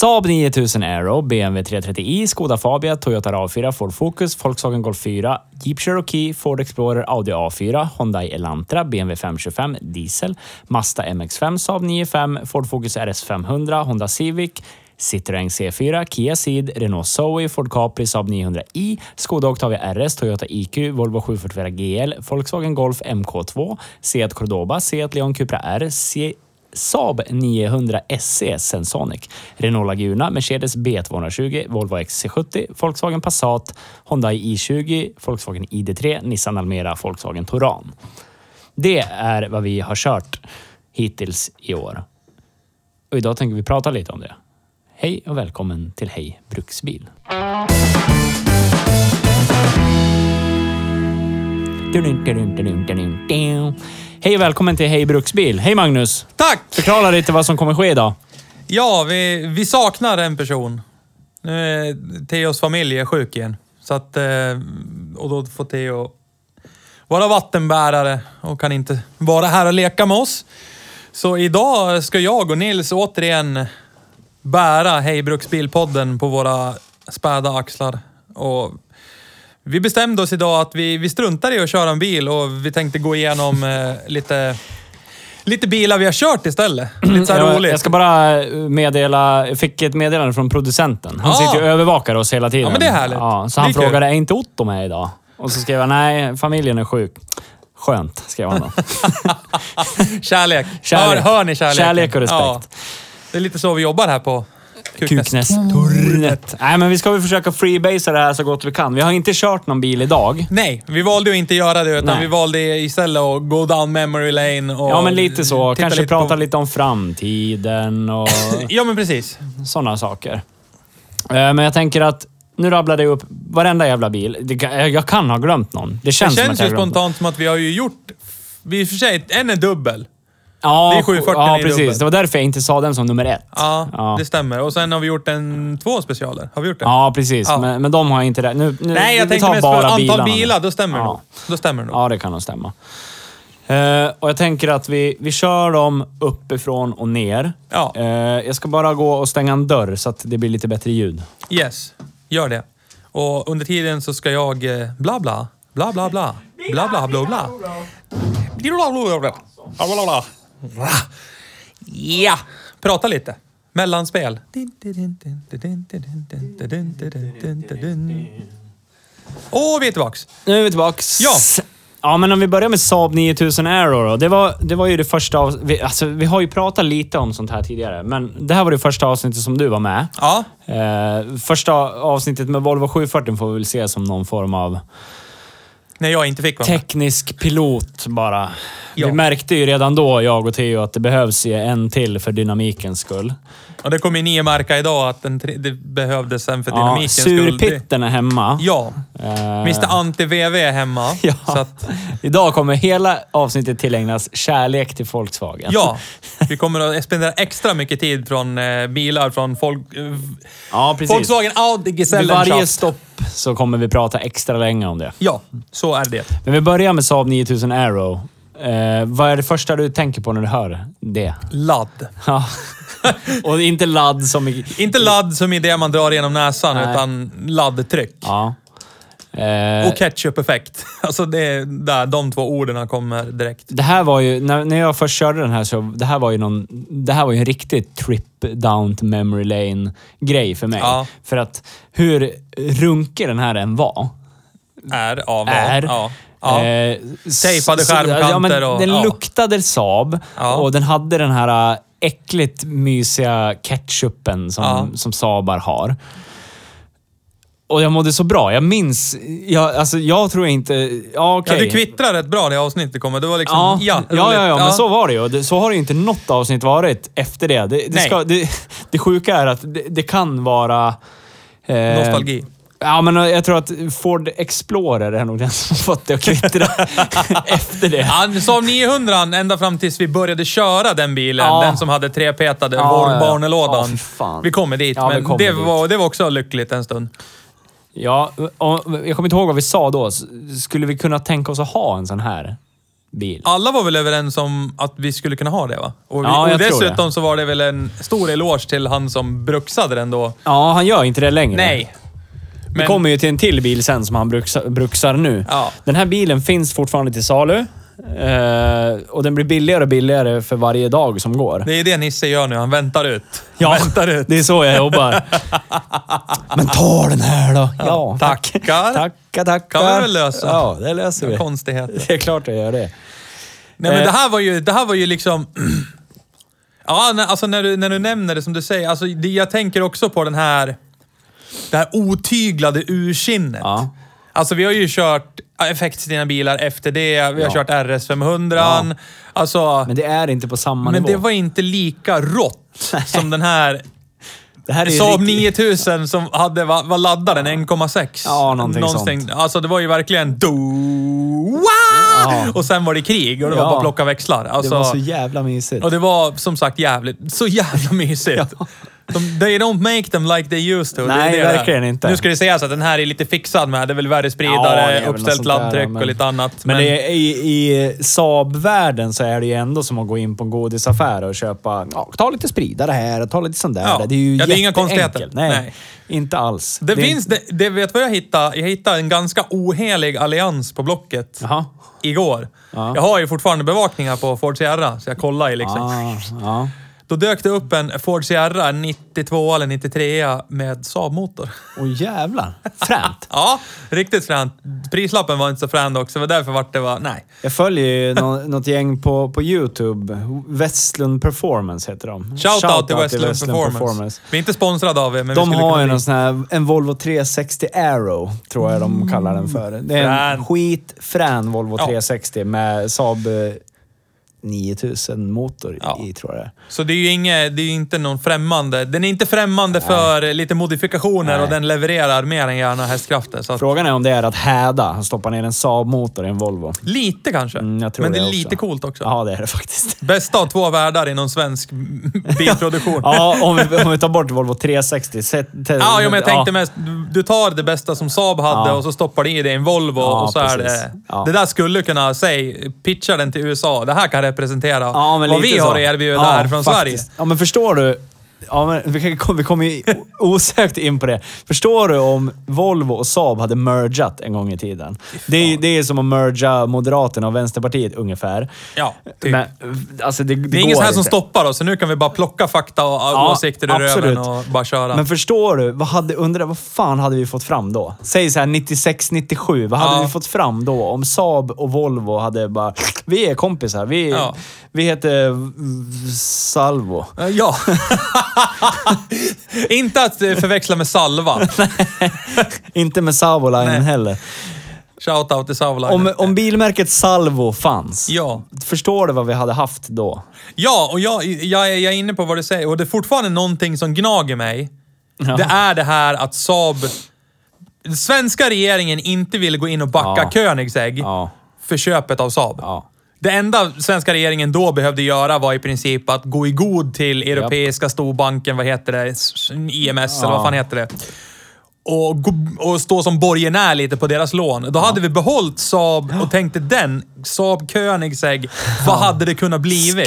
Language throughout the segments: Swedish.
Saab 9000 Aero, BMW 330i, Skoda Fabia, Toyota RAV4, Ford Focus, Volkswagen Golf 4, Jeep Cherokee, Ford Explorer, Audi A4, Hyundai Elantra, BMW 525, diesel, Mazda MX5, Saab 95, Ford Focus RS500, Honda Civic, Citroën C4, Kia Ceed, Renault Zoe, Ford Capri, Saab 900i, Skoda Octavia RS, Toyota IQ, Volvo 744 GL, Volkswagen Golf MK2, Seat Cordoba, Seat Leon Cupra R, Se- Saab 900 SE Sensonic, Renault Laguna, Mercedes B220, Volvo XC70, Volkswagen Passat, Hyundai i20, Volkswagen ID3, Nissan Almera, Volkswagen Touran. Det är vad vi har kört hittills i år. Och idag tänker vi prata lite om det. Hej och välkommen till Hej Bruksbil. Hej och välkommen till Hej Bruksbil. Hej Magnus! Tack! Förklara lite vad som kommer ske idag. Ja, vi, vi saknar en person. Nu är Theos familj är sjuk igen. Så att, eh, och då får Theo vara vattenbärare och kan inte vara här och leka med oss. Så idag ska jag och Nils återigen bära Hej Bruksbilpodden på våra späda axlar. Och vi bestämde oss idag att vi, vi struntar i att köra en bil och vi tänkte gå igenom eh, lite, lite bilar vi har kört istället. Lite så här Jag, roligt. jag ska bara eh, meddela, jag fick ett meddelande från producenten. Han Ah. sitter ju och övervakar oss hela tiden. Ja, men det är härligt. Ja, så Det är han kul. frågade, är inte Otto med idag? Och så skrev jag, nej, familjen är sjuk. Skönt, skrev han då. Kärlek. Kärlek. Hör, hör ni kärleken? Kärlek och respekt. Det är lite så vi jobbar här på Kuknäs. Kuknästornet. Nej, men vi ska väl försöka freebasea det här så gott vi kan. Vi har inte kört någon bil idag. Nej, vi valde att inte göra det utan Nej. vi valde istället att gå down memory lane och... Ja, men lite så. titta Kanske prata på- lite om framtiden och Ja, men precis. sådana saker. Eh, Men jag tänker att nu rabblade jag upp varenda jävla bil. Det kan- jag- Jag kan ha glömt någon. Det Det känns, som att känns jag ju har glömt någon. spontant som att vi har ju gjort... Vi i och för sig, en är dubbel. Ja, Det är 740 ja i precis. dubbel. Det var därför jag inte sa den som nummer ett. Ja, ja. det stämmer. Och sen har vi gjort en två specialer. Har vi gjort det? Ja, precis. Ja. Men, men de har jag inte där. Nu, nu, Nej, jag vi tänkte tar mest på bara antal bilar, bilarna. då stämmer det Ja. nog. Då stämmer det nog. Ja, det kan nog stämma. Eh, och jag tänker att vi, vi kör dem uppifrån och ner. Ja. Eh, jag ska bara gå och stänga en dörr så att det blir lite bättre ljud. Yes, gör det. Och under tiden så ska jag eh, bla bla, bla bla bla, bla bla bla bla. Bla, bla, bla, bla. Bla, bla, bla. Bra. Ja, prata lite. Mellanspel. Och vi är tillbaks. Nu är vi tillbaks. Ja. Ja, men om vi börjar med Saab 9000 Aero då. Det var, det var ju det första av, vi, alltså, vi har ju pratat lite om sånt här tidigare, men det här var det första avsnittet som du var med. Ja, Eh, första avsnittet med Volvo 740 får vi väl se som någon form av när jag inte fick vara med. teknisk pilot bara. Ja. Vi märkte ju redan då, jag och Theo, att det behövs ju en till för dynamikens skull. Och det kommer ju ni att märka idag att den tre, det behövdes sen för Ja, dynamikens skull. Det- surpitten är hemma. Ja, Eh, Mr Anti-VV är hemma. Ja. Så att Idag kommer hela avsnittet tillägnas kärlek till Volkswagen. Ja, vi kommer att spendera extra mycket tid från eh, bilar från folk, eh, ja precis. Volkswagen Audi Vid varje Gesellenschaft. stopp så kommer vi prata extra länge om det. Ja, så är det. Men vi börjar med Saab 9000 Aero. Eh, vad är det första du tänker på när du hör det? Ladd. Ja. Och inte ladd som i... Inte ladd som i det man drar genom näsan, Nej. utan laddtryck. Ja. Eh, Och ketchup-effekt. Alltså det är där de två orden kommer direkt. Det här var ju, när, när jag först körde den här så, det här var ju någon, det här var ju en riktig trip down to memory lane grej för mig. Ja. För att hur runkig den här än var, Är av Är. Ja. ja. Eh, Tejpade s- s- ja, men skärmkanter och- Den ja. luktade Saab Ja. och den hade den här äh, äckligt mysiga ketchupen som, Ja. som Saabar har. Och jag mådde så bra. Jag minns... Jag, alltså, jag tror inte... Ja, okej. ja, du kvittrar rätt bra det avsnittet kommer. Det var liksom... Ja, ja, roligt. ja, ja, men så var det ju. Det- Så har det ju inte något avsnitt varit efter det. Det, det, Nej. ska, det, det sjuka är att det, det kan vara... eh, Nostalgi. Ja, men jag tror att Ford Explorer är nog den som fått det att kvittra efter det. Han som 900 ända fram tills vi började köra den bilen. Ja. Den som hade trepetade Ja, ja, ja. Ja, barnelådan. fy fan. vi kommer dit, Ja, vi men kommer det, dit. Var, det var också lyckligt en stund. Ja, och jag kommer inte ihåg vad vi sa då. S- Skulle vi kunna tänka oss att ha en sån här bil? Alla var väl överens om att vi skulle kunna ha det va? Och, vi, Ja, jag och tror dessutom det. så var det väl en stor eloge till han som bruksade den då. Ja, han gör inte det längre. Nej. Det Men- kommer ju till en till bil sen som han bruksar, bruksar nu. Ja. Den här bilen finns fortfarande till salu. Eh, och den blir billigare och billigare för varje dag som går. Det är det Nisse gör nu. Han väntar ut. Väntar ut. det är så jag jobbar. Men ta den här då! Ja, tack. Tackar. Tackar, tackar. Kan vi väl lösa. Ja, det löser vi. Konstigheter. Det är klart jag gör det. Nej, men Eh. det här var ju, det här var ju liksom... ja, när, alltså när du, när du nämner det som du säger. Alltså, det, jag tänker också på den här... Det här otyglade urkinnet. Ja. Alltså vi har ju kört effektstinna bilar efter det. Vi har Ja. kört RS 500. Alltså, men, Men det är inte på samma nivå. det var inte lika rått som den här det här är ju Saab riktigt- 9000 som hade, vad vad laddade den? 1,6? Ja, någonting sånt. Alltså det var ju verkligen do Ja. Och sen var det krig och det Ja. var bara plocka växlar. Alltså, Det var så jävla mysigt. och det var som sagt jävligt, så jävla mysigt. De, they don't make them like they used to. Det är Nej, det det är. verkligen inte. Nu ska det sägas att den här är lite fixad med. Det är väl Ja, det är värdespridare, väl något uppställt sånt där, laddtryck men- och lite annat. Men, det är, i, i Saab-världen så är det ju ändå som att gå in på en godisaffär och köpa... Ja, ta lite spridare här och ta lite sånt där. Ja. Det är ju Ja, det är inga jätteenkelt. konstigheter. Nej, Nej. inte alls. det finns, det, det vet vad jag hittade? Jag hittade en ganska ohelig allians på Blocket. Jaha. igår. Ja. Jag har ju fortfarande bevakningar på Ford Sierra, så jag kollar ju liksom. Ah, ja. Då dök det upp en Ford Sierra, en 92 eller 93 med Saab-motor. Åh jävlar. Fränt. Ja, riktigt fränt. Prislappen var inte så frän också, det var därför vart det var... Nej. Jag följer ju nå, något gäng på, på YouTube. Westlund Performance heter de. Shout, out till Westlund Performance. Vi är inte sponsrade av er, men vi De skulle har ju kunna någon sån här, en Volvo 360 Aero, tror jag de kallar den för. Det är en Frän. skitfrän Volvo Ja. 360 med Saab eh, 9000 motor Ja. i, tror jag det är. Så det är ju inget, det är ju inte någon främmande. Den är inte främmande för lite modifikationer Nej. och den levererar mer än gärna hästkrafter. Så att, Frågan är om det är att häda, att stoppa ner en Saab-motor i en Volvo. lite kanske, Mm, jag tror men det är också. lite coolt också. Ja, det är det faktiskt. Bästa av två världar inom svensk bilproduktion. Ja, om vi, om vi tar bort Volvo 360. Sätt, te- Ja, jo, men jag tänkte ja. mest, du- du tar det bästa som Saab hade Ja. och så stoppar du i det i en Volvo Ja, och så är precis. det... Ja. Det där skulle kunna, säg, pitcha den till USA. Det här kan representera Ja, men vad lite vi så. har att erbjuda Ja, här från Sverige. faktiskt. Ja, men förstår du? Ja, men vi kan- kom- vi kommer ju osökt in på det. Förstår du om Volvo och Saab hade mergat en gång i tiden? Det är, det är som att merga Moderaterna och Vänsterpartiet ungefär. Ja, typ. Men, alltså det, det, Det är går inget så här som inte. stoppar oss, så nu kan vi bara plocka fakta och Ja, åsikter ur röven och bara köra. Men förstår du? Vad, hade, undrar, vad fan hade vi fått fram då? Säg så här 96, 97. Vad hade Ja. vi fått fram då om Saab och Volvo hade bara... Vi är kompisar. Vi, Ja. vi heter v- Salvo. Eh, Ja. Inte att eh, förväxla med Salva. Inte med Savolainen Nej. heller. Shoutout till Salva. Om, om bilmärket Salvo fanns, Ja. förstår du vad vi hade haft då? Ja, och jag, jag, är- jag är inne på vad du säger och det är fortfarande någonting som gnager mig. Det är det här att Saab... Den svenska regeringen inte vill gå in och backa Ja. Koenigsegg Ja. för köpet av Saab. Ja. Det enda svenska regeringen då behövde göra var i princip att gå i god till europeiska storbanken, vad heter det, S- IMS eller vad fan heter det. Och, gå- och stå som borgenär lite på deras lån. Då hade vi behållit Saab och tänkte den, Saab Koenigsegg, vad hade det kunnat blivit?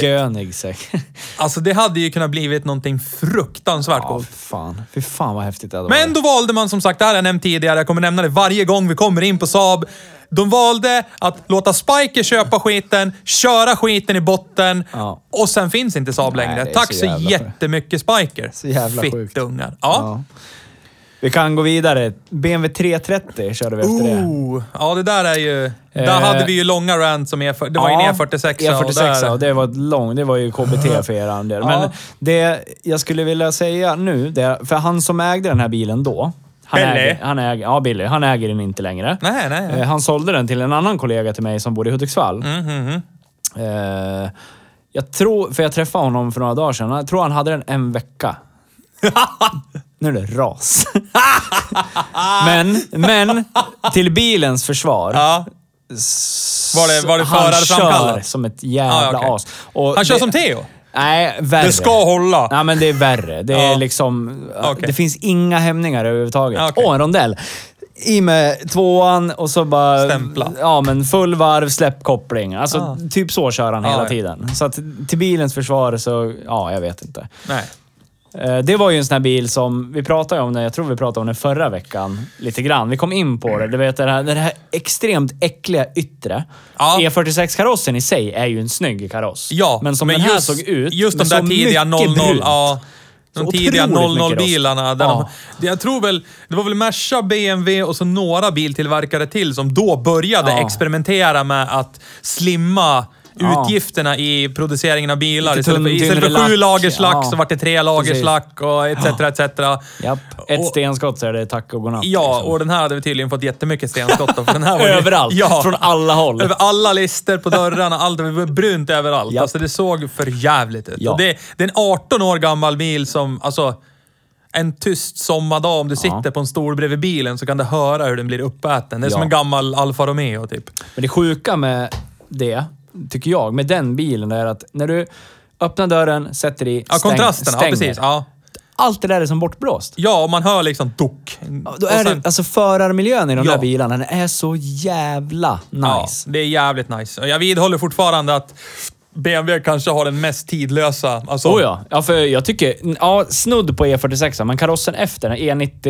Skönig säkert. Alltså det hade ju kunnat blivit någonting fruktansvärt Ja, coolt. fy fan. Fy fan vad häftigt det hade Men då valde man som sagt, det här har jag nämnt tidigare, jag kommer nämna det varje gång vi kommer in på Saab. De valde att låta Spiker köpa skiten, köra skiten i botten Ja. och sen finns inte Saab Nej, längre. det är Tack så så jävla sjukt. jättemycket Spiker. Så jävla sjukt. Fittungar. Ja. Ja. Vi kan gå vidare. BMW 330 körde vi efter det. Ooh, ja, det där är ju... Eh, Där hade vi ju långa rants om E40. Det var ju en E46. E46 och där- och det var ett lång, det var ju KBT för er del. Men Ja. det jag skulle vilja säga nu, det, för han som ägde den här bilen då. Han Billy. Äger, han äger, ja, Billy. Han äger den inte längre. Nej, nej. Eh, Han sålde den till en annan kollega till mig som bor i Hudiksvall. Mm, mm, mm. Eh, jag tror, för jag träffade honom för några dagar sedan. Jag tror han hade den en vecka. nu är det ras. men, men till bilens försvar. Ja. s- Var det- var det han förarframkallat? kör som ett jävla Ah, ja, okej. as. Och Han kör det- som Theo. Nej, värre. Det ska hålla. Nej, men det är värre. Det är Ja. liksom... Okej. Det finns inga hämningar överhuvudtaget. Ja, okej. Åh, en rondell. I med tvåan och så bara... Stämpla. Ja, men full varv, släpp koppling. Alltså, Ah. typ så kör han Ja, hela ja. tiden. Så att, till bilens försvar så... Ja, jag vet inte. Nej. Eh, Det var ju en sån här bil som vi pratade om, den- jag tror vi pratade om den förra veckan lite grann. Vi kom in på det. Du vet det här, det här extremt äckliga yttre. Ja. E46-karossen i sig är ju en snygg kaross. Ja, men som den här såg ut. Just det de där såg tidiga mycket 00... brunt. Ja, Så de otroligt tidiga mycket rost. 00-bilarna. där Ja. de- Jag tror väl... Det var väl Merca, BMW och så några biltillverkare till som då började Ja. experimentera med att slimma Ja. utgifterna i produceringen av bilar. Lite Istället för, tunn- istället tyngre för sju lack. lagers lack Ja. så var det tre lagers Precis. lack och etc. etc. Japp. Ett Och- stenskott så är det tack och godnatt. Ja, liksom. och den här hade vi tydligen fått jättemycket stenskott av. för den här var ju- Överallt. Ja. Från alla håll. Över alla lister, på dörrarna, allt. Det var brunt överallt. Japp. Alltså det såg för jävligt ut. Ja. Och det, det är en 18 år gammal bil som, alltså, en tyst sommardag om du sitter på en stol bredvid bilen så kan du höra hur den blir uppäten. Det är som Ja. en gammal Alfa Romeo typ. Men det sjuka med det, tycker jag, med den bilen, är att när du öppnar dörren, sätter i, Ja, kontrasten. Ja, stänger. precis. Ja. Allt det där är som bortblåst. ja, och man hör liksom dock. Ja, Då är det, alltså förarmiljön i de Ja. där bilarna, den är så jävla nice. Ja, det är jävligt nice. Och Jag vidhåller fortfarande att BMW kanske har den mest tidlösa. Alltså, Oh ja. ja, för jag tycker, ja, snudd på E46, men karossen efter, den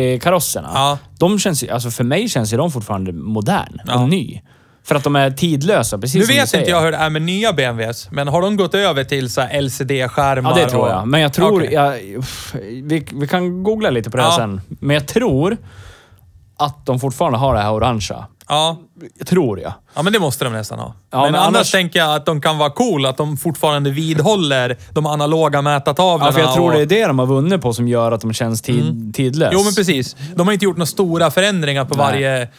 E90-karosserna, Ja. de känns ju, alltså för mig känns ju de fortfarande modern Ja. och ny. För att de är tidlösa, precis Nu som du vet säger. inte jag hur det är med nya BMWs, men har de gått över till så här LCD-skärmar? Ja, det tror jag. och- Men jag tror... Okej. Jag, uff, vi, vi kan googla lite på det här Ja. sen. Men jag tror att de fortfarande har det här orangea. Ja. Jag tror jag. ja, men det måste de nästan ha. Ja, men, men annars, annars- tänker jag att de kan vara cool, att de fortfarande vidhåller de analoga mätartavlorna. Ja, Mm. för jag tror och... det är det de har vunnit på som gör att de känns tid, tidlös. Jo, men precis. De har inte gjort några stora förändringar på Nej. varje...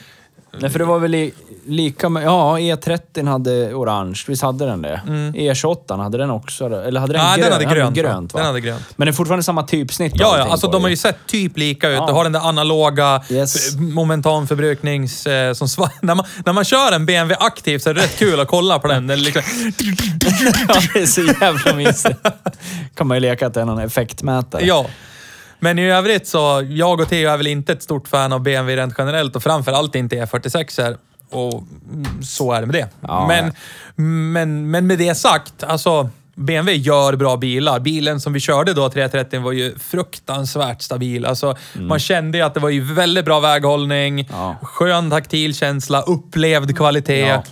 Nej, för det var väl i, lika med... Ja, E30 hade orange. Visst hade den det? E28 hade den också det? Eller hade Mm. den Nej, grönt? den hade grönt. va? grönt va? Den hade grönt. Men det är fortfarande samma typsnitt? och Ja, ja, allting alltså på de det. har ju sett typ lika ut. Ja. De har den där analoga Yes. yes. momentanförbruknings... Eh, som sva- när, man, när man kör en BMW aktivt så är det rätt kul att kolla på den. den är liksom... ja, det är så jävla mysigt. kan man ju leka att det är någon effektmätare. Ja. Men i övrigt så, jag och Theo är väl inte ett stort fan av BMW rent generellt och framförallt inte E46 här. Och mm, så är det med det. Ja. men, men, men med det sagt, alltså BMW gör bra bilar. Bilen som vi körde då, 330, var ju fruktansvärt stabil. Alltså, Man kände ju att det var ju väldigt bra väghållning, Mm. Ja. skön taktil känsla, upplevd kvalitet. Ja.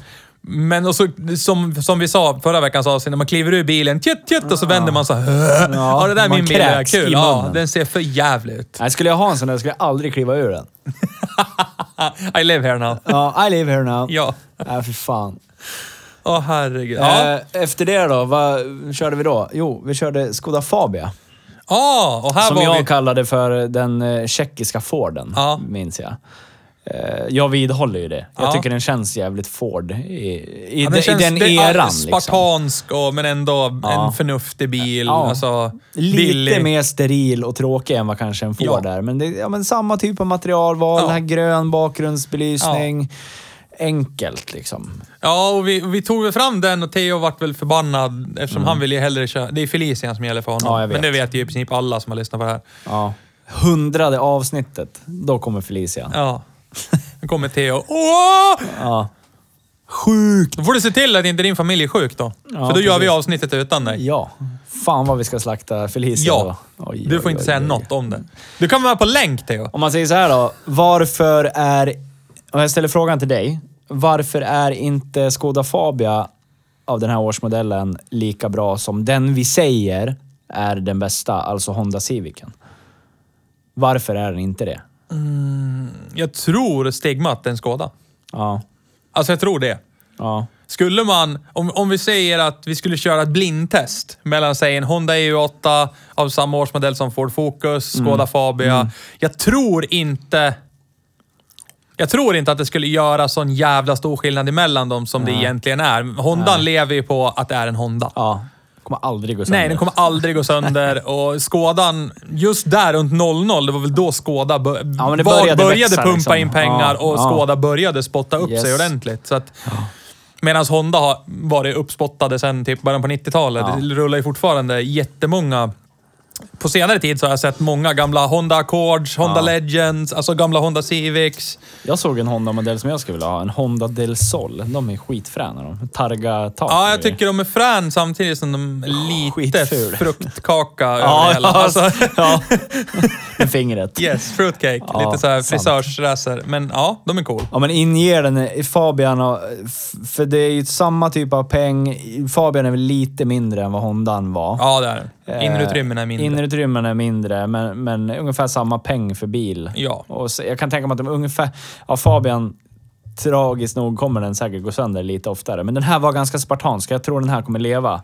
Men och så, som, som vi sa förra veckans avsnitt, när man kliver ur bilen, tjut, tjut, och så vänder man så här. Ja, det där är man min bil. är kräks i Kul. Ja, munnen. den ser för jävligt ut. Nej, skulle jag ha en sån där skulle jag aldrig kliva ur den. I live here now. Ja, I live here now. Ja. Nej, för fan. Åh, herregud. Ja, Eh, efter det då, vad körde vi då? Jo, vi körde Skoda Fabia. Ja, och här Som var jag vi... kallade för den eh, tjeckiska Forden, Ja. minns jag. Eh, Jag vidhåller ju det. Jag Ja. tycker den känns jävligt Ford i, i, Ja, den, i den det är eran. liksom. Spartansk, och, men ändå Ja. en förnuftig bil. Ja. Alltså, Lite billig. mer steril och tråkig än vad kanske en Ford Ja. är. Men, det, ja, men samma typ av materialval, Ja. den här grön bakgrundsbelysning. Enkelt liksom. Ja, och vi, vi tog väl fram den och Theo vart väl förbannad eftersom han ville ju hellre köra... Det är Felician som gäller för honom. Mm. Ja, jag vet. Men det vet ju i princip alla som har lyssnat på det här. Ja. Hundrade avsnittet, då kommer Felicia. Ja. Nu kommer Theo. Åh! Ja. Sjukt! Då får du se till att inte din familj är sjuk då. Ja, För då gör vi precis. avsnittet utan dig. Ja. Fan vad vi ska slakta Felicia Ja. då. Oj, Du oj, får inte oj, säga oj. något om det. Du kan vara på länk, Theo. Om man säger så här då. Varför är... Om jag ställer frågan till dig. Varför är inte Skoda Fabia av den här årsmodellen lika bra som den vi säger är den bästa, alltså Honda Civicen? Varför är den inte det? Jag tror stigmat är en skada. Ja. Alltså jag tror det. Ja. Skulle man, om, om vi säger att vi skulle köra ett blindtest mellan säg en Honda EU8 av samma årsmodell som Ford Focus, Mm. Skoda Fabia. Jag tror inte... Jag tror inte att det skulle göra sån jävla stor skillnad emellan dem som det egentligen är. Hondan lever ju på att det är en Honda. Ja. Kommer aldrig gå sönder. Nej, den kommer aldrig gå sönder. Och Skådan, just där runt 00, det var väl då Skåda bör- Ja, men det var- började växa, pumpa liksom. in pengar Ja, och ja. Skåda började spotta upp Yes. sig ordentligt. Så att, medan Honda har varit uppspottade sedan typ början på 90-talet. Ja. Det rullar ju fortfarande jättemånga på senare tid så har jag sett många gamla Honda Accords, Honda Ja. Legends, alltså gamla Honda Civics. Jag såg en Honda-modell som jag skulle vilja ha. En Honda del Sol. De är skitfräna de. Targa-tak. Ja, jag tycker de är frän samtidigt som de är lite Skitful. fruktkaka över Ja, hela. ja, Alltså, ja. Med fingret. Yes, fruitcake. Ja, Lite så här sant. frisörsracer. Men ja, de är cool. Ja, men inger den i Fabian och, f- För det är ju samma typ av peng. Fabian är väl lite mindre än vad Hondan var. Ja, det är det. Eh, Inreutrymmena är mindre. Inreutrymmen är mindre, men, men ungefär samma peng för bil. Ja. Och så, jag kan tänka mig att de ungefär... Ja, Fabian, tragiskt nog kommer den säkert gå sönder lite oftare. Men den här var ganska spartansk. Jag tror den här kommer leva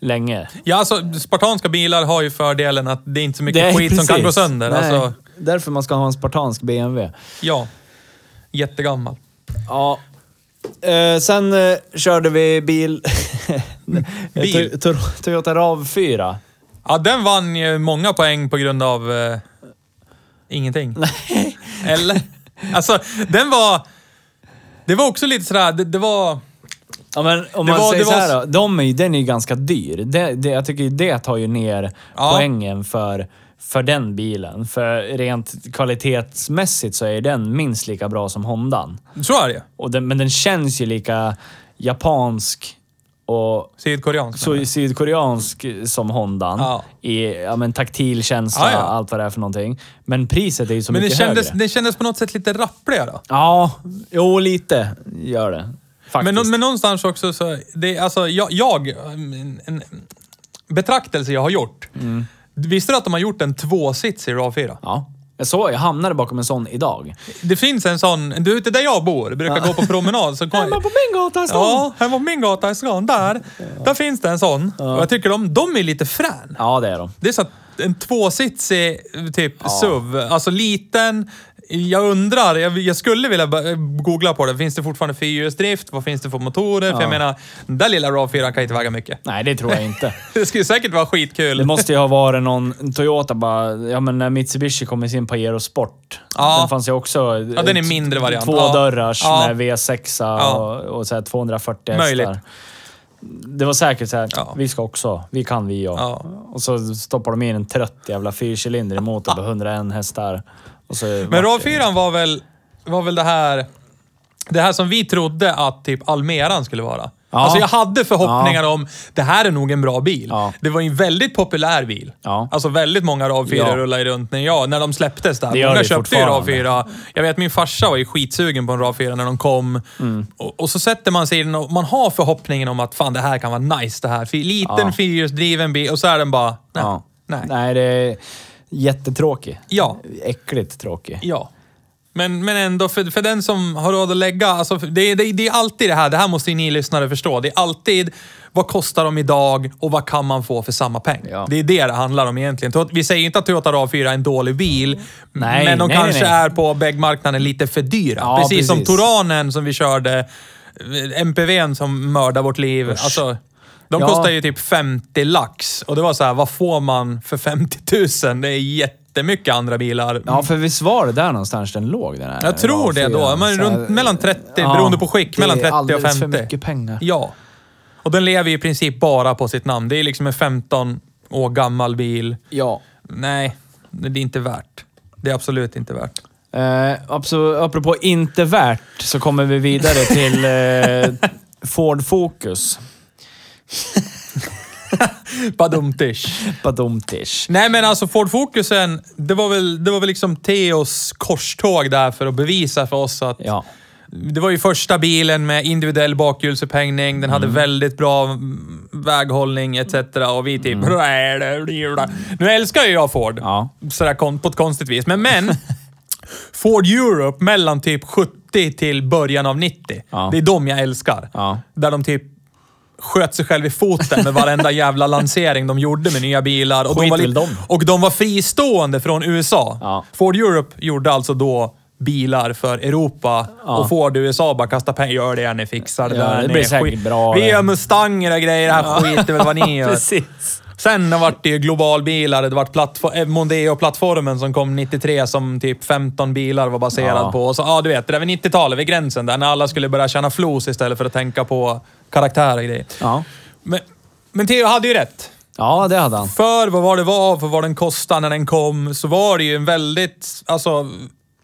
länge. Ja, alltså spartanska bilar har ju fördelen att det är inte så mycket Det är skit precis. som kan gå sönder. Nej, Alltså, Därför man ska ha en spartansk BMW. ja. Jättegammal. Ja. Eh, sen eh, körde vi bil... Bil? To- to- Toyota RAV4. Ja, den vann ju många poäng på grund av eh, ingenting. Eller? Alltså, den var... Det var också lite sådär, det, det var... Ja, men om Det man var- säger det så var- här då, de är, ju- den är ju ganska dyr. Det, det, jag tycker ju det tar ju ner Ja. poängen för, för den bilen. För rent kvalitetsmässigt så är den minst lika bra som Hondan. Så är det ju. Och den, men den känns ju lika japansk och Sydkoreansk. så sydkoreansk som Hondan. Ja. Ah, I ja, men, taktil känsla, Ja, ja. allt vad det är för någonting. Men priset är ju så Men det mycket kändes, högre. det kändes på något sätt lite rappligare. Ja, jo lite gör det. Faktiskt. Men, nå- men någonstans också så, det, är- alltså jag, jag en, en betraktelse jag har gjort. Mm. Visste du att de har gjort en tvåsits i RAV4? Ja. Jag såg, jag hamnade bakom en sån idag. Det finns en sån, du ute där jag bor, brukar gå på promenad. Så Hemma kom, på min gata i stan. ja, hemma på min gata i stan, där, där finns det en sån. Och jag tycker de, de är lite frän. Ja, det är de. Det är så att en tvåsitsig typ SUV, alltså liten. Jag undrar, jag, jag skulle vilja ba- googla på det. Finns det fortfarande fyrhjulsdrift? Vad finns det för motorer? För jag menar, den där lilla RAV4 kan inte väga mycket. Nej, det tror jag inte. Det skulle säkert vara skitkul. Det måste ju ha varit någon Toyota bara... Ja, men när Mitsubishi kom med sin Pajero Sport. Ja. Den fanns ju också... Ja, den är mindre variant. Två Ja. dörrars Ja. med V6 Ja. och, och så här 240 Möjligt. hästar. Det var säkert så här, Ja. vi ska också, vi kan vi och. Ja. Och så stoppar de in en trött jävla fyrcylinder i motorn på 101 hästar. Och så Men RAV4 var väl, var väl det här... Det här som vi trodde att typ Almeran skulle vara. Ja. Alltså jag hade förhoppningar om, det här är nog en bra bil. Ja. Det var ju en väldigt populär bil. Ja. Alltså väldigt många RAV4 Ja. rullade ju runt när, jag, när de släpptes där. Det gör Många det köpte ju fortfarande. RAV4. Jag vet min farsa var ju skitsugen på en RAV4 när de kom. Mm. Och, och så sätter man sig i den och man har förhoppningen om att fan det här kan vara nice det här. Fy- Liten Ja. fyrhjulsdriven bil och så är den bara... Nej. Ja. Nej. Nej. det är jättetråkig. Ja. Äckligt tråkig. Ja. Men, men ändå, för, för den som har råd att lägga... Alltså, för- det, det, det är alltid det här, det här måste ju ni lyssnare förstå. Det är alltid, vad kostar de idag och vad kan man få för samma peng? Ja. Det är det det handlar om egentligen. Tot- Vi säger inte att Toyota RAV4 är en dålig bil, Nej, men de nej, kanske nej. är på vägmarknaden lite för dyra. Ja, precis, som precis. Toranen som vi körde, eh, MPVn som mördar vårt liv. Alltså, de Ja. kostar ju typ 50 lax och det var så här, vad får man för 50 000? Det är jättemycket andra bilar. Ja, för visst var det där någonstans den låg? Den här Jag tror det då. rafian? Men Så här- runt, mellan 30, Eh, Ja, beroende på skick, det mellan är 30 och 50. alldeles för mycket pengar. Ja. Och den lever ju i princip bara på sitt namn. Det är liksom en 15 år gammal bil. Ja. Nej, det är inte värt. Det är absolut inte värt. Eh, abso- apropå inte värt så kommer vi vidare till eh, Ford Focus. Badumtish. Badumtish. Nej men alltså Ford Focusen, det var väl, det var väl liksom Theos korståg där för att bevisa för oss att Ja. Det var ju första bilen med individuell bakhjulsupphängning. Den hade väldigt bra mm, väghållning etc. Och vi typ... Nu älskar ju jag Ford. Ja. Sådär kon- på ett konstigt vis. Men, men Ford Europe mellan typ 70 till början av 90. Ja. Det är de jag älskar. Ja. Där de typ sköt sig själv i foten med varenda jävla lansering de gjorde med nya bilar. Och Skit de, var väl lite- dem. och de var fristående från USA. Ja. Ford Europe gjorde alltså då bilar för Europa och Ford USA bara kasta pengar. Gör det ni fixar det Ja, där. det ni. blir säkert Skit- bra. Vi gör mustanger och grejer. Det här skiter väl vad ni gör. Precis. Sen har varit det ju globalbilar. Det vart plattfo- eh, Mondeo-plattformen som kom 93 som typ 15 bilar var baserad Ja. på. Och så, ja, du vet, det där vid 90-talet, vid gränsen där, när alla skulle börja tjäna flos istället för att tänka på karaktär och grejer. Ja. Men, men Theo hade ju rätt. ja, det hade han. För vad var det var, för vad den kostade när den kom, så var det ju en väldigt, alltså,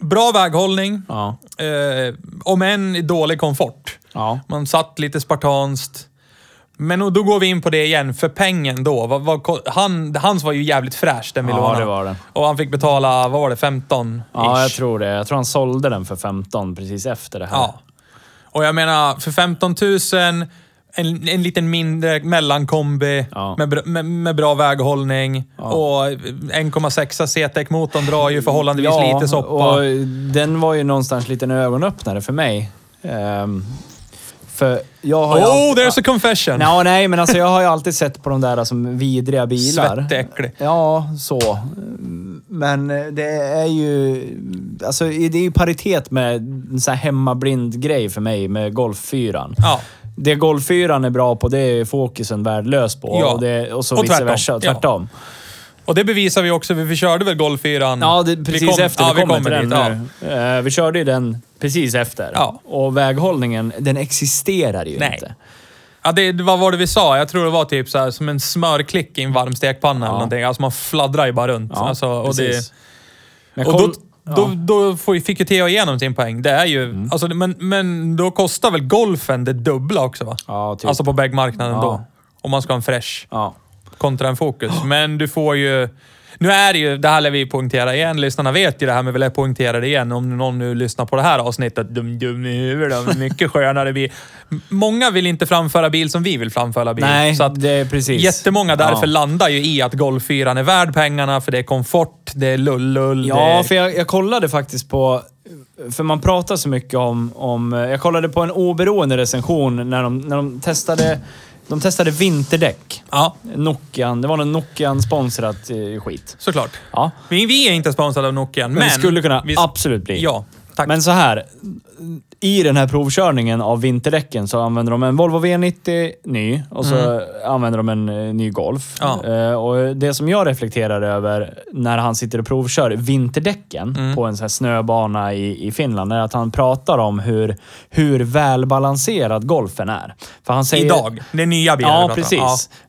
bra väghållning. Ja. Eh, om än i dålig komfort. Ja. Man satt lite spartanskt. Men och då går vi in på det igen, för pengen då. Vad, vad, ko- han, hans var ju jävligt fräsch, den vi Ja, lånade. det var den. Och han fick betala, vad var det, 15 Ja, jag tror det. Jag tror han sålde den för 15 precis efter det här. Ja. Och jag menar, för 15 000, en, en liten mindre mellankombi Ja. med, br- med, med bra väghållning och 1,6 CTEC-motorn E drar ju förhållandevis Ja, lite soppa. och den var ju någonstans lite en ögonöppnare för mig. Ehm, för jag har ju oh, alltid- there's a confession! Ja, nej, men alltså jag har ju alltid sett på de där som vidriga bilar. Svettäcklig. Ja, så. Men eh, det är ju... Alltså, det är ju paritet med en sån här hemmablind grej för mig med Golf 4. Ja. Det Golf 4 är bra på, det är fokusen värdelös på. Ja. Och, det, och så Och vice tvärtom. versa. Ja. Mm. Tvärtom. Och det bevisar vi också, för vi körde väl Golf 4? Ja, det, precis kom- efter. ja, vi kommer till dit, den ja. nu. Eh, Vi körde ju den precis efter. Ja. Och väghållningen, den existerar ju Nej. inte. Ja, det, vad var det vi sa? Jag tror det var typ så här, som en smörklick i en varm stekpanna eller någonting. Alltså man fladdrar ju bara runt. Ja, alltså, och precis. det, Men och då, koll- då, då får ju- fick ju Theo igenom sin poäng. Det är ju, Mm. alltså, det- men, men då kostar väl golfen det dubbla också? va? Ja, typ. Alltså på bäggmarknaden Ja. då. Om man ska ha en fresh ja. kontra en fokus. Men du får ju... Nu är det ju, det här lär vi poängtera igen. Lyssnarna vet ju det här, men vi lär poängtera det igen. Om någon nu lyssnar på det här avsnittet. Dum, dum i huvudet. de är Mycket skönare bil. M- Många vill inte framföra bil som vi vill framföra bil. Nej, så att det är precis. Jättemånga därför Ja. landar ju i att Golf 4 är värd pengarna, för det är komfort, det är lullull. det Ja, är... för jag, jag kollade faktiskt på... För man pratar så mycket om... om jag kollade på en oberoende recension när de, när de testade... De testade vinterdäck. ja Nokian. Det var någon Nokian-sponsrat eh, skit. såklart. Ja. Vi, vi är inte sponsrade av Nokia, men... Men, vi skulle kunna vi- absolut bli. Ja, tack. Men så här. I den här provkörningen av vinterdäcken så använder de en Volvo V90 ny och så använder de en eh, ny Golf. Mm. Ja. Eh, och det som jag reflekterar över när han sitter och provkör vinterdäcken Mm. på en så här snöbana i, i Finland är att han pratar om hur, hur välbalanserad golfen är. För han säger, Idag. Det är nya bilar vi Ja, pratar om. precis.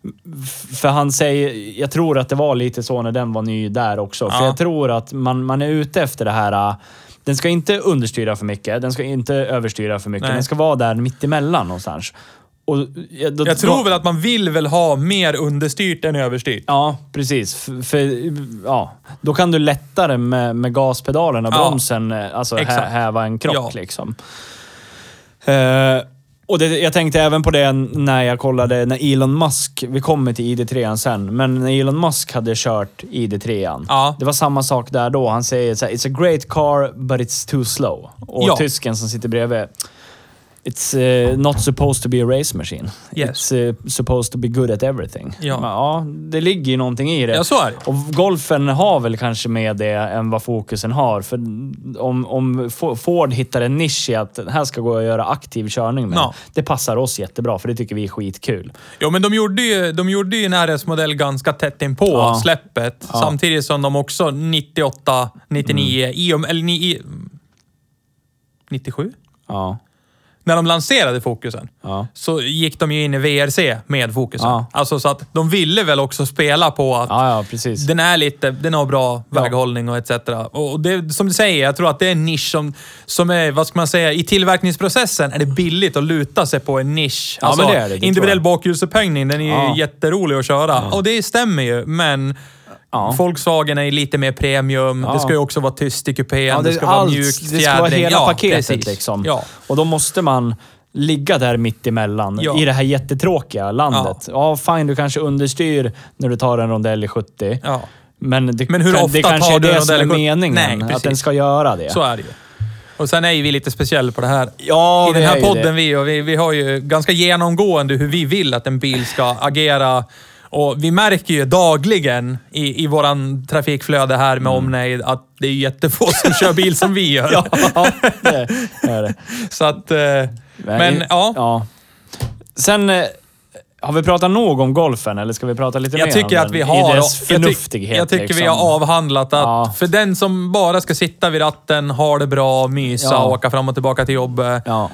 Ja. F- För han säger, jag tror att det var lite så när den var ny där också. För Ja. jag tror att man, man är ute efter det här. äh, Den ska inte understyra för mycket, den ska inte överstyra för mycket. Nej. Den ska vara där mittemellan någonstans. Och, ja, då, Jag tror väl att man vill väl ha mer understyrt än överstyrt. Ja, precis. F- För, ja, då kan du lättare med, med gaspedalen och Ja. bromsen eh, alltså, hä, Exakt. häva en krock. Ja. Liksom. Eh, och det, jag tänkte även på det när jag kollade när Elon Musk, vi kommer till ID3 sen, men när Elon Musk hade kört ID3. Ja. Det var samma sak där då. Han säger så här, “It's a great car, but it's too slow”. Och Ja. tysken som sitter bredvid. It's eh, not supposed to be a race machine. Yes. It's eh, supposed to be good at everything. Ja. Men, ja, det ligger ju någonting i det. Ja, så är det. Och golfen har väl kanske med det än vad fokusen har. För om, om Fo- Ford hittar en nisch i att det här ska gå att göra aktiv körning med. Ja. Det passar oss jättebra, för det tycker vi är skitkul. Jo, men de gjorde ju, de gjorde ju en RS-modell ganska tätt inpå Ja. släppet. Ja. Mm. Samtidigt som de också 98, 99, i, och- eller ni, i, 97? Ja. När de lanserade fokusen Ja. så gick de ju in i VRC med fokusen. Ja. Alltså så att de ville väl också spela på att Ja, ja, precis. Den är lite, den har bra väghållning och etc. Och och det, som du säger, jag tror att det är en nisch som, som är, vad ska man säga, i tillverkningsprocessen är det billigt att luta sig på en nisch. Alltså, Ja, men det är det, det tror individuell jag. bakhjulsupphängning, den är ju Ja. jätterolig att köra. Och det stämmer ju, men Ja. Volkswagen är ju lite mer premium. Det ska ju också vara tyst i kupén, Ja, det, ska vara allt- mjukt, Det ska vara fjädring. hela Ja, paketet precis. liksom. Ja. Och då måste man ligga där mittemellan Ja. i det här jättetråkiga landet. Ja. fine, du kanske understyr när du tar en rondell i 70. Ja. Men, det, Men hur kan- ofta det kanske tar är du det någon som är delegation? meningen. Nej, att precis. den ska göra det. Så är det ju. Och sen är ju vi lite speciella på det här. Ja, I den vi är här ju podden det. vi, och vi, vi har ju ganska genomgående hur vi vill att en bil ska agera. Och vi märker ju dagligen i, i våran trafikflöde här med omnejd att det är jättefå som kör bil som vi gör. Mm. ja, det är det. Så att... eh, Men ja, Sen, eh, har vi pratat nog om golfen eller ska vi prata lite mer jag tycker om att den vi har... i dess jag, tyck, förnuftighet? jag tycker liksom. vi har avhandlat att Ja. för den som bara ska sitta vid ratten, ha det bra, mysa, Ja. åka fram och tillbaka till jobbet. Ja,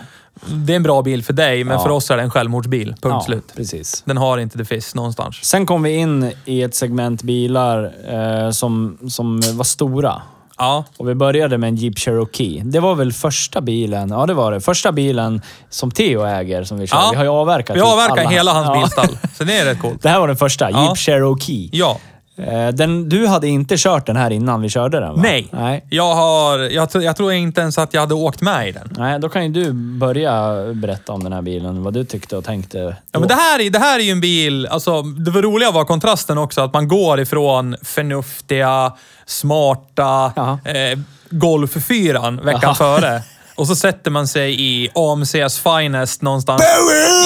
Det är en bra bil för dig, men Ja. för oss är det en självmordsbil. Punkt ja slut. precis. Den har inte det finns någonstans. Sen kom vi in i ett segment bilar eh, som, som var stora. Ja. Och vi började med en Jeep Cherokee. Det var väl första bilen, ja det var det, första bilen som Theo äger som vi kör. ja. Vi har ju avverkat Vi typ avverkar alla- hela hans Ja. bilstall. Så det är rätt coolt. Det här var den första, Ja. Jeep Cherokee. Ja. Eh, Den, du hade inte kört den här innan vi körde den va? Nej. Nej, Jag, har, jag, tr- jag tror inte ens att jag hade åkt med i den. Nej då kan ju du börja berätta om den här bilen, vad du tyckte och tänkte. Ja, då. men det, här, är- det här är ju en bil, alltså, det var roliga var kontrasten också, att man går ifrån förnuftiga, smarta Ja. eh, Golf 4 veckan Jaha. före. Och så sätter man sig i AMC's finest någonstans.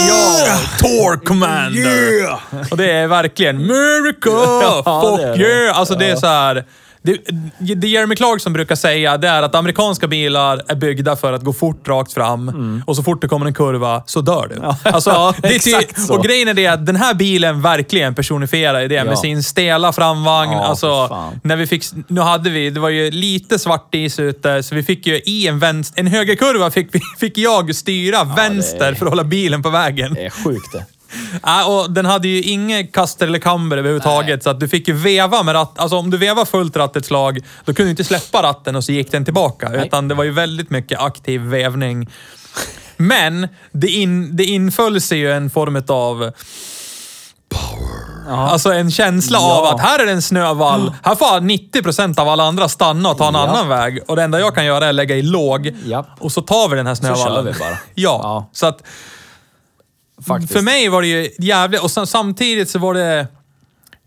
Ja! Tour Commander! Och det är verkligen miracle! Ja, det är fuck det. yeah! Alltså det är så här. Det, det Jeremy Clarkson brukar säga det är att amerikanska bilar är byggda för att gå fort rakt fram och så fort det kommer en kurva så dör du. Alltså, Mm. ja, det är ty- exakt så. och grejen är det att den här bilen verkligen personifierar det Ja. med sin stela framvagn. Ja, för alltså, fan. när vi fick, nu hade vi, det var ju lite svart is ute så vi fick ju i en, vänster, en högerkurva fick, vi- fick jag styra vänster för att hålla bilen på vägen. Det är sjukt det. Ja, och den hade ju inget kaster eller kamber överhuvudtaget, så att du fick ju veva med ratten. Alltså om du vevade fullt rattets slag, då kunde du inte släppa ratten och så gick den tillbaka. Utan det var ju väldigt mycket aktiv vävning. Men det, in, det inföll sig ju en form av... Ja. Alltså en känsla Ja. av att här är det en snövall. Här får 90% av alla andra stanna och ta en Ja. annan väg. Och det enda jag kan göra är lägga i låg. Ja. Och så tar vi den här kör snövallen. vi bara. ja. Ja. Så att Faktiskt. för mig var det ju jävligt... Och sen, samtidigt så var det...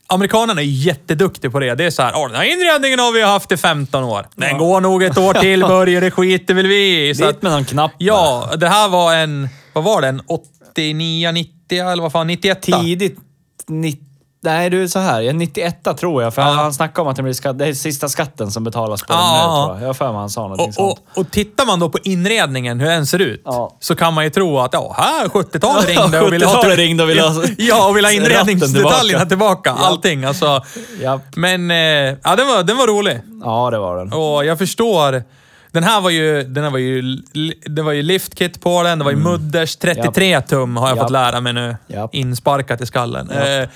Amerikanerna är jätteduktiga på det. Det är så här, "Åh, den här inredningen har vi haft i 15 år. Den går nog ett år till, Börje. Det skiter väl vi i." Så att- Dit med någon knapp där. Ja, det här var en... Vad var den? 89, 90 eller vad fan? 91? Tidigt 90 Nej, du är så här. Jag är 91 tror jag, för han snackade om att det, blir skatt, det är sista skatten som betalas på den Ja, nu, ja. tror jag. Jag har för mig han sa någonting Och, sånt. och, och tittar man då på inredningen, hur den ser ut, Ja. så kan man ju tro att ja, här 70-talet ringde och ville ha... 70-talet ringde och ville ha- Ja, och ville ha ratten tillbaka. inredningsdetaljerna tillbaka. Allting alltså. Japp. Men eh, ja, den, var, den var rolig. Ja, det var den. Och jag förstår. Den här var ju, den här var ju, li- det var ju liftkit på den, det var ju mudders. 33 tum har jag Mm. Japp. fått lära mig nu. Japp. Insparkat i skallen. Eh,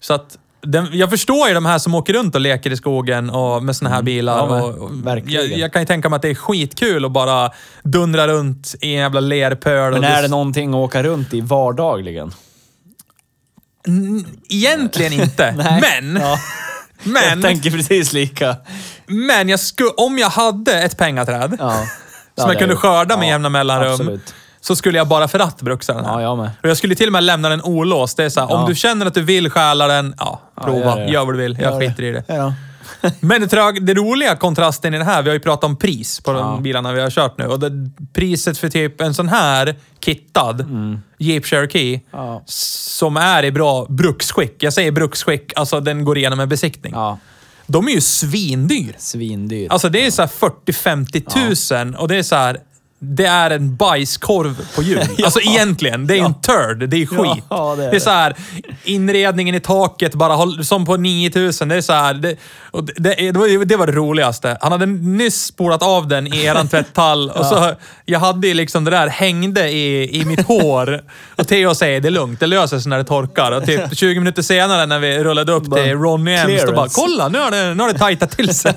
så att, den, jag förstår ju de här som åker runt och leker i skogen och med såna här bilar. Mm. Ja, men, och, och verkligen. Jag, jag kan ju tänka mig att det är skitkul att bara dundra runt i en jävla lerpöl. och Men du- är det någonting att åka runt i vardagligen? Egentligen inte, men... Ja, jag Men, tänker precis lika. men jag sku, om jag hade ett pengaträd Ja. som jag kunde skörda med jämna mellanrum. absolut. Så skulle jag bara för ratt bruxa den här. Ja, jag med. Och jag skulle till och med lämna den olåst. Det är så här, Ja. om du känner att du vill stjäla den, ja, prova. gör gör, det. vad du vill. Jag Gör det. skiter i det. Ja. Men det, trög, det roliga kontrasten i det här, vi har ju pratat om pris på de bilarna vi har kört nu. Och det, priset för typ en sån här kittad Jeep Cherokee, Mm. Ja. som är i bra bruksskick. Jag säger bruksskick, alltså den går igenom en besiktning. ja. De är ju svindyr. Svindyr. Alltså det är så här 40-50 tusen och det är så här. Det är en bajskorv på jul. Alltså egentligen, det är ju en turd. Det är skit. Ja, det är det är det. så här, inredningen i taket bara håll- som på 9000. Det är så här, det, och det, det, det, var, ju- det var det roligaste. Han hade nyss spolat av den i eran tvättall och så, jag hade ju liksom det där hängde i, i mitt hår. Och Theo säger, det är lugnt, det löser sig när det torkar. Och typ 20 minuter senare när vi rullade upp till Ronny Ems, då bara, clearance. kolla nu har det, nu har det tajtat till sig.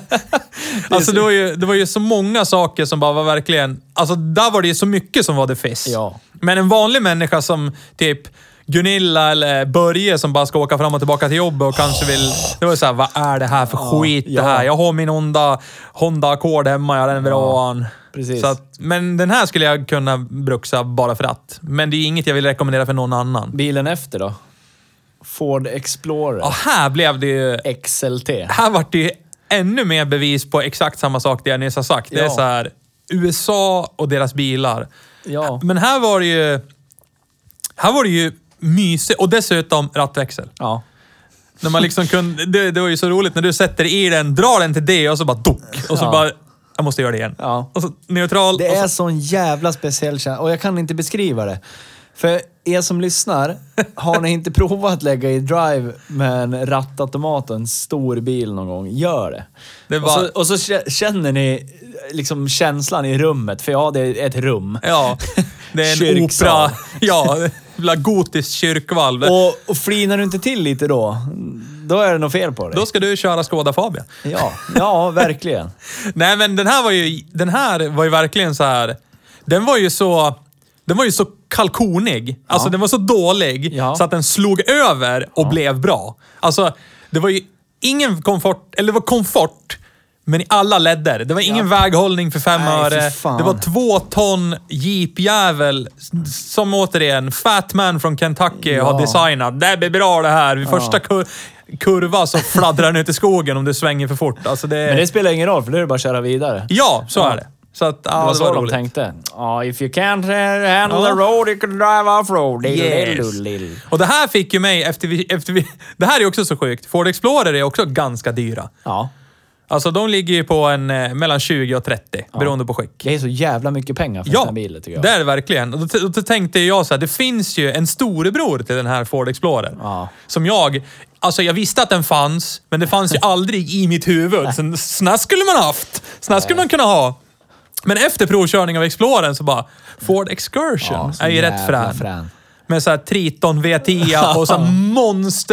alltså det var, ju, det var ju så många saker som bara var verkligen... Alltså där var det ju så mycket som var the fizz. Ja. Men en vanlig människa som typ Gunilla eller Börje som bara ska åka fram och tillbaka till jobbet och kanske vill... Det var ju såhär, vad är det här för skit ja. det här? Jag har min Honda, Honda Accord hemma, jag har den vill ha en. precis. Så att, men den här skulle jag kunna bruxa bara för att. Men det är inget jag vill rekommendera för någon annan. Bilen efter då? Ford Explorer Och här blev det ju... XLT. Här vart det ju ännu mer bevis på exakt samma sak det jag nyss har sagt. Det är Ja. så här, USA och deras bilar. Ja. Men här var det ju... Här var det ju mysigt. Och dessutom rattväxel. Ja. När man liksom kunde, det, det var ju så roligt när du sätter i den, drar den till det och så bara dock. Och så Ja. bara, jag måste göra det igen. Ja. Och så neutral. Det och så, är sån jävla speciell känsla och jag kan inte beskriva det. För er som lyssnar, har ni inte provat att lägga i drive med en rattautomat och en stor bil någon gång, gör det. Det och, var- så, och så kä- känner ni liksom känslan i rummet, för ja, det är ett rum. Ja. Det är en Kyrksal. opera. Ja, jävla gotiskt kyrkvalv. Och, och flinar du inte till lite då, då är det något fel på dig. Då ska du köra Skoda Fabia. Ja, ja, verkligen. Nej, men den här var ju, den här var ju verkligen så här. Den var ju så, den var ju så kalkonig. Alltså den var så dålig Ja. så att den slog över och blev bra. Alltså, det var ju ingen komfort, eller det var komfort, men i alla ledder. Det var ingen väghållning för fem Nej, för öre. fan. Det var två ton jeepjävel s- som återigen Fatman från Kentucky har designat. Det blir bra det här. Vid första kur- kurva så fladdrar den ut i skogen om du svänger för fort. Alltså det, Men det spelar ingen roll, för då är det bara att köra vidare. Ja, så är det. Så att, ja, Det var det så var de roligt. tänkte. Ja, if you can't eh, handle Ja. the road you can drive off-road. Yes. Och det här fick ju mig efter vi, efter vi... Det här är ju också så sjukt. Ford Explorer är också ganska dyra. Ja. Alltså de ligger ju på en, eh, mellan 20 och 30, beroende på skick. Det är så jävla mycket pengar för den Ja, här bilen tycker jag. det är det verkligen. Och då, då tänkte jag så här, det finns ju en storebror till den här Ford Explorer. Ja. Som jag... Alltså jag visste att den fanns, men det fanns ju aldrig i mitt huvud. Så, sån här skulle man haft. Sån här skulle man kunna ha. Men efter provkörning av Explorern så bara, Ford Excursion så är ju rätt jävla frän. Med så här Triton V10 och så här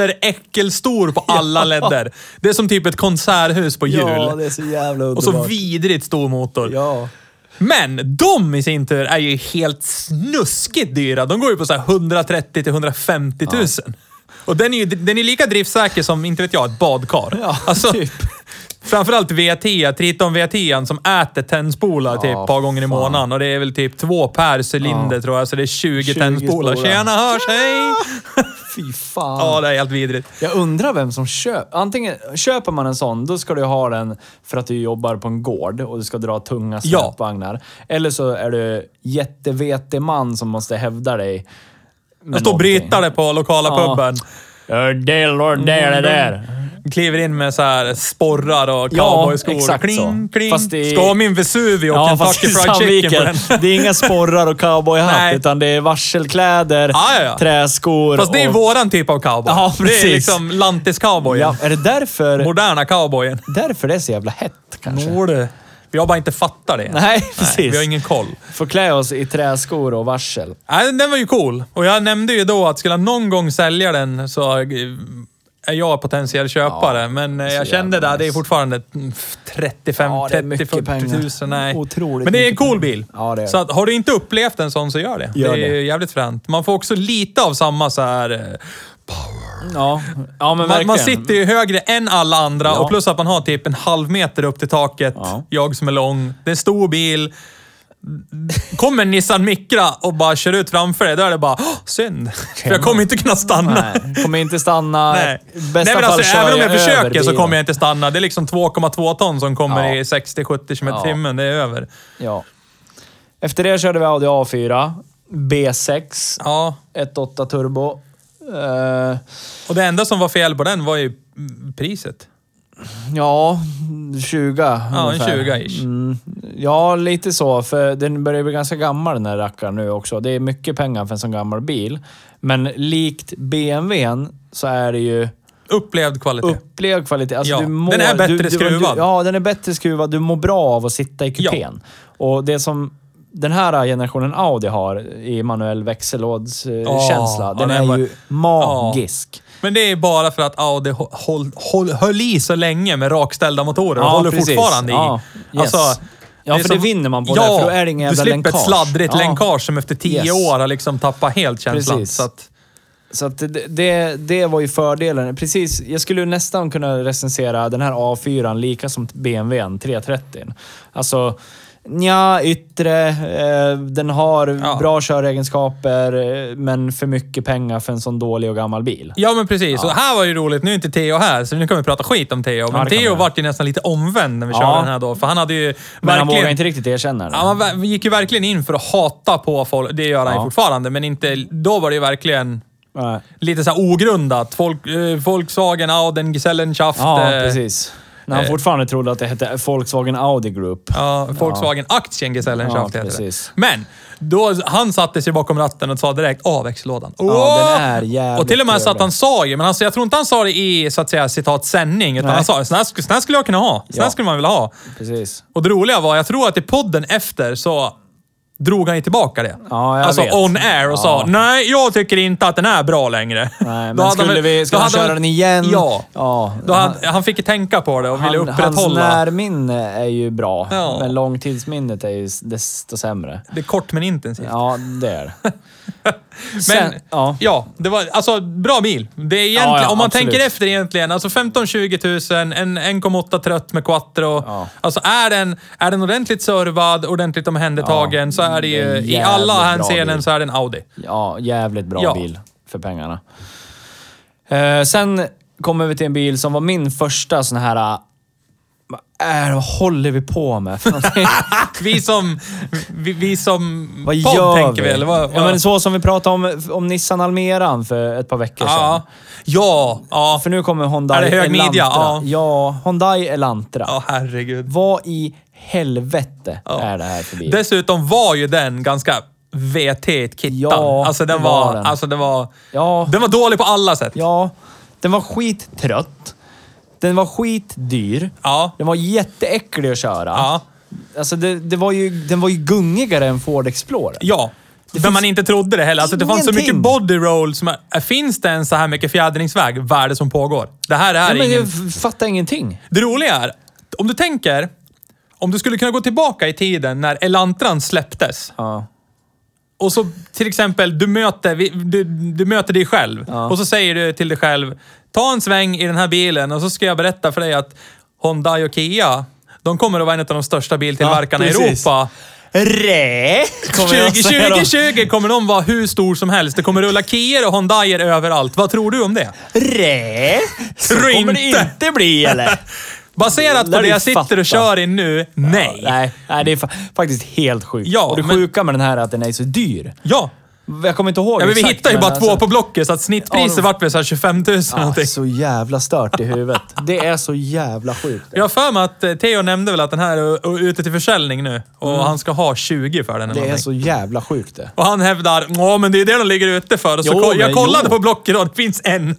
monsteräckelstor på alla ledder. Det är som typ ett konserthus på hjul. Ja, det är så jävla och så underbart. vidrigt stor motor. Ja. Men de i sin tur är ju helt snuskigt dyra. De går ju på så här 130 till 150 000. Och den är ju den är lika driftsäker som, inte vet jag, ett badkar. Alltså, Ja, typ. Framförallt V10, Triton V10 som äter tändspolar typ ett par gånger i månaden. Och det är väl typ två per cylinder tror jag, så det är 20, 20 tändspolar. spolar. Tjena, hörs, hej! Fy fan. Ja, det är helt vidrigt. Jag undrar vem som köper. Antingen köper man en sån, då ska du ha den för att du jobbar på en gård och du ska dra tunga släpvagnar. Eller så är du jättevetig man som måste hävda dig. Jag står och brytare på lokala Ja. puben. Det är det Mm. där. Kliver in med så här sporrar och Ja, cowboyskor. exakt så. kling, kling. Fast det är- Ska ha min Vesuvio och Ja, fast i Kentucky Fried Chicken på den. Sandviken, det är inga sporrar och cowboyhatt, Nej. utan det är varselkläder, Ja, ja, ja. träskor Fast det är och... våran typ av cowboy. Ja, Det precis. är liksom lantis-cowboyen. Ja, är det därför, Moderna cowboyen. därför det är så jävla hett kanske? Nå du. Vi har bara inte fattat det. Nej, precis. Vi har ingen koll. Får klä oss i träskor och varsel. Nej, den var ju cool. Och jag nämnde ju då att skulle jag någon gång sälja den så eh, är jag potentiell köpare. Men eh, jag kände jävla där, det är nice. fortfarande mm, 35, Ja, det är mycket 30, 40 pengar. tusen. Nej. Otroligt Men det är en mycket cool pengar. bil. Ja, det är så det. att, har du inte upplevt en sån så gör det. Gör det är det. ju jävligt fränt. Man får också lite av samma så här... eh, Ja, ja Man, men verkligen. man sitter ju högre än alla andra Ja. och plus att man har typ en halv meter upp till taket. Ja. Jag som är lång. Det är en stor bil. Kommer Nissan Micra och bara kör ut framför dig, då är det bara "Åh, synd. För jag kommer inte kunna stanna. Nej, kommer inte stanna. Nej. I Bästa Nej, men fall alltså, kör även om jag över försöker så bilen. kommer jag inte stanna. Det är liksom 2,2 ton som kommer Ja. i 60-70 km Ja. timmen. Det är över. Ja. Efter det körde vi Audi A4, B6, Ja. 1.8 turbo. Eh, Och det enda som var fel på den var ju mm, priset. ja, 20 Ja, en ungefär. 20-ish. Mm, ja, lite så. För den börjar bli ganska gammal den här rackaren nu också. Det är mycket pengar för en sån gammal bil. Men likt BMWn så är det ju Upplevd kvalitet. upplevd kvalitet. Alltså, Ja, du mår, den är bättre du, du, skruvad. Du, ja, den är bättre skruvad. Du mår bra av att sitta i kupén. Och det som den här generationen Audi har i manuell Ja, växellådskänsla, ja, den den är var- ju magisk. Men det är bara för att Audi hå- håll, håll, höll i så länge med rakställda motorer och Ja, håller precis. fortfarande i. Alltså, Ja, yes. Ja, är för det vinner man på det, för då är det ingen du jävla slipper ett länkage. sladdrigt Ja. länkage som efter tio Yes. år har liksom tappat helt känslan. Precis. Så att, Så att det, det, det var ju fördelen. Precis, jag skulle nästan kunna recensera den här A4 lika som BMWn 330. Alltså, Nja, yttre. Eh, den har bra köregenskaper, eh, men för mycket pengar för en sån dålig och gammal bil. Ja, men precis. Och här var ju roligt. Nu är inte Theo här, så nu kan vi prata skit om Theo. Men det kan vi Theo göra. vart ju nästan lite omvänd när vi Ja. körde den här då. För han hade ju Men han vågar verkligen... inte riktigt erkänna det. Ja, man ver- gick ju verkligen in för att hata på folk. Det gör han ju Ja. fortfarande, men inte... Då var det ju verkligen Nej. lite så här ogrundat. Folk, eh, Volkswagen, Auden, Gesellenschaft. Ja, eh, precis. När han eh. fortfarande trodde att det hette Volkswagen Audi Group. Ja, Volkswagen-aktien Gesellenschaft Ja, heter det. precis. Men, då, han satte sig bakom ratten och sa direkt avväxellådan. Ja, den är jävligt och till och med så att trevlig. han sa ju, men alltså, jag tror inte han sa det i så att säga citat sändning, utan Nej. han sa sån här, sk- sån här skulle jag kunna ha. Sån här Ja. skulle man vilja ha. Precis. Och det roliga var, jag tror att i podden efter så drog han ju tillbaka det. Ja, jag alltså vet. on air och sa, nej jag tycker inte att den är bra längre. Nej, Då men hade skulle han- vi, då ska han hade köra han- den igen? Ja. ja. Då han, han fick ju tänka på det och ville Han, hans upprätthålla. närminne är ju bra, Ja. men långtidsminnet är ju s- desto sämre. Det är kort men intensivt. Ja, det är det. Men Sen- ja. ja. det var alltså bra bil. Det är egentligen, Ja, ja, om man absolut. tänker efter egentligen, alltså 15-20 000, en 1,8 trött med quattro. Ja. Alltså är den, är den ordentligt servad, ordentligt omhändertagen Ja, så är det ju, det är en i alla jävligt bra hänseenden bil. så är det en Audi. Ja, jävligt bra Ja. bil för pengarna. Eh, sen kommer vi till en bil som var min första sån här... eh, Vad är- vad håller vi på med? för någonting? Vi som, vi, vi som Vad podd gör tänker vi? vi, eller vad? Ja, vad- men så som vi pratade om, om Nissan Almeran för ett par veckor sedan. ja, ja, ja. För nu kommer Hyundai Är det hög Elantra. midja? Ja. ja, Hyundai Elantra. Ja, herregud. Vad i helvete Ja. är det här för bil? Dessutom var ju den ganska VT kittan. Ja, alltså den det var var, den. Alltså den var, Ja. den var dålig på alla sätt. Ja, den var skittrött. Den var skitdyr. Ja. Den var jätteäcklig att köra. Ja. Alltså det, det var ju, den var ju gungigare än Ford Explorer. Ja. För finns man inte trodde det heller. Alltså, det fanns så ingenting. mycket body roll. Som är, finns det ens så här mycket fjädringsväg? Vad är det som pågår? Det här är Ja, men ingen... jag f- fattar ingenting. Det roliga är, om du tänker, om du skulle kunna gå tillbaka i tiden när Elantran släpptes. Ja. Och så till exempel, du möter, vi- du, du möter dig själv. Och så säger du till dig själv, ta en sväng i den här bilen och så ska jag berätta för dig att Hyundai och Kia, de kommer att vara en av de största biltillverkarna Ja, i precis. Europa. Rä! kommer jag säga då. 2020 kommer de vara hur stor som helst. Det kommer rulla Kier och Hyundaier överallt. Vad tror du om det? Rä! Så Tror kommer det inte. inte bli eller? Baserat på Lär det du jag sitter fatta. och kör i nu, nej. Nej, nej, det är fa faktiskt helt sjukt. Ja, och det men- sjuka med den här är att den är så dyr. Ja. Jag kommer inte ihåg ja men vi exakt, hittar ju bara två alltså- på Blocket, så att snittpriset Ja, de- vart väl så här 25 000 någonting. Ja, så jävla stört i huvudet. Det är så jävla sjukt. Jag har för mig att eh, Theo nämnde väl att den här är är ute till försäljning nu och han ska ha 20 för den eller Mm. Det är någonting. så jävla sjukt det. Och han hävdar, ja men det är det de ligger ute för. Och så Jo, ko- jag men kollade jo. på Blocket och det finns en.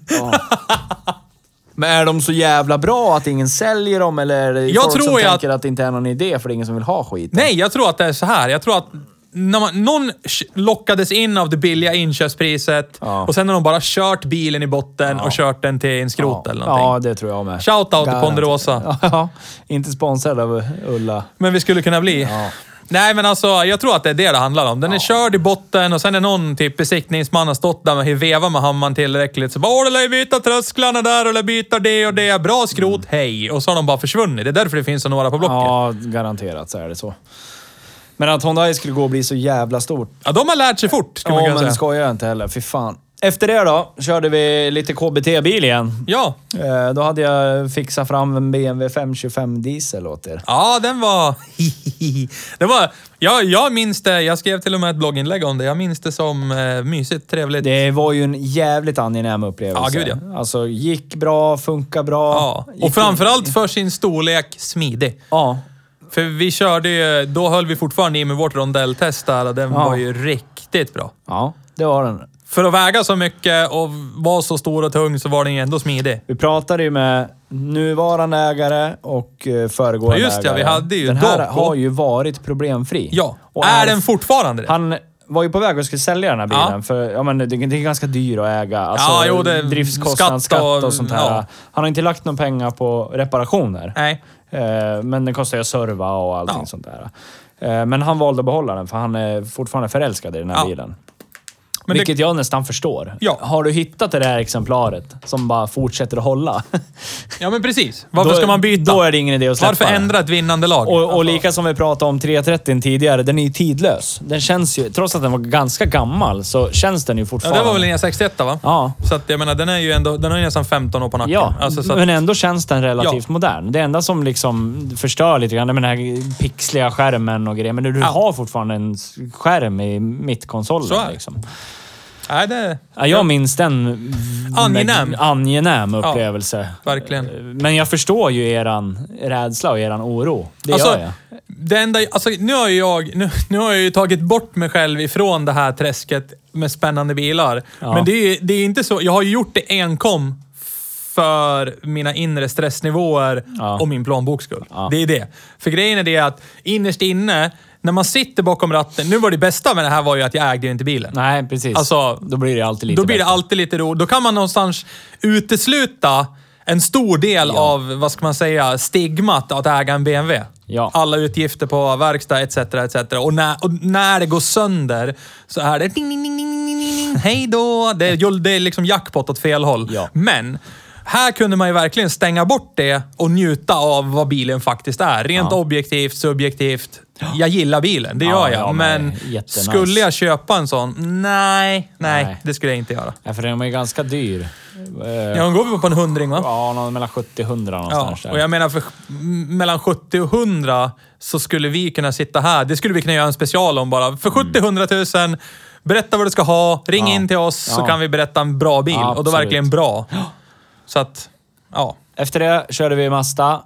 Men är de så jävla bra att ingen säljer dem eller är det Jag folk tror som jag tänker att det inte är någon idé för det är ingen som vill ha skit? Nej, jag tror att det är så här. Jag tror att när man, någon sh- lockades in av det billiga inköpspriset Ja. och sen har de bara kört bilen i botten och kört den till en skrot ja. eller Ja, någonting. det tror jag med. Shout out till Garanterat. Ponderosa. Ja, inte sponsrad av Ulla. Men vi skulle kunna bli. Ja. Nej, men alltså jag tror att det är det det handlar om. Den är körd i botten och sen är någon typ besiktningsman har stått där och vevat med hammaren tillräckligt. Så bara “Åh, du lär ju byta trösklarna där och lär byta det och det. Bra skrot, hej!” Och så har de bara försvunnit. Det är därför det finns så några på Blocket. Ja. Mm. Ja, garanterat så är det så. Men att Hyundai skulle gå och bli så jävla stort. de har lärt sig fort, skulle man Ja, kunna men säga. skojar jag inte heller. Fy fan. Efter det då körde vi lite KBT-bil igen. Ja. Eh, Då hade jag fixat fram en BMW 525 diesel åt er. Ja, den var... det var ja, jag minns det. Jag skrev till och med ett blogginlägg om det. Jag minns det som eh, mysigt, trevligt. Det var ju en jävligt angenäm Ja, upplevelse. gud, ja. Alltså, gick bra, funkar bra. Ja. Gick- Och framförallt för sin storlek smidig. Ja. För vi körde ju, då höll vi fortfarande i med vårt rondelltest där och den Ja. var ju riktigt bra. Ja, det var den. För att väga så mycket och vara så stor och tung så var den ju ändå smidig. Vi pratade ju med nuvarande ägare och eh, föregående Ja, just det, ägare. vi hade ju Den här Doco. har ju varit problemfri. Ja. Och är den fortfarande det? Han var ju på väg och skulle sälja den här bilen, Ja. för ja, men det, det är ganska dyr att äga. Alltså, Ja, jo, det- driftskostnad, skatt skatt och- och, sånt här. ja. Han har inte lagt några pengar på reparationer. Nej. Eh, Men den kostar ju att serva och allting Ja. sånt där. Eh, Men han valde att behålla den för han är fortfarande förälskad i den här Ja. bilen. Men Vilket det, jag nästan förstår. Ja. Har du hittat det där exemplaret som bara fortsätter att hålla? ja, men precis. Varför då, ska man byta? Då är det ingen idé att släppa Varför den. ändra Alltså- ett vinnande lag? Och, och lika som vi pratade om 330 tidigare, den är ju tidlös. Den känns ju, trots att den var ganska gammal, så känns den ju ja, fortfarande. det var väl en 61 va? Ja. Så att jag menar, den är ju ändå, den har ju nästan 15 år på nacken. Ja, Alltså, så att, men ändå känns den relativt modern. Det enda som liksom förstör lite grann, det är med den här pixliga skärmen och grejer. Men du du Ja. har fortfarande en s- skärm i mittkonsolen. Så är det. Liksom. nej, det... Ja, jag minns den... v- Angenäm. med- Angenäm upplevelse. Eh, Verkligen. Men jag förstår ju eran rädsla och eran oro. Det Alltså- gör jag. Det enda, alltså, nu, har ju jag, nu, nu har jag ju tagit bort mig själv ifrån det här träsket med spännande bilar. Ja. Men det är, ju- det är inte så. Jag har ju gjort det enkom för mina inre stressnivåer Ja. och min plånboks skull. Ja. Det är det. För grejen är det att innerst inne, när man sitter bakom ratten. Nu var det bästa med det här var ju att jag ägde ju inte bilen. Nej, precis. Alltså, då blir det alltid lite Då blir det bättre. alltid lite ro. Då kan man någonstans utesluta en stor del av, vad ska man säga, stigmat att äga en BMW. Ja. Alla utgifter på verkstad etc. etc. Och, när, och när det går sönder så är det ding, ding, ding, ding, ding, ding, ding. hej då. Det är, det är liksom jackpot åt fel håll. Ja. Men här kunde man ju verkligen stänga bort det och njuta av vad bilen faktiskt är. Rent Ja. objektivt, subjektivt. Jag gillar bilen, det Ja, gör jag. ja, men men jättenice. skulle jag köpa en sån? Nej, nej, Nej. det skulle jag inte göra. Ja, för den är ju ganska dyr. Eh, Ja, Ja, de går väl på en hundring va? någon mellan 70 och 100 Ja, någonstans. där. och jag menar för m- mellan 70 och 100 så skulle vi kunna sitta här. Det skulle vi kunna göra en special om bara. För 70 100 000, berätta vad du ska ha, ring Mm. Ja. in till oss så Ja. kan vi berätta en bra bil. Ja, och då absolut. verkligen bra. Så att, ja. Efter det körde vi Mazda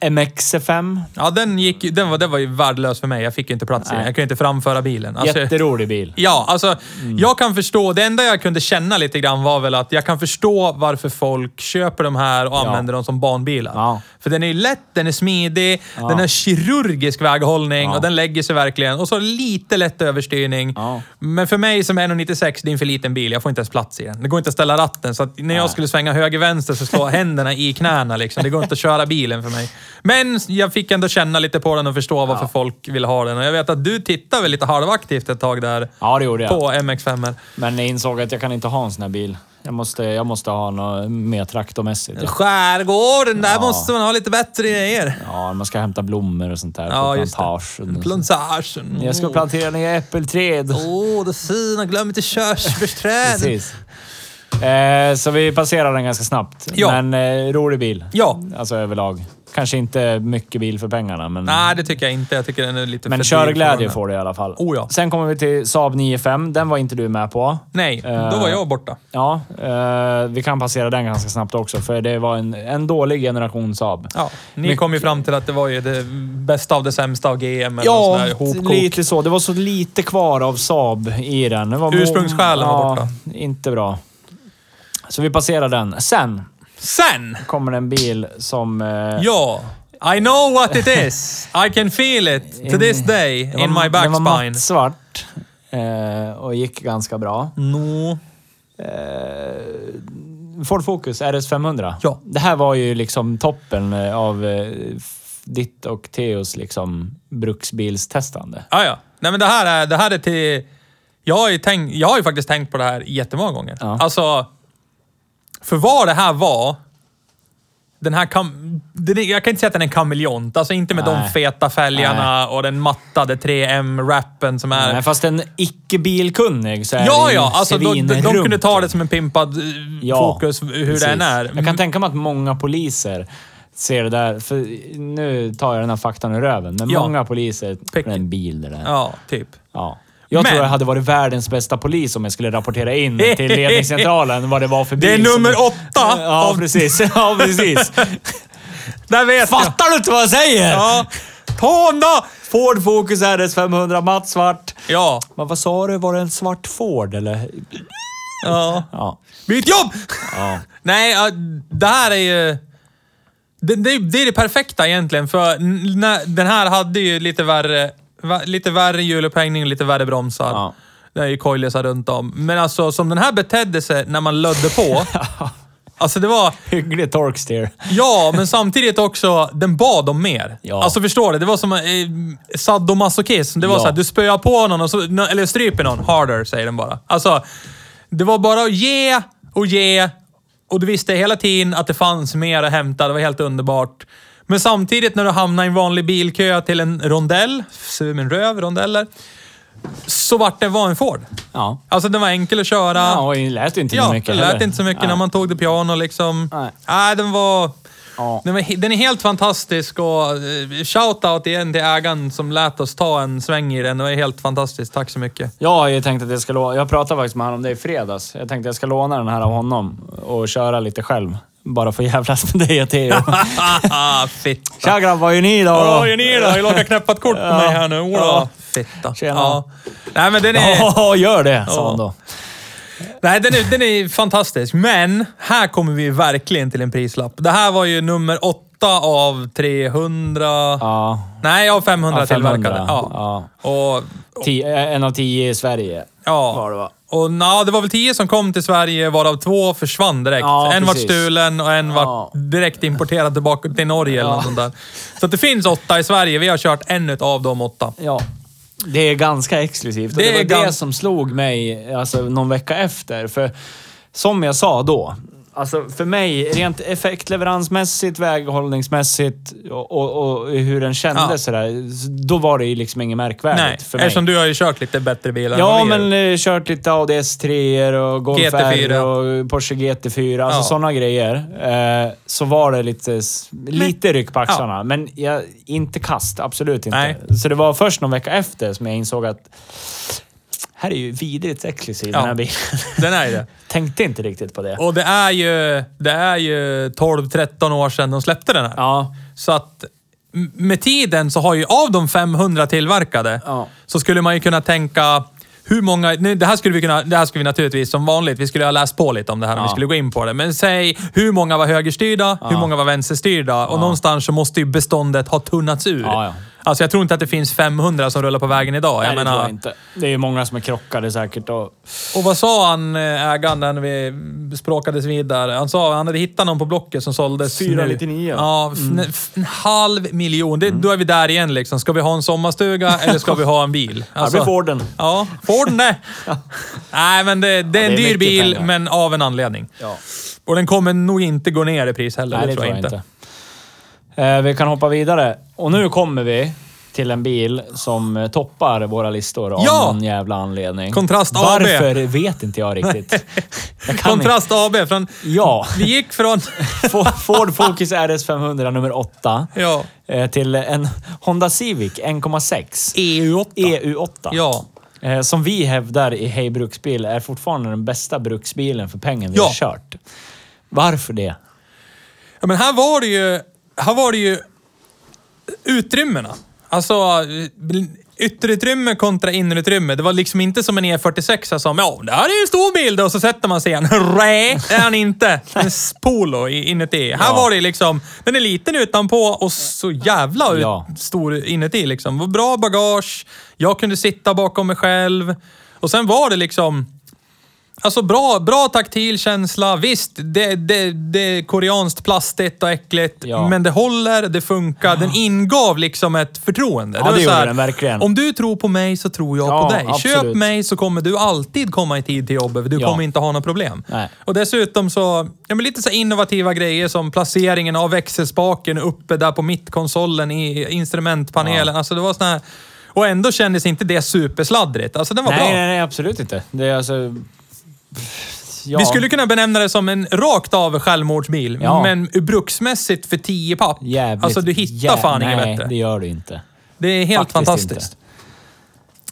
MX-5. Ja, den gick ju, den var, den var ju värdelös för mig. Jag fick ju inte plats i den. Nej. Jag kunde inte framföra bilen. Alltså, Jätterolig bil. Ja, alltså jag kan förstå. Det enda jag kunde känna lite grann var väl att jag kan förstå varför folk köper de här och använder dem som barnbilar. Ja. För den är ju lätt, den är smidig, den har kirurgisk väghållning Ja. och den lägger sig verkligen. Och så lite lätt överstyrning. Ja. Men för mig som är 1,96, det är en för liten bil. Jag får inte ens plats i den. Det går inte att ställa ratten. Så att när jag skulle svänga höger-vänster så slår händerna i knäna liksom. Det går inte att köra bilen för mig. Men jag fick ändå känna lite på den och förstå varför folk vill ha den. Och jag vet att du tittar väl lite halvaktivt ett tag där. Ja, det gjorde jag. På MX5. -er. Men jag insåg att jag kan inte ha en sån här bil. Jag måste, jag måste ha något mer traktormässigt. Skärgården, där måste man ha lite bättre grejer. Ja, man ska hämta blommor och sånt där Ja, på just det. plantagen. Plantagen. Jag ska plantera nya äppelträd. Åh, det fina. Glöm inte körsbärsträden. Precis. Eh, så vi passerar den ganska snabbt. Ja. Men eh, rolig bil. Ja. Alltså överlag. Kanske inte mycket bil för pengarna, men... Nej, det tycker jag inte. Jag tycker den är lite Men för dyr för körglädje den. får du i alla fall. Oh ja. Sen kommer vi till Saab 9-5. Den var inte du med på. Nej, då Eh, var jag borta. Ja, eh, vi kan passera den ganska snabbt också, för det var en, en dålig generation Saab. Ja, ni Mycket- kom ju fram till att det var ju det bästa av det sämsta av GM eller ja, sån Ja, där hopkok. lite så. Det var så lite kvar av Saab i den. Det var mo- Ursprungssjälen var borta. Inte bra. Så vi passerar den. Sen Sen! kommer en bil som... eh, Ja. I know what it is. I can feel it to this day det var- in my Den var backspine. mattsvart eh, och gick ganska bra. No. Ford Focus RS500. Ja. Det här var ju liksom toppen eh, av eh, f- ditt och Theos liksom bruksbilstestande. Ah, ja. Nej, men det här är, det här är till... Jag har, ju tänkt, jag har ju faktiskt tänkt på det här jättemånga gånger. Ja. Alltså, för vad det här var... Den här kam, den är, jag kan inte säga att den är en kameleont. Alltså inte med de Nej. feta fälgarna och den mattade 3M-rappen som är... Nej, fast en icke-bilkunnig så är Ja, det ju ja. Alltså, de, de, de svinrunt. kunde ta det som en pimpad eh, fokus, hur precis. den är. Mm, Jag kan tänka mig att många poliser ser det där. För nu tar jag den här faktan ur röven, men Ja. många poliser... Pick- Det är en bil det där. Ja. Ja, typ. Jag Men- tror jag hade varit världens bästa polis om jag skulle rapportera in till ledningscentralen vad det var för bil. Det är som- nummer åtta liksom- Ja, av- precis. Ja, precis. Där vet jag! Fattar du inte vad jag säger? Ja. Ta honom då! Ford Focus RS 500 matt svart. Ja. Men vad sa du? Var det en svart Ford eller? ja. Ja. Byt jobb! Ja. Nej, ja, det här är ju... Det, det, det är det perfekta egentligen, för n- när, den här hade ju lite värre, va- lite värre hjulupphängning och lite värre bromsar. Ja. Det är ju coilisar runt om. Men alltså, som den här betedde sig när man lödde på. Alltså det var... Hygglig torksteer. Ja, men samtidigt också, den bad om mer. Ja. Alltså förstår du? Det var som eh, sadomasochism. Det var Ja. så här, du spöar på någon, och så, eller stryper någon. Harder, säger den bara. Alltså, det var bara att ge och ge. Och du visste hela tiden att det fanns mer att hämta. Det var helt underbart. Men samtidigt när du hamnade i en vanlig bilkö till en rondell, ser vi min röv, rondeller, så vart det var en Ford. Ja. Alltså den var enkel att köra. Ja, och det lät ju inte Ja, mycket det lät heller. inte så mycket Nej. när man tog det piano liksom. Nej. Nej, den var... Ja. Den, var, he- den är helt fantastisk och eh, shout-out igen till ägaren som lät oss ta en sväng i den. Det var helt fantastiskt. Tack så mycket. Jag har ju tänkt att jag ska låna... Jag pratade faktiskt med honom om det i fredags. Jag tänkte att jag ska låna den här av honom och köra lite själv. Bara för att jävlas med dig och Theo. Fitta. Tja grabbar, vad gör ni då? Åh, är ni då? Vill åka knäppa ett kort på mig här nu? Ja. Ola. Fitta. Tjena. Nej, men den är... Ja, gör det, sa han då. Nej, den är, den är fantastisk. Men här kommer vi verkligen till en prislapp. Det här var ju nummer åtta av 300... Ja. Nej, av 500, Av 500, tillverkade. Ja. Och, Tio, eh, en av tio i Sverige. ja. Var det, va? Och na, det var väl tio som kom till Sverige, varav två försvann direkt. Ja, en precis. vart stulen och en Ja. vart direkt importerad tillbaka till Norge eller något sånt där. Så att det finns åtta i Sverige. Vi har kört en av de åtta. Ja. Det är ganska exklusivt. Det, Det det var är gans- det som slog mig alltså, någon vecka efter. För som jag sa då, alltså för mig, rent effektleveransmässigt, väghållningsmässigt och, och, och hur den kändes Ja. sådär, då var det ju liksom inget märkvärdigt Nej, för mig. eftersom du har ju kört lite bättre bilar än Ja, vad vi gör. men eh, kört lite Audi 3 och Golf GT4. R och Porsche GT4. Alltså Ja. sådana grejer. Eh, så var det lite, s- lite ryck på axlarna. Men jag, inte kast, absolut inte. Nej. Så det var först någon vecka efter som jag insåg att här är ju vidrigt exklusiv den Ja. här bilen. Den är ju det. Tänkte inte riktigt på det. Och det är ju, det är ju 12-13 år sedan de släppte den här. Ja. Så att m- med tiden så har ju av de 500 tillverkade Ja. så skulle man ju kunna tänka hur många, nu, det, här skulle vi kunna, det här skulle vi naturligtvis som vanligt, vi skulle ha läst på lite om det här om Ja. vi skulle gå in på det. Men säg hur många var högerstyrda, hur många var vänsterstyrda och någonstans så måste ju beståndet ha tunnats ur. Ja, ja. Alltså jag tror inte att det finns 500 som rullar på vägen idag. Nej, jag det menar, tror jag inte. Det är ju många som är krockade säkert. Och, och vad sa han, eh, ägaren, när vi språkades vidare? Han sa han hade hittat någon på Blocket som såldes... 499. Ja, f- Mm. ne- f- en halv miljon. Det, Då är vi där igen liksom. Ska vi ha en sommarstuga eller ska vi ha en bil? Alltså, här blir Forden. Ja, Forden det. Nej, men det, det är en det är dyr mycket bil, pengar. men av en anledning. Ja. Och den kommer nog inte gå ner i pris heller. Nej, det tror jag inte. Eh, vi kan hoppa vidare. Och nu kommer vi till en bil som eh, toppar våra listor av Ja! någon jävla anledning. Kontrast AB. Varför vet inte jag riktigt. Jag kan Kontrast AB. Från, Inte. Ja. vi gick från... Fo- Ford Focus RS 500 nummer 8 Ja. eh, till en Honda Civic 1,6 EU8. EU8. Ja. E Eh, Som vi hävdar i Hej Bruksbil är fortfarande den bästa bruksbilen för pengen vi Ja. har kört. Varför det? Ja, men här var det ju, här var det ju utrymmena. Alltså eh, ytterutrymme kontra innerutrymme. Det var liksom inte som en E46 som ja, det här är ju en stor bild och så sätter man sig igen. Nej, det är han inte. En s- polo i- inuti. Här Ja. var det liksom, den är liten utanpå och så jävla ut, Ja. stor inuti liksom. Det var Bra bagage, jag kunde sitta bakom mig själv. Och sen var det liksom, Alltså bra, bra taktil känsla. Visst, det, det, det är koreanskt plastigt och äckligt, Ja. men det håller, det funkar. Den ingav liksom ett förtroende. Ja, var det gjorde så här, den verkligen. Om du tror på mig så tror jag Ja, på dig. absolut. Köp mig så kommer du alltid komma i tid till jobbet. Du Ja. kommer inte ha några problem. Nej. Och dessutom så, ja men lite så här innovativa grejer som placeringen av växelspaken uppe där på mittkonsolen i instrumentpanelen. Alltså det var såna här... Och ändå kändes inte det supersladdrigt. Alltså den var bra. Nej, nej, nej, absolut inte. Det är alltså... Ja. Vi skulle kunna benämna det som en rakt av självmordsbil, Ja. men bruksmässigt för 10 papp. Jävligt. alltså du hittar jä- fan inget Nej, bättre. det gör du inte. Det är helt Faktiskt fantastiskt.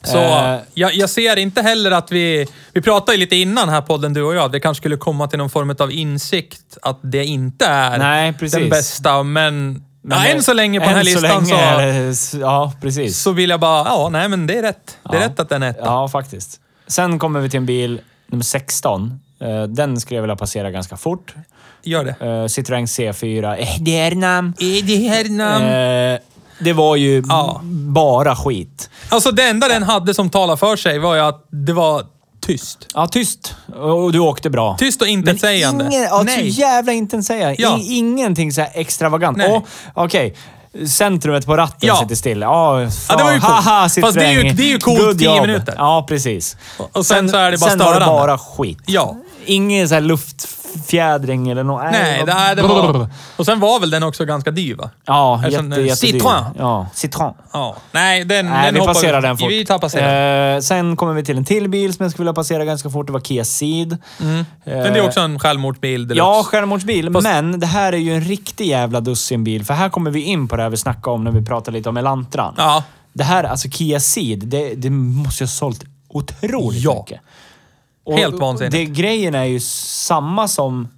inte. Så Eh. jag, jag ser inte heller att vi... Vi pratade ju lite innan här podden, du och jag, att vi kanske skulle komma till någon form av insikt att det inte är Nej, precis. den bästa, men... Men ja, det- än så länge på den här än så listan så, länge är det s- Ja, precis. så vill jag bara... Ja, nej men det är rätt. Det är Ja. rätt att den är etta. Ja, faktiskt. Sen kommer vi till en bil, nummer 16. Eh, Den skulle jag vilja passera ganska fort. Gör det. Eh, Citroën C4. Eh, Det är namn. Är det här namn? Eh, Det var ju Mm. Ja. bara skit. Alltså det enda den hade som talade för sig var ju att det var tyst. Ja, tyst. Och du åkte bra. Tyst och intetsägande. Ingen, ja, så Nej. jävla intetsägande. Ja. I- Ingenting så här extravagant. Nej. Åh, Okej. Centrumet på ratten Ja. sitter still. Ja, Ja, det var ju coolt. Haha, sitt Fast det är ju- sväng. det är ju coolt Good tio job. minuter. Ja, precis. och sen så är det bara sen var det störande. bara skit. Ja. Ingen så här luftfjädring eller något. Nej, det här det var... Och sen var väl den också ganska dyr, va? Ja, Eftersom, jätte, eh, jättedyr. Citroën. Ja, citron. Ja. Nej, den, Nej, den vi hoppar passerar den fort. Vi tar passerar. Eh, sen kommer vi till en till bil som jag skulle vilja passera ganska fort. Det var Kia Ceed. Mm. Eh, Men det är också en självmordsbild. Ja, självmordsbil. Men det här är ju en riktig jävla dussinbil. För här kommer vi in på det här vi snackade om när vi pratade lite om Elantran. Ja. Det här, alltså Kia Ceed, det, det måste ju ha sålt otroligt Ja. mycket. Och Helt vansinnigt. Det, grejen är ju samma som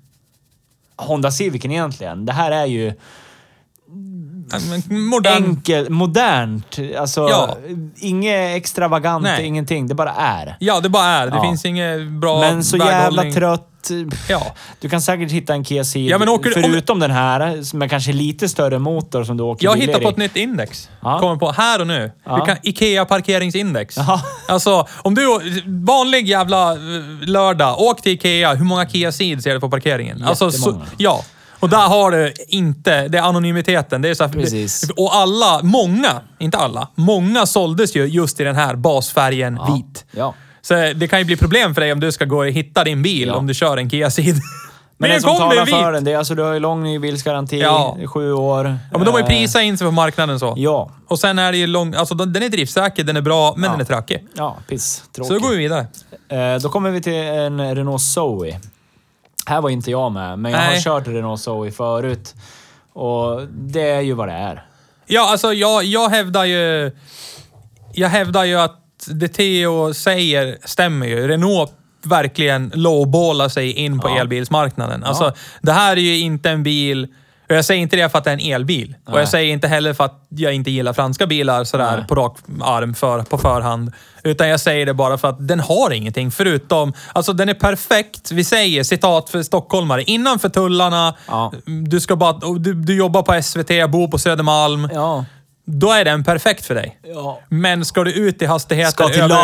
Honda Civicen egentligen. Det här är ju En Modern. enkel, modernt. Alltså, Ja. inget extravagant, Nej. ingenting. Det bara är. Ja, det bara är. Det Ja. finns inget bra Men så jävla väghållning. trött. Ja. Du kan säkert hitta en Kia Ceed, Ja, men åker- om- förutom den här, som är kanske lite större motor som du åker Jag billigare hittar på i. ett nytt index. Ja. Kommer på här och nu. Ja. Du kan, Ikea parkeringsindex. Jaha. Alltså, om du... Vanlig jävla eh, lördag, åk till Ikea. Hur många Kia Ceed ser du på parkeringen? Alltså, så, Jättemånga. ja. Och där har du inte... Det är anonymiteten. Det är så här, Precis. det- Och alla, många, inte alla, många såldes ju just i den här basfärgen vit. Ja. Så det kan ju bli problem för dig om du ska gå och hitta din bil Ja. om du kör en Kia Ceed. Men Men det nu som kom talar det vit! för den, det är alltså du har ju lång nybilsgaranti, Ja. sju år. Ja, men de har ju Eh, prisat in sig på marknaden så. Ja. Och sen är det ju lång... Alltså den den är driftsäker, den är bra, men den är trackig. Ja, piss. Tråkigt. Så då går vi vidare. Eh, Då kommer vi till en Renault Zoe. Här var inte jag med, men jag har Nej. kört Renault Zoe förut. Och det är ju vad det är. Ja, alltså jag, jag hävdar ju... Jag hävdar ju att det Theo säger stämmer ju. Renault verkligen lowballar sig in på Ja. elbilsmarknaden. Alltså, det här är ju inte en bil... Och jag säger inte det för att det är en elbil. Och Nej. jag säger inte heller för att jag inte gillar franska bilar sådär Nej. på rak arm för, på förhand. Utan jag säger det bara för att den har ingenting förutom... Alltså den är perfekt. Vi säger citat för stockholmare. Innanför tullarna. Ja. Du, ska bara, och du, du jobbar på SVT, bor på Södermalm. Ja. Då är den perfekt för dig. Ja. Men ska du ut i hastigheter... Ska till över-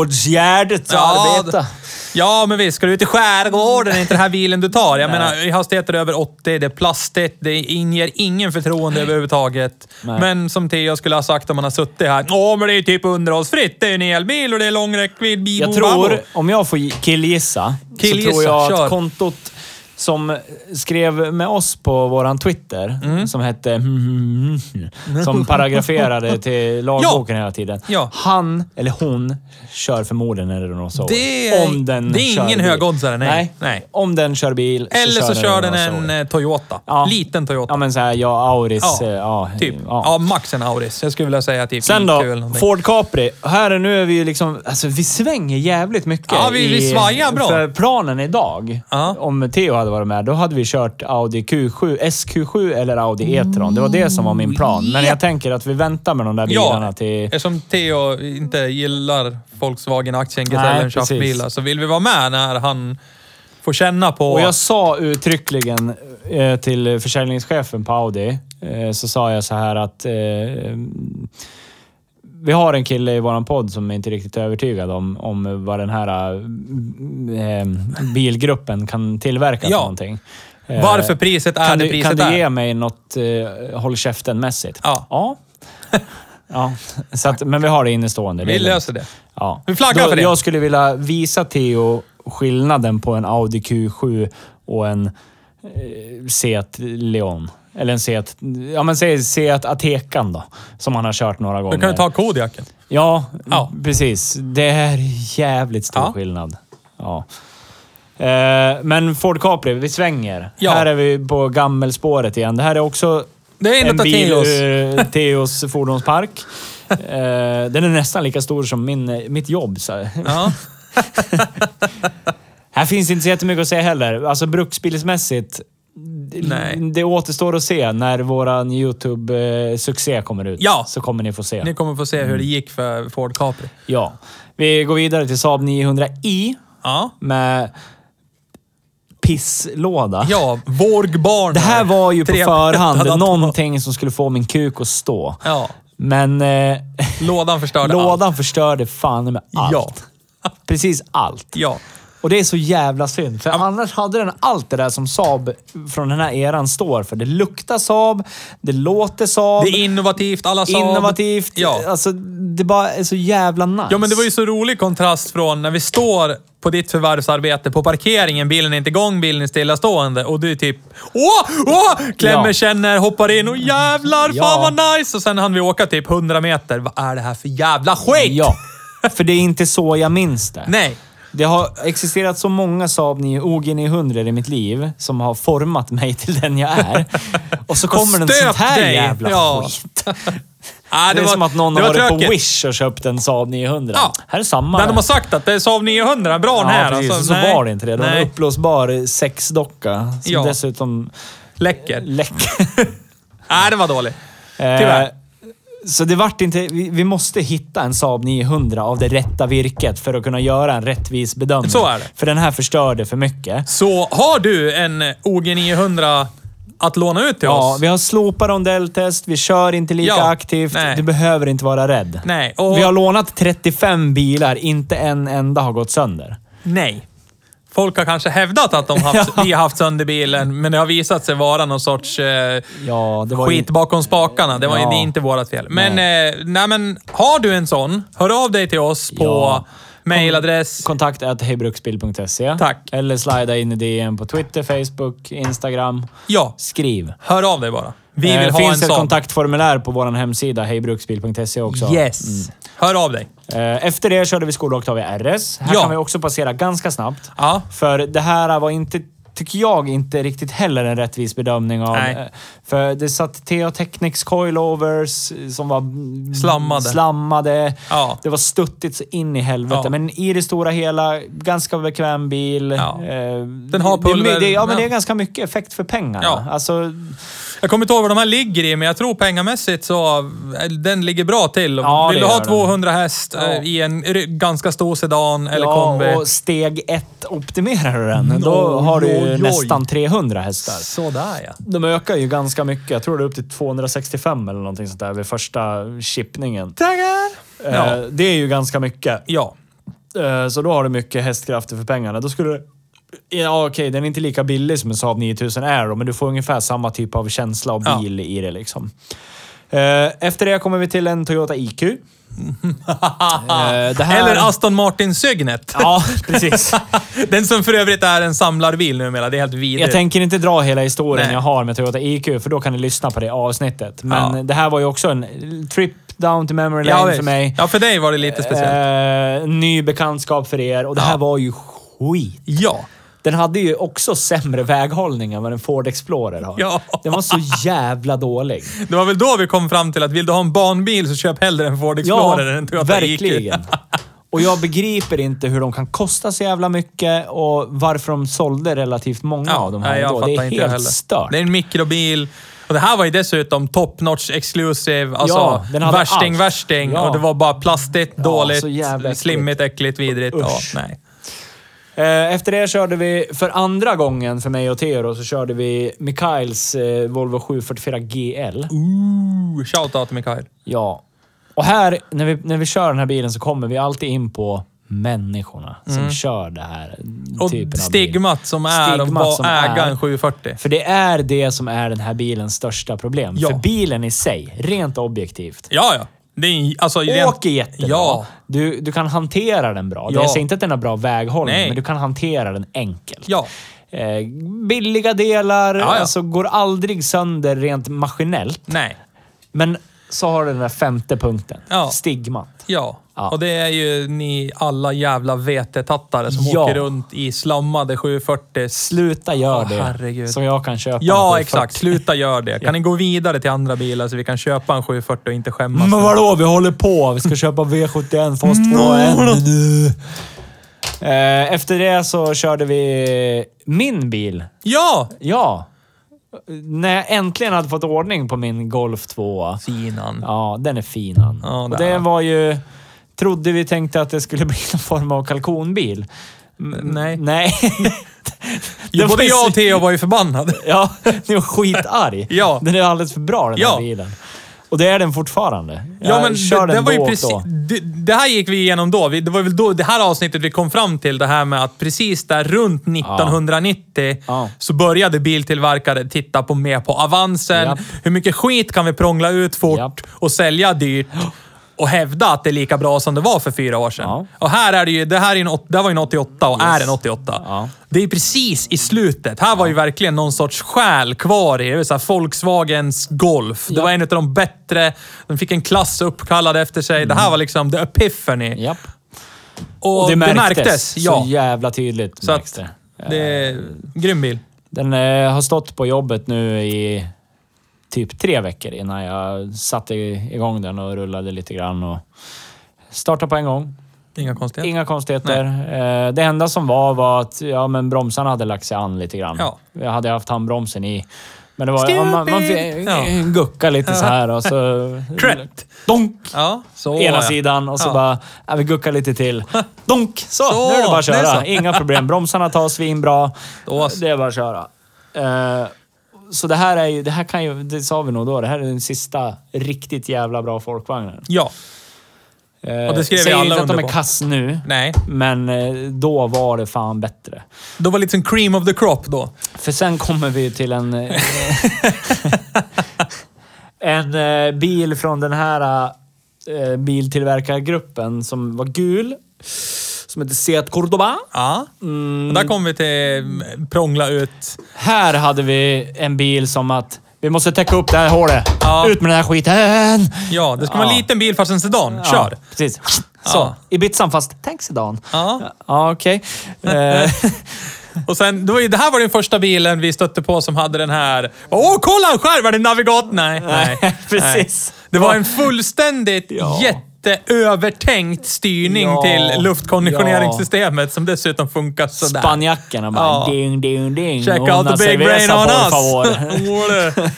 Ladugårdsgärdet och Ja, arbeta. Ja, men visst. Ska du ut i skärgården är inte den här bilen du tar. Jag menar, i hastigheter över 80, det är plastigt, det inger ingen förtroende överhuvudtaget. Nej. Men som Theo skulle ha sagt om man har suttit här. Åh, men det är typ underhållsfritt. Det är en elbil och det är lång räckvidd. bibo, Jag babbo." tror, om jag får killgissa, Killgissa, så tror jag att kör. kontot som skrev med oss på våran Twitter, Mm. som hette som paragraferade till lagboken hela tiden. Ja. Han, eller hon, kör förmodligen en Renault Zoe. Det är- om den det är kör ingen bil. högoddsare, nej. nej. Nej. Om den kör bil Eller så kör den en Renault Zoe. eh, Toyota. Ja. Liten Toyota. Ja men såhär, ja, Auris. Ja, eh, Ja, typ. Ja. max en Auris. Jag skulle vilja säga typ Sen IQ eller då, någonting. Ford Capri. Här är nu är vi ju liksom... Alltså vi svänger jävligt mycket. Ja, vi- vi i- svajar bra. För planen idag, Ja. om Theo hade varit med, då hade vi kört Audi Q7, SQ7 eller Audi E-tron. Det var det som var min plan. Men jag tänker att vi väntar med de där bilarna Ja, till... eftersom Theo inte gillar Volkswagen-aktien, Nej, Gesellen, precis. Schaffbilar, så vill vi vara med när han får känna på... Och jag sa uttryckligen eh, till försäljningschefen på Audi, eh, så sa jag så här att eh, vi har en kille i våran podd som inte riktigt är övertygad om, om vad den här eh, bilgruppen kan tillverka Ja. för någonting. Eh, varför priset är kan det du, kan priset du är. ge mig något eh, håll käften-mässigt? Ja. Ja. ja. Så att, men vi har det innestående. det är Vi lugnt. löser det. Ja. Vi flaggar Då- för det. Jag skulle vilja visa Theo skillnaden på en Audi Q7 och en eh, Seat Leon. Eller en Seat... Ja, men säg Seat Atecan då. Som han har kört några gånger. Då kan du ta Kodiaken. Ja, Ja. precis. Det är jävligt stor Ja. skillnad. Ja. Eh, men Ford Capri, vi svänger. Ja. Här är vi på gammelspåret igen. Det här är också Det är en en utav bil Theos. ur Theos fordonspark. Eh, den är nästan lika stor som min, mitt jobb. Så. Ja. Här finns inte så jättemycket att säga heller. Alltså bruksbilsmässigt, det- Nej. det återstår att se när våran YouTube-succé kommer ut. Ja. Så kommer ni få se. Ni kommer få se Mm. hur det gick för Ford Capri. Ja. Vi går vidare till Saab 900i Ja. med pisslåda. Ja, Vårgbarn. Ah. Det här var ju på Tre- förhand Hade- någonting som skulle få min kuk att stå. Ja, Men eh, lådan förstörde allt. lådan förstörde fan med allt. Ja. Precis allt. Ja. Och det är så jävla synd, för annars hade den allt det där som Saab från den här eran står för. Det luktar Saab, det låter Saab, Det är innovativt, alla Saab. innovativt. Ja. Alltså, det bara är så jävla nice. Ja, men det var ju så rolig kontrast från när vi står på ditt förvärvsarbete på parkeringen. Bilen är inte igång, bilen är stillastående och du är typ åh, åh, klämmer, Ja. känner, hoppar in och jävlar, Ja. fan vad nice! Och sen hann vi åka typ 100 meter. Vad är det här för jävla skit? Ja, för det är inte så jag minns det. Nej. Äh, Det har existerat så många Saab 9 G900 i mitt liv som har format mig till den jag är. Och så kommer den stöpt sånt här dig. jävla Ja. skit. Ah, Det, är som att någon det har varit tråkigt. på Wish och köpt en Saab 900. Ja. Här är samma. Men de har sagt att det är Saab 900, bra den här. alltså, Ja, precis. så nej. var det inte det. Det var en Nej, uppblåsbar eh, sexdocka som Ja. dessutom läcker. läcker. Nej, den var dålig. Tyvärr. Så det vart inte... Vi, vi måste hitta en Saab 900 av det rätta virket för att kunna göra en rättvis bedömning. Så är det. För den här förstörde för mycket. Så har du en OG 900 att låna ut till Ja, oss? vi har slopat rondelltest, vi kör inte lika Ja, aktivt. nej. Du behöver inte vara rädd. Nej, och- Vi har lånat 35 bilar, inte en enda har gått sönder. Nej. Folk har kanske hävdat att de haft, vi har haft sönder bilen, men det har visat sig vara någon sorts eh, Ja, det var ju- skit bakom spakarna. Det var Ja. det är inte vårt fel. Men, nej. Eh, nej, men har du en sån, hör av dig till oss på Ja. mailadress. Kontakt at hejbruksbil.se. Tack. Eller slida in i DM på Twitter, Facebook, Instagram. Ja, Skriv. hör av dig bara. Vi Eh, vill det ha en finns ett sån. kontaktformulär på vår hemsida, hejbruksbil.se också. Mm. Yes. Hör av dig. Eh, Efter det körde vi skola Octavia RS. Här Ja. kan vi också passera ganska snabbt. Ja. För det här var inte, tycker jag, inte riktigt heller en rättvis bedömning av. Nej. eh, För det satt Theo Technics coilovers eh, som var mm, Slammade. slammade. Ja. Det var stuttigt så in i helvete. Ja. Men i det stora hela, ganska bekväm bil. Ja. Den har pulver, Det, det, ja, men ja. det är ganska mycket effekt för pengarna. Ja. Alltså, Jag kommer inte ihåg vad de här ligger i, men jag tror pengamässigt så eh, den ligger bra till. Ja, Vill det du gör ha den. 200 häst eh, Ja. i en r- ganska stor sedan eller kombi? Mm. ja, och steg ett optimerar du den. Då Oj, har du ju oj, oj. nästan 300 hästar. Sådär ja. De ökar ju ganska mycket. Jag tror det är upp till 265 eller någonting sånt där vid första chippningen. Taggar! Ja. Eh, Det är ju ganska mycket. ja. Eh, Så då har du mycket hästkrafter för pengarna. Då skulle du... Ja, okej, den är inte lika billig som en Saab 9000 Aero, men du får ungefär samma typ av känsla av Ja. bil i det liksom. Eh, Efter det kommer vi till en Toyota IQ. Eh, det Eh, här- Ah. Eller Aston Martin Signet. Ja, precis. Den som för övrigt är en samlarbil numera. Det är helt vidrigt. Jag tänker inte dra hela historien Nej. jag har med Toyota IQ, för då kan ni lyssna på det avsnittet. Men Ja. det här var ju också en trip down to memory ja, lane visst. för mig. Ja, för dig var det lite speciellt. Eh, ny bekantskap för er och det här var ju skit. ja. Den hade ju också sämre väghållning än vad en Ford Explorer har. Ja. Den var så jävla dålig. Det var väl då vi kom fram till att vill du ha en barnbil så köp hellre en Ford Explorer än en Toyota IQ. verkligen. Och jag begriper inte hur de kan kosta så jävla mycket och varför de sålde relativt många av de här nej, jag ändå. fattar Det är inte helt heller. stört. Det är en mikrobil. Och det här var ju dessutom top notch exclusive. Alltså, Ja, den hade värsting, allt. värsting. Ja. Och det var bara plastigt, så jävla dåligt, äckligt. slimmigt, äckligt, vidrigt. Ja, Usch. nej. Eh, Efter det körde vi, för andra gången för mig och Theo, så körde vi Mikaels eh, Volvo 744 GL. Ooh, Shoutout till Mikael. Ja. Och här, när vi, när vi kör den här bilen så kommer vi alltid in på människorna som kör det här Mm. eh, Och typen av bil. stigmat som är att Stigmat vara- som äga är. en 740. För det är det som är den här bilens största problem. Ja. För bilen i sig, rent objektivt. Ja, ja. Det är, en- alltså, rent- Åker jättebra. Ja. Du, du kan hantera den bra. Ja. Jag säger inte att den har bra väghållning, Nej. men du kan hantera den enkelt. Ja. Eh, billiga delar, ja. alltså går aldrig sönder rent maskinellt. Nej. Men så har du den där femte punkten. Ja. Stigmat. Ja. Ja. Och det är ju ni alla jävla vetetattare som Ja. åker runt i slammade 740. Sluta gör Åh, det. herregud. Så jag kan köpa en Ja, 740. exakt. Sluta gör det. Kan ni gå vidare till andra bilar så vi kan köpa en 740 och inte skämmas? Men vadå? Vi håller på. Vi ska köpa V71 fast 2 Mm. eh, Efter det så körde vi min bil. Ja! Ja. När jag äntligen hade fått ordning på min Golf 2. Finan. Ja, den är fin han. Ja, och där. det var ju... Trodde vi tänkte att det skulle bli någon form av kalkonbil. M- Nej. Nej. Jo, var både ju jag så- och Theo var ju förbannade. Ja, ni var skitarg. Ja. Den är alldeles för bra den Ja. här bilen. Och Och det är den fortfarande. Ja, Jag men kör det, det den var då ju och precis... då. Det, det här gick vi igenom då. Vi, det var väl då det här avsnittet vi kom fram till, det här med att precis där runt 1990 Ja. så började biltillverkare titta på mer på avansen. Japp. Hur mycket skit kan vi prångla ut fort Japp. och sälja dyrt? och hävda att det är lika bra som det var för fyra år sedan. Ja. Och här är det ju, det här är en, åt- det här var ju en 88 och är en 88. Ja. Det är ju precis i slutet. Här var ju verkligen någon sorts själ kvar i det. det. var Så här Volkswagens Golf. Det var en av de bättre. De fick en klass uppkallad efter sig. Det här var liksom the epiphany. Japp. Och, Och det märktes. ja. ja. Så jävla tydligt Så märks att, det. det är grym bil. Den eh, har stått på jobbet nu i typ tre veckor innan jag satte igång den och rullade lite grann och startade på en gång. Inga konstigheter. Inga konstigheter. Eh, Det enda som var var att ja, men bromsarna hade lagt sig an lite grann. Ja. Jag hade haft handbromsen i. Men det var, ja, man, man fick Stupid! Ja. gucka lite så här och så... Crätt. Donk! Ja, så ena ja. sidan och så Ja. bara, ja, vi guckar lite till. Donk! Så, Så, nu är det bara att det är köra. så. Inga problem. Bromsarna tar svinbra. Då så. Det är bara att köra. Eh, så det här är ju, det här kan ju, det sa vi nog då, det här är den sista riktigt jävla bra folkvagnen. Ja. Uh, Och det skrev vi alla inte att de under på. är kass nu, Nej. men eh, då var det fan bättre. Då var det liksom cream of the crop då. För sen kommer vi till en... eh, en eh, bil från den här eh, biltillverkargruppen som var gul. Som heter Seat Cordoba. Ja. Och där kom vi till mm, prångla ut. Här hade vi en bil som att vi måste täcka upp det här hålet. Ja. Ut med den här skiten! Ja, det ska vara en Ja. liten bil fast en sedan. Ja, Kör! precis. Så. Ja. Ibizan fast tänk sedan. Ja. Ja, okej. Eh, Och sen, det, var ju, det här var den första bilen vi stötte på som hade den här... Åh, kolla! en Skärm! Är det navigat? Nej. nej precis. Nej. Det var en fullständigt Ja. jätteövertänkt styrning Ja. till luftkonditioneringssystemet som dessutom funkar sådär. Spanjackorna bara Ja. ding, ding, ding. Check out Una the big brain cerveza, on por us! favor. Ole.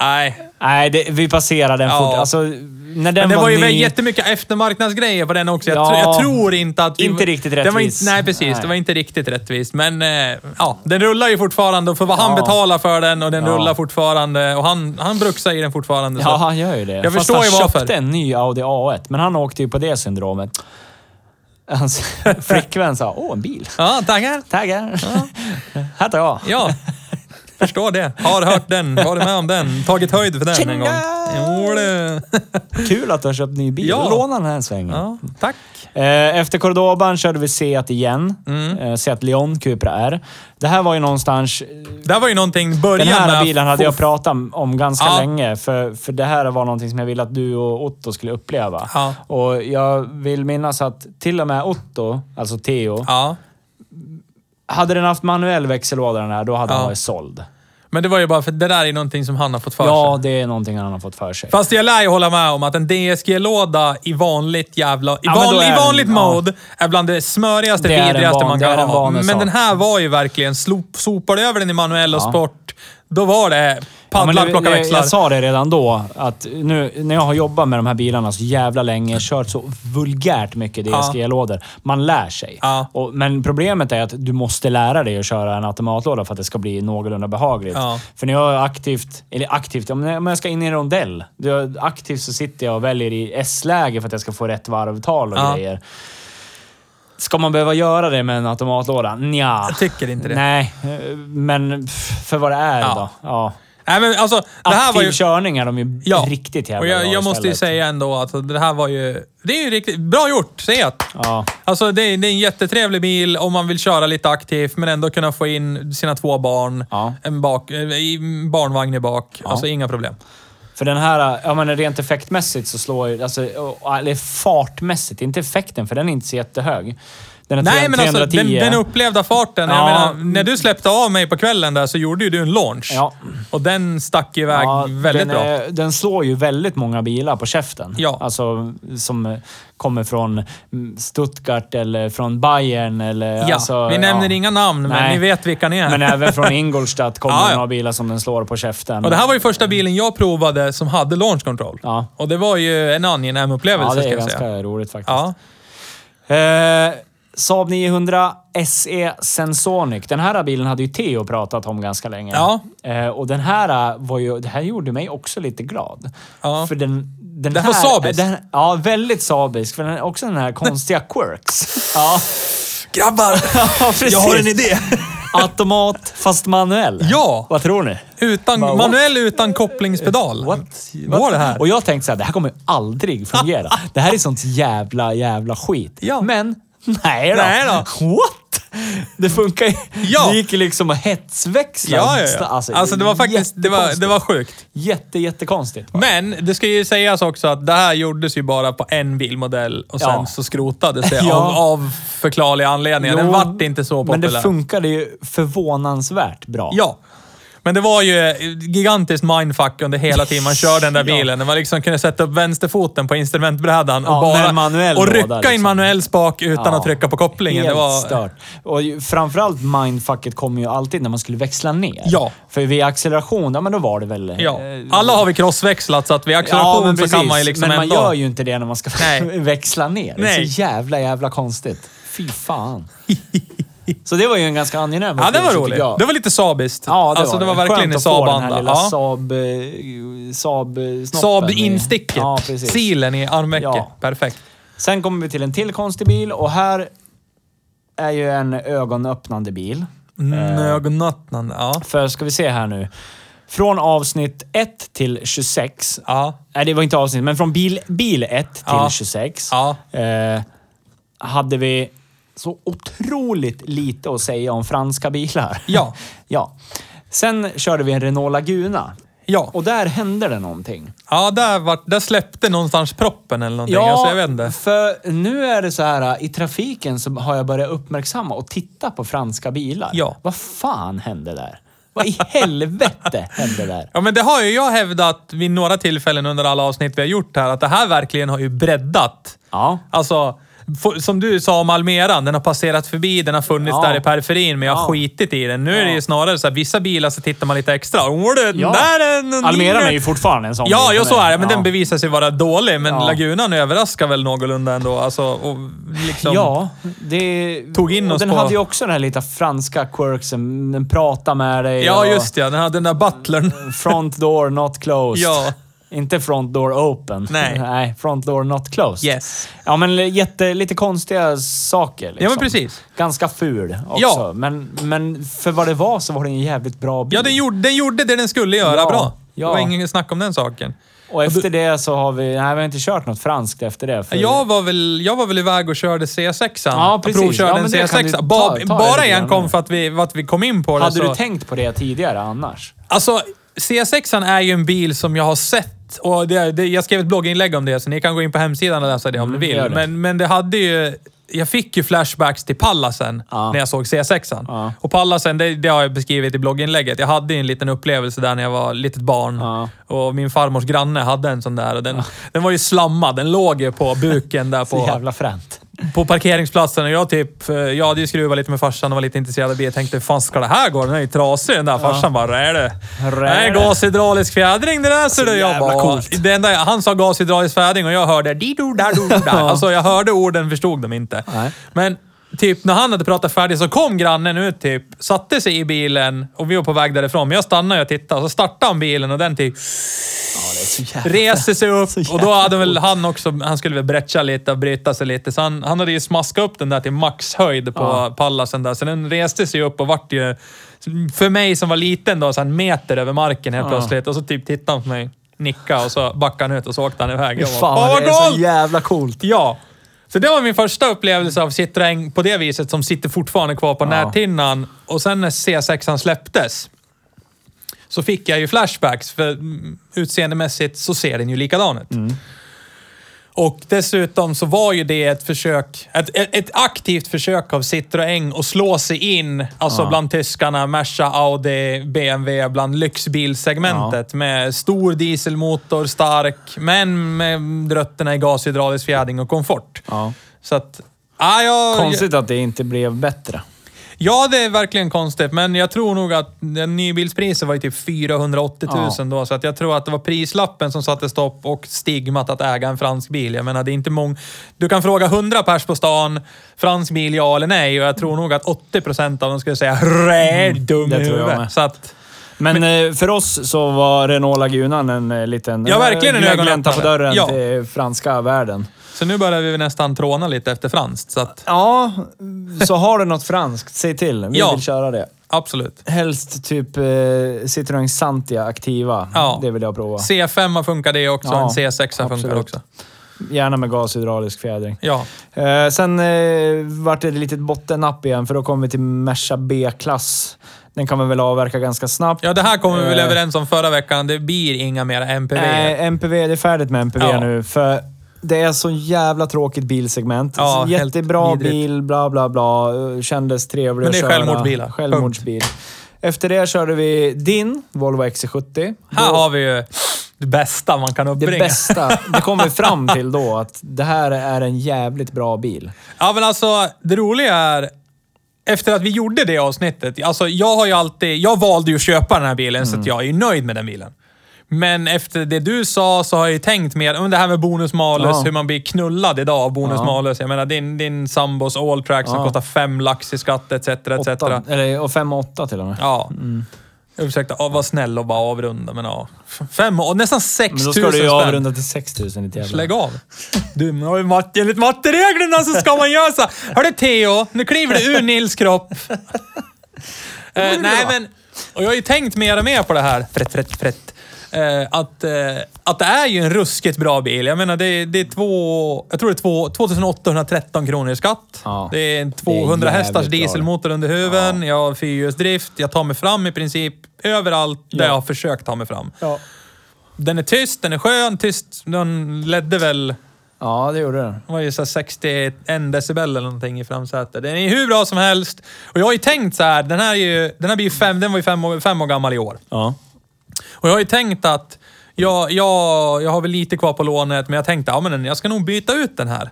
Nej, Nej, det, vi passerade den Ja. fort. Alltså, när Men den det var, var ju ny... jättemycket eftermarknadsgrejer på den också. Jag, Ja. tr- jag tror inte att... Inte riktigt Det var rättvist. inte, nej, precis. Nej. Det var inte riktigt rättvist. Men eh, ja, den rullar ju fortfarande. och För vad han Ja. betalar för den och den Ja. rullar fortfarande. Och han, han bruxar i den fortfarande. Ja, Så. han gör ju det. Jag Fast förstår han ju varför. köpte en ny Audi A1, men han åkte ju på det syndromet. Hans flickvän sa åh, en bil. Ja, tackar. Taggar. Här tar jag. Ja. Förstår det. Har hört den. Varit med om den. Tagit höjd för den en gång. Tjena! Jo, det. Kul att du har köpt ny bil. Ja. Låna den här en sväng. Ja, tack. Eh, Efter Cordoban körde vi Seat igen. Mm. Seat Leon Cupra R. Det här var ju någonstans... Det här var ju någonting... Början Den här med- bilen hade jag pratat om ganska Ja. länge, för, för det här var någonting som jag ville att du och Otto skulle uppleva. Ja. Och jag vill minnas att till och med Otto, alltså Theo, Ja. hade den haft manuell växellåda den här, då hade Ja. den varit såld. Men det var ju bara för det där är någonting som han har fått för sig. Ja, det är någonting han har fått för sig. Fast jag lär ju hålla med om att en DSG-låda i vanligt jävla... I, Ja, men då van, är i den- vanligt ja. mode är bland det smörigaste, Det är en vidrigaste van- man det är kan en ha. vanlig Men sak. den här var ju verkligen... Slop, sopade över den i manuell och Ja. sport, då var det Ja, men paddlar, det- plocka det- växlar. Jag sa det redan då, att nu när jag har jobbat med de här bilarna så jävla länge, kört så vulgärt mycket DSG-lådor. Man lär sig. Ja. Och, men problemet är att du måste lära dig att köra en automatlåda för att det ska bli någorlunda behagligt. Ja. För när jag aktivt, eller aktivt, om jag om jag ska in i en rondell. då jag- Aktivt så sitter jag och väljer i S-läge för att jag ska få rätt varvtal och Ja. grejer. Ska man behöva göra det med en automatlåda? Nja. Jag tycker inte det. Nej, eh, men pff, för vad det är Ja. då. Ja. Nej, men alltså, det här Aktiv var ju... körning är de ju riktigt jävla och jag, bra jag måste ju istället. säga ändå att det här var ju... Det är ju riktigt... Bra gjort, säger jag. Ja. Alltså det är, det är en jättetrevlig bil om man vill köra lite aktivt men ändå kunna få in sina två barn. Ja. En bak, eh, i- barnvagn i bak. Alltså inga problem. För den här, ja men rent effektmässigt så slår ju, alltså, och- eller fartmässigt, inte effekten för den är inte så jättehög. Den är Nej, 300, men alltså 310. den, den upplevda farten. Ja. Jag menar, när du släppte av mig på kvällen där så gjorde ju du en launch. Ja. Och den stack iväg Ja, väldigt den, bra. eh, Den slår ju väldigt många bilar på käften. Ja. Alltså som eh, kommer från mm, Stuttgart eller från Bayern eller... ja. alltså, Vi nämner inga namn, men Nej. ni vet vilka ni är. Men även från Ingolstadt kommer Ja, det ja. några bilar som den slår på käften. Och det här var ju första bilen jag provade som hade launch control. Ja. Och det var ju en angenäm upplevelse Ja, det ska är jag ganska säga. roligt faktiskt. Ja. Eh, Saab 900 SE E Sensonic. Den här bilen hade ju Theo pratat om ganska länge. Ja. Eh, och den här var ju... Det här gjorde mig också lite glad. Ja. För den... Den, Den här, var sabisk. Den, ja, väldigt sabisk. För den har också den här konstiga quirks. Ja, Grabbar! ja precis. Jag har en idé! Automat fast manuell. Ja. Vad tror ni? Utan, Bara, what? manuell utan kopplingspedal. What? Vad var det här? Mm. Och jag tänkte så här, det här kommer ju aldrig fungera. det här är sånt jävla, jävla skit. Ja. Men, nej då. Nej då. What? Det funkar ju. Ja. Det gick ju liksom att hetsväxla. Ja, ja, ja. Alltså, det var faktiskt det var, det var sjukt. Jätte, jättekonstigt. Men det ska ju sägas också att det här gjordes ju bara på en bilmodell och sen Ja. så skrotades det Ja. av, av förklarliga anledningar. Den Jo, vart inte så populär. Men det funkade ju förvånansvärt bra. Ja. Men det var ju ett gigantiskt mindfuck under hela tiden man körde den där Ja. bilen. Man liksom kunde sätta upp vänsterfoten på instrumentbrädan och Ja, med bara en manuell och låda, rycka in liksom. manuell spak utan Ja. att trycka på kopplingen. Helt det var... stört. Och ju- framförallt mindfucket kom ju alltid när man skulle växla ner. Ja. För vid acceleration, ja men då var det väl... Ja. eh, Alla har vi crossväxlat så att vid Ja, acceleration men så kan precis. man ju liksom Men man ändå... gör ju inte det när man ska Nej. växla ner. Det är Nej. så jävla, jävla konstigt. Fy fan. så det var ju en ganska angenäm Ja, det var upplevelse, roligt. tycker jag. Det var lite sabiskt. Ja, det alltså, var det var verkligen i Skönt att få den här Saab-anda. lilla Ja. Saab... eh, Saab... eh, snoppen i- Saab-insticket. Ja, precis. typ. Silen i armvecket. Ja. Perfekt. Sen kommer vi till en till konstig bil och här är ju en ögonöppnande bil. Mm, ögonöppnande. Ja. För ska vi se här nu. Från avsnitt 1 till 26. Ja. Nej, det var inte avsnitt, men från bil, bil 1 till Ja. 26. Ja. eh, hade vi så otroligt lite att säga om franska bilar. Ja. ja. Sen körde vi en Renault Laguna. Ja. Och där hände det någonting. ja, där, var, där släppte någonstans proppen eller någonting. Alltså, jag vet inte. för nu är det så här i trafiken så har jag börjat uppmärksamma och titta på franska bilar. Ja. Vad fan hände där? Vad i helvete hände där? Ja, men det har ju jag hävdat vid några tillfällen under alla avsnitt vi har gjort här, att det här verkligen har ju breddat. Ja. Alltså, f- som du sa om Almeran, den har passerat förbi, den har funnits Ja. där i periferin, men jag har Ja. skitit i den. Nu är det Ja. ju snarare så här, vissa bilar så tittar man lite extra. Åh, den där är en... Almeran är ju fortfarande en sån Ja, bil. ja, så är det. Men Ja. den bevisar sig vara dålig. Men Ja. Lagunan överraskar väl någorlunda ändå. Alltså, och liksom... Ja, det... Tog in och oss den på- hade ju också den här lite franska quirksen. Den pratar med dig Ja, och just ja. Den hade den där butlern. front door not closed. Ja. Inte front door open. Nej. Nej, front door not closed. Yes. Ja, men li- jätte, lite konstiga saker. Liksom. Ja, men precis. Ganska ful också. Ja. Men, men för vad det var så var det en jävligt bra bil. Ja, den gjorde, den gjorde det den skulle göra Ja, bra. ja. Det var ingen snack om den saken. Och efter det så har vi... Nej, vi har inte kört något franskt efter det. för- Jag var väl, jag var väl iväg och körde C6an. Ja, precis. Provkörde Ja, en men det kan C6. du ta- ta ba, det bara lite igen grann kom nu. för att vi, för att vi kom in på det. Hade så- du tänkt på det tidigare annars? Alltså, C6an är ju en bil som jag har sett. Och det, det, jag skrev ett blogginlägg om det, så ni kan gå in på hemsidan och läsa det om ni Mm, gör vill. det. Men, men det hade ju... Jag fick ju flashbacks till Pallasen Ja. när jag såg C6an. Ja. Och Pallasen, det, det har jag beskrivit i blogginlägget. Jag hade ju en liten upplevelse där när jag var litet barn. Ja. Och min farmors granne hade en sån där. Och den, den var ju slammad. Den låg ju på buken där Så på, jävla fränt. på parkeringsplatsen. Och jag typ... eh, Jag hade ju skruvat lite med farsan och var lite intresserad av bil. Jag tänkte, hur fan ska det här gå? Den är ju trasig den där. Farsan bara, "Rä det. Rä Nej, det. gashydraulisk fjädring det där. Så det, jag jävla bara, coolt. Det enda, jag- han sa gashydraulisk fjädring och jag hörde dido dado da. Alltså jag hörde orden, förstod dem inte. Nej. Men typ när han hade pratat färdigt så kom grannen ut typ, satte sig i bilen och vi var på väg därifrån. Men jag stannade och tittade och så startade han bilen och den typ Ja, det är så jävla... reser sig upp Så jävla och då hade väl han också, han skulle väl bretcha lite och bryta sig lite. Så han, han hade ju smaskat upp den där till maxhöjd på Ja. pallasen där. Så den reste sig upp och vart ju, för mig som var liten då, så en meter över marken helt Ja. plötsligt. Och så typ tittade han på mig, nickade och så backade han ut och så åkte han iväg. Jag bara, Fan, det är "Pardon!" så jävla coolt. Ja. Så det var min första upplevelse av Citroën på det viset som sitter fortfarande kvar på Ja. näthinnan. Och sen när C6an släpptes så fick jag ju flashbacks för mm, utseendemässigt så ser den ju likadan ut. Och dessutom så var ju det ett försök, ett, ett, ett aktivt försök av Citroën att slå sig in, alltså bland tyskarna, Merca, Audi, BMW, bland lyxbilsegmentet med stor dieselmotor, stark, men med rötterna i gashydraulisk fjädring och komfort. Ja. Så att, ja, jag, Konstigt att det inte blev bättre. Ja, det är verkligen konstigt, men jag tror nog att den nybilspriset var ju typ 480 000 Ja. då, så att jag tror att det var prislappen som satte stopp och stigmat att äga en fransk bil. Jag menar, det är inte många... Du kan fråga 100 pers på stan, fransk bil ja eller nej, och jag tror nog att 80 procent av dem skulle säga rä, dum i Mm, det tror jag med. huvudet. Så att... Men, eh, för oss så var Renault Lagunan en eh, liten... Ja, verkligen en glä- ögonöppnare. glänta på dörren Ja. till franska världen. Så nu börjar vi nästan tråna lite efter franskt, så att Ja, så har du något franskt, säg till. Vi Ja. vill köra det. absolut. Helst typ eh, Citroën Santia Activa. Ja. Det vill jag prova. C5 funkar det också, Ja, en C6 funkar absolut. också. Gärna med gashydraulisk fjädring. Ja. Eh, sen eh, vart det ett litet bottennapp igen, för då kom vi till Merca B-klass. Den kan man väl avverka ganska snabbt. Ja, det här kommer vi väl Eh. överens om förra veckan. Det blir inga mera MPV. Nej, MPV, det är färdigt med MPV Ja. nu. För det är så jävla tråkigt bilsegment. Ja, helt Jättebra vidrigt. bil, bla bla bla. Kändes trevlig Men det att är köra. självmordsbilar. Självmordsbil. Efter det körde vi din Volvo XC70. Här Då- har vi ju det bästa man kan det uppbringa. bästa. Det kom vi fram till då, att det här är en jävligt bra bil. Ja, men alltså det roliga är efter att vi gjorde det avsnittet. Alltså, jag har ju alltid... Jag valde ju att köpa den här bilen, Mm. så att jag är ju nöjd med den bilen. Men efter det du sa så har jag ju tänkt mer om det här med bonus-malus, Ja. hur man blir knullad idag av bonus-malus. Jag menar, din, din sambos all-track som Ja. kostar fem lax i skatt etc. etc. Åtta, Mm. eller, och 5 åtta till och med. Ja. Ursäkta, ja, var snäll och bara avrunda, men ja. F- Fem år, nästan 6 Men 000 då ska spänn. du ju avrunda till 6 000 inte jävla. Lägg av. Du, men har ju matte, enligt mattereglerna så ska man göra så. Hörru Theo, nu kliver det ur Nils kropp. Eh, nej, men... Och jag har ju tänkt mer och mer på det här. Frätt, frätt, frätt. Eh, att, eh, att det är ju en ruskigt bra bil. Jag menar, det, är- det är två... Jag tror det är två, 2813 kronor i skatt. Ja. Det är en Det är 200 hästars jävligt bra det. dieselmotor under huven. Jag har fyrhjulsdrift. Jag tar mig fram i princip överallt där Ja. jag har försökt ta mig fram. Ja. Den är tyst, den är skön, tyst. Den ledde väl... ja, det gjorde den. Den var ju så här 61 decibel eller någonting i framsätet. Den är ju hur bra som helst. Och jag har ju tänkt så här, den här, är ju, den här blir ju fem, den var ju fem år, fem år gammal i år. Ja. Och jag har ju tänkt att jag, jag, jag har väl lite kvar på lånet, men jag tänkte ja, men jag ska nog byta ut den här.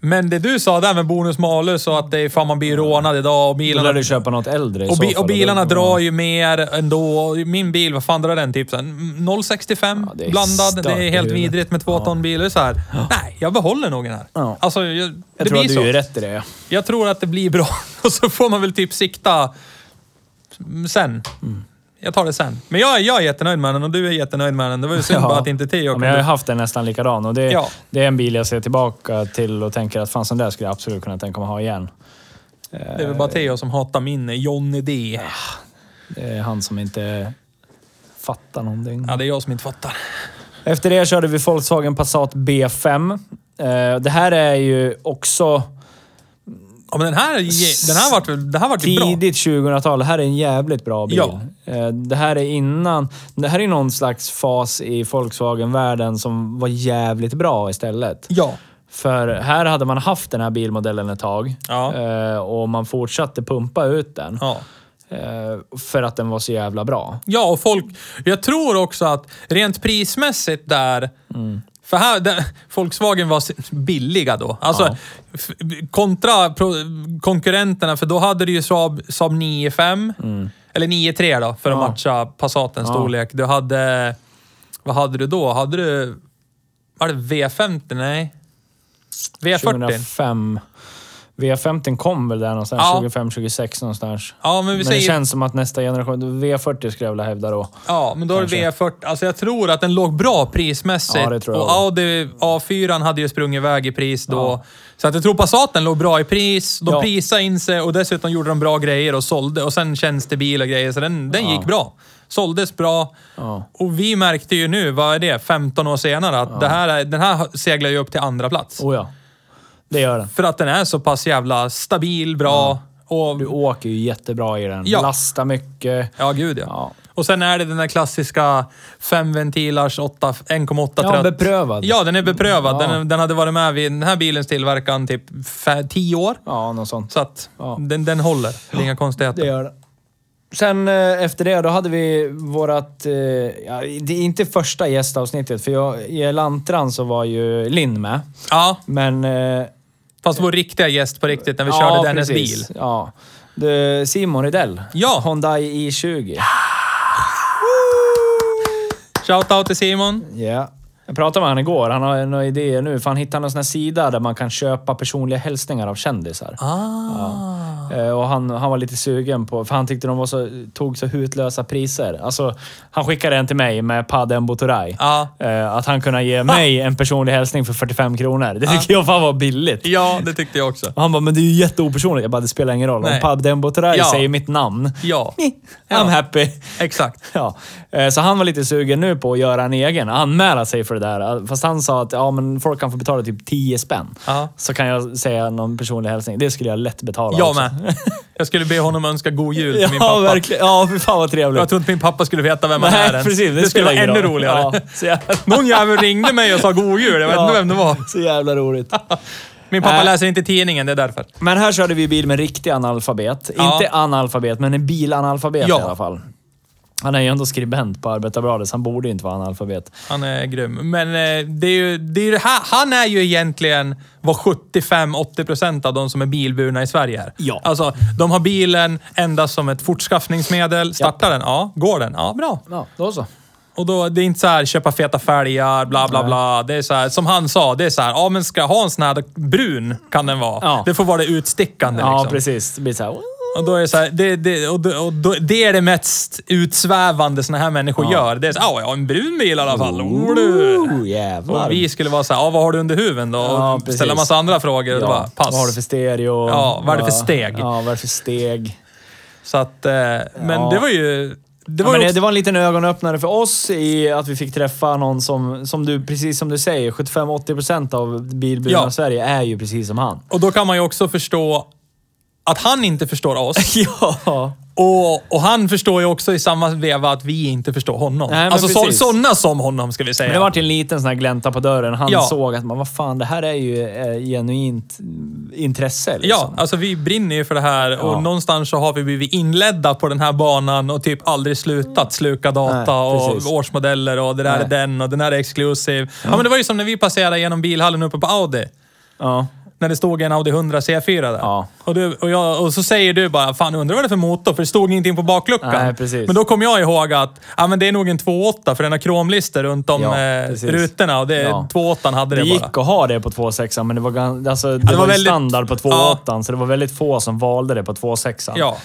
Men det du sa där med bonus malus och att det är fan man blir rånad idag och Då lär bilarna... du köpa något äldre i Och, så bi, fall. och bilarna Då- drar ju mer ändå. Min bil, vad fan drar den? Typ så här 0,65 Ja, det är blandad. Det stört i är helt huvudet. vidrigt med två ton bil. Det är Så här. Nej, jag behåller nog den här. Ja. Alltså, jag, Jag det tror blir att du så. är rätt i det. Jag tror att det blir bra. Och så får man väl typ sikta sen. Mm. Jag tar det sen. Men jag, jag är jättenöjd med den och du är jättenöjd med den. Det var ju synd bara att inte Theo ja, kunde... men Jag har ju haft en nästan likadan och det, Ja. det är en bil jag ser tillbaka till och tänker att fan, sån där skulle jag absolut kunna tänka mig ha igen. Det är väl bara Theo som hatar min Johnny D. Det är han som inte fattar någonting. Ja, det är jag som inte fattar. Efter det körde vi Volkswagen Passat B5. Eh, Det här är ju också Ja, men den här, den här vart väl- det här vart ju bra. tidigt 2000-tal. Det här är en jävligt bra bil. Ja. Eh, Det här är innan... Det här är någon slags fas i Volkswagen-världen som var jävligt bra istället. Ja. För här hade man haft den här bilmodellen ett tag Ja. Eh, och man fortsatte pumpa ut den ja. eh, för att den var så jävla bra. Ja, och folk... Jag tror också att rent prismässigt där... För här, där, Volkswagen var s- billiga då. Alltså, Ja. f- kontra pro, konkurrenterna, för då hade du ju Saab, Saab 9.5. Eller 9.3 då, för att Ja. matcha Passatens Ja. storlek. Du hade... Vad hade du då? Hade du... Var det V50? Nej. V40? 2005. V50 kom väl där någonstans, Ja. 25, 26 någonstans. Ja, men vi Men det säger... känns som att nästa generation, V40 skulle jag vilja hävda då. Ja, men då är det V40. Alltså jag tror att den låg bra prismässigt. Ja, det tror jag och också. Audi A4 hade ju sprungit iväg i pris då. Ja. Så att jag tror Passaten låg bra i pris. De Ja. prisade in sig och dessutom gjorde de bra grejer och sålde. Och sen tjänstebil och grejer, så den, den gick bra. Såldes bra. Ja. Och vi märkte ju nu, vad är det, 15 år senare, att det här, är- den här seglar ju upp till andra plats. Oh ja, det gör den. För att den är så pass jävla stabil, bra och... Du åker ju jättebra i den. Ja. Lastar mycket. Ja, gud ja. Ja. Och sen är det den där klassiska femventilars åtta- 1,8 Ja, trött. beprövad. Ja, den är beprövad. Ja. Den, den hade varit med vid den här bilens tillverkan typ fe- tio år. Ja, något sånt. Så att Ja. den, den håller. Det är inga Det konstigheter. gör det. Sen eh, efter det, då hade vi vårat... Eh, ja, det är inte första gästavsnittet, för jag, i Lantran så var ju Linn med. Ja, Men... Eh, fast vår riktiga gäst på riktigt när vi körde Dennes bil. Ja. Du, Simon Rydell. Ja. Hyundai i20. Ja. Shoutout till Simon. Jag pratade med honom igår. Han har några idéer nu. För han hittade någon sån här sida där man kan köpa personliga hälsningar av kändisar. Eh, Och han, han var lite sugen på... För han tyckte de var så, tog så hutlösa priser. Alltså, han skickade en till mig med Padem Botoray. Ja. Eh, Att han kunde ge mig en personlig hälsning för 45 kronor. Det tycker jag fan var billigt. Ja, det tyckte jag också. Och han bara, men det är ju jätteopersonligt. Jag bara, det spelar ingen roll. Om Nej. Padem Botoray Ja. säger mitt namn, Ja, I'm happy. exakt. Ja, eh, så han var lite sugen nu på att göra en egen, anmäla sig för det där. Fast han sa att ja, men folk kan få betala typ 10 spänn. Ja. Så kan jag säga någon personlig hälsning. Det skulle jag lätt betala Jag också. med. Jag skulle be honom önska god jul till min Ja, pappa. verkligen. Ja, fy fan vad trevligt. Jag tror inte min pappa skulle veta vem han är Nej, ens. precis. Det, Det skulle spelar vara ingen ännu roll. roligare. Ja, så, jävla, Någon jävel ringde mig och sa god jul. Jag vet Ja. inte vem det var. så jävla roligt. Min pappa Nej. läser inte tidningen, det är därför. Men här körde vi bil med riktig analfabet. Ja. Inte analfabet, men en bilanalfabet Ja. i alla fall. Han är ju ändå skribent på Arbetarbladet, så han borde ju inte vara analfabet. Han är grym. Men eh, det är ju, det är ju, det här- han är ju egentligen vad 75-80% av de som är bilburna i Sverige är. Ja. Alltså, de har bilen endast som ett fortskaffningsmedel. Startar den? Ja. Går den? Ja, bra. Ja, då så. Och då, det är inte så här köpa feta fälgar, bla bla bla. Det är så här, som han sa, det är så här, ja men ska jag ha en sån här brun kan den vara. Ja. Det får vara det utstickande Ja, liksom. precis. Det blir så här... Och då är det så här, det, det, och, då- och, då- det är det mest utsvävande såna här människor gör. Det är så här, ja jag har en brun bil i alla fall. Oh, du. Oh, jävlar. Och vi skulle vara så här, ja vad har du under huven då? Ja, Och precis. ställa massa andra frågor. Och då bara, pass. Vad har du för stereo? Ja, vad är det för steg? Ja, vad är det för steg? Så att, eh, men Ja. det var ju... Det Det var var, ju ja, men det, också, det var en liten ögonöppnare för oss i att vi fick träffa någon som, som du, precis som du säger, 75-80% av bilburna Ja. i Sverige är ju precis som han. Och då kan man ju också förstå att han inte förstår oss. Ja. Och, och han förstår ju också i samma veva att vi inte förstår honom. Nej, men alltså så, precis. sådana som honom ska vi säga. Men det vart en liten sån här glänta på dörren. Han Ja. såg att man, vad fan, det här är ju eh, genuint intresse. Ja, Liksom. alltså vi brinner ju för det här Ja. och någonstans så har vi blivit inledda på den här banan och typ aldrig slutat sluka data Nej, precis. och årsmodeller och det där Nej. är den och den här är exklusiv. Ja. men det var ju som när vi passerade genom bilhallen uppe på Audi. Ja. När det stod en Audi 100 C4 där. Ja. Och, du, och, jag, och så säger du bara, fan undrar vad det är för motor, för det stod ingenting på bakluckan. Nej, precis. Men då kom jag ihåg att, ja men det är nog en 2.8 för den har kromlister runt om Ja, eh, precis. rutorna och det, Ja. 2.8 hade det, Det bara. gick att ha det på 2.6 men det var, gan- alltså, det det var, var ju väldigt- standard på 2.8 så det var väldigt få som valde det på 2.6. Ja.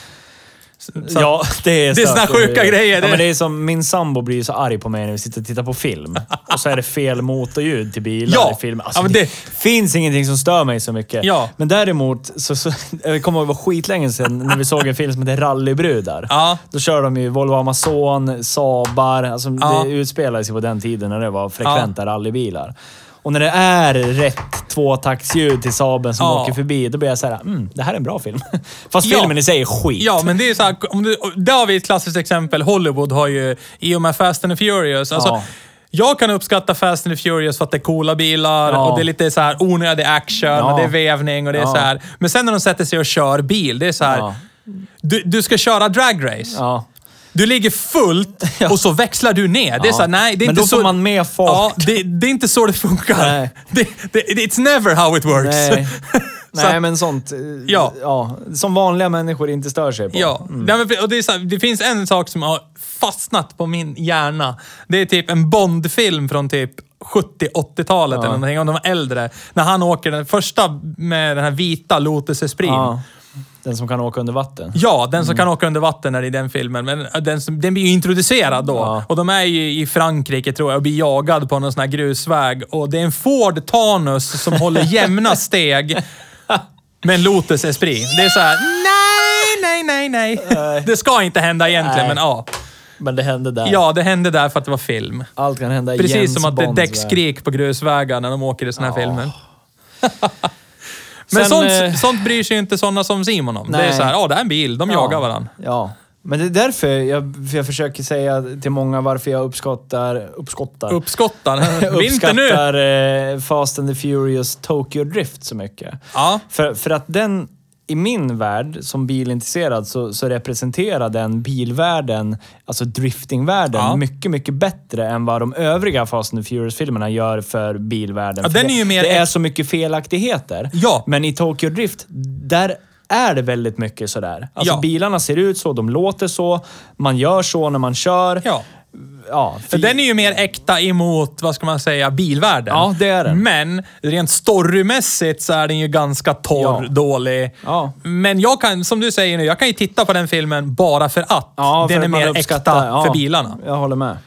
Så- ja, det är Det är stört. såna sjuka grejer, Ja, det- men det är som, min sambo blir ju så arg på mig när vi sitter och tittar på film. Och så är det fel motorljud till bilar Ja. i film. Alltså, Ja, men det... det- finns ingenting som stör mig så mycket. Ja. Men däremot, så, så, jag kommer ihåg det var skitlänge sedan när vi såg en film som heter Rallybrudar. Ja. Då kör de ju Volvo Amazon, Saabar. Alltså, Ja. Det utspelades ju på den tiden när det var frekventa rallybilar. Och när det är rätt tvåtaktsljud till Saaben som Ja. åker förbi, då blir jag så här, mm, det här är en bra film. Fast Ja. filmen i sig är skit. Ja, men det är så här, om du, där har vi ett klassiskt exempel. Hollywood har ju, i och med Fast and the Furious. Alltså, Ja. Jag kan uppskatta Fast and the Furious för att det är coola bilar Ja. och det är lite så här onödig action Ja. och det är vevning och det är Ja. så här. Men sen när de sätter sig och kör bil, det är så här. Ja. Du, du ska köra dragrace. Ja. Du ligger fullt och så växlar du ner. Det är Ja. så här, nej, det är Men inte då så... får man med fart. Ja, det, det är inte så det funkar. Nej. Det, det, it's never how it works. Nej. Så Nej, att- men sånt. eh, Ja. ja. Som vanliga människor inte stör sig på. Ja, Nej, men, för- och det, är så här, det finns en sak som har fastnat på min hjärna. Det är typ en Bond-film från typ 70-80-talet eller någonting, om de var äldre. När han åker den första med den här vita Lotus Esprit. Ja. Ja. Den som kan åka under vatten. den som Mm. kan åka under vatten är i den filmen, men äh, den, som, den blir ju introducerad då. Ja. Och de är ju i Frankrike tror jag och blir jagad på någon sån här grusväg. Och det är en Ford Tanus som håller jämna steg med en Lotus Esprit. Det är så här, nej, nej, nej, nej. Det ska inte hända egentligen, Nej. men ja. Men det hände där. Ja, det hände där för att det var film. Allt kan hända i Precis Jens som att det är Bonds värld. däckskrik på grusvägar när de åker i såna här Ja. filmer. Men Sen, sånt, eh, sånt bryr sig ju inte såna som Simon om. Det är Nej. så här, ja, det är en bil, de jagar varandra. Ja. Men det är därför jag, för jag försöker säga till många varför jag uppskottar... Uppskottar? Uppskottar. Vinter nu! uppskattar eh, Fast and the Furious Tokyo Drift så mycket. Ja. För, för att den, i min värld som bilintresserad, så, så representerar den bilvärlden, alltså driftingvärlden, Ja. mycket, mycket bättre än vad de övriga Fast and the Furious-filmerna gör för bilvärlden. Ja, För den det, är ju mer det är ex- så mycket felaktigheter. Ja. Men i Tokyo Drift, där är det väldigt mycket sådär. Alltså Ja. bilarna ser ut så, de låter så, man gör så när man kör. Ja. Ja, För den är ju mer äkta emot, vad ska man säga, bilvärlden. Ja, det är den. Men rent storymässigt så är den ju ganska torr, Ja. dålig. Ja. Men jag kan, som du säger nu, jag kan ju titta på den filmen bara för att Ja, den för är att man mer uppskattar- äkta ja, för bilarna. Jag håller med.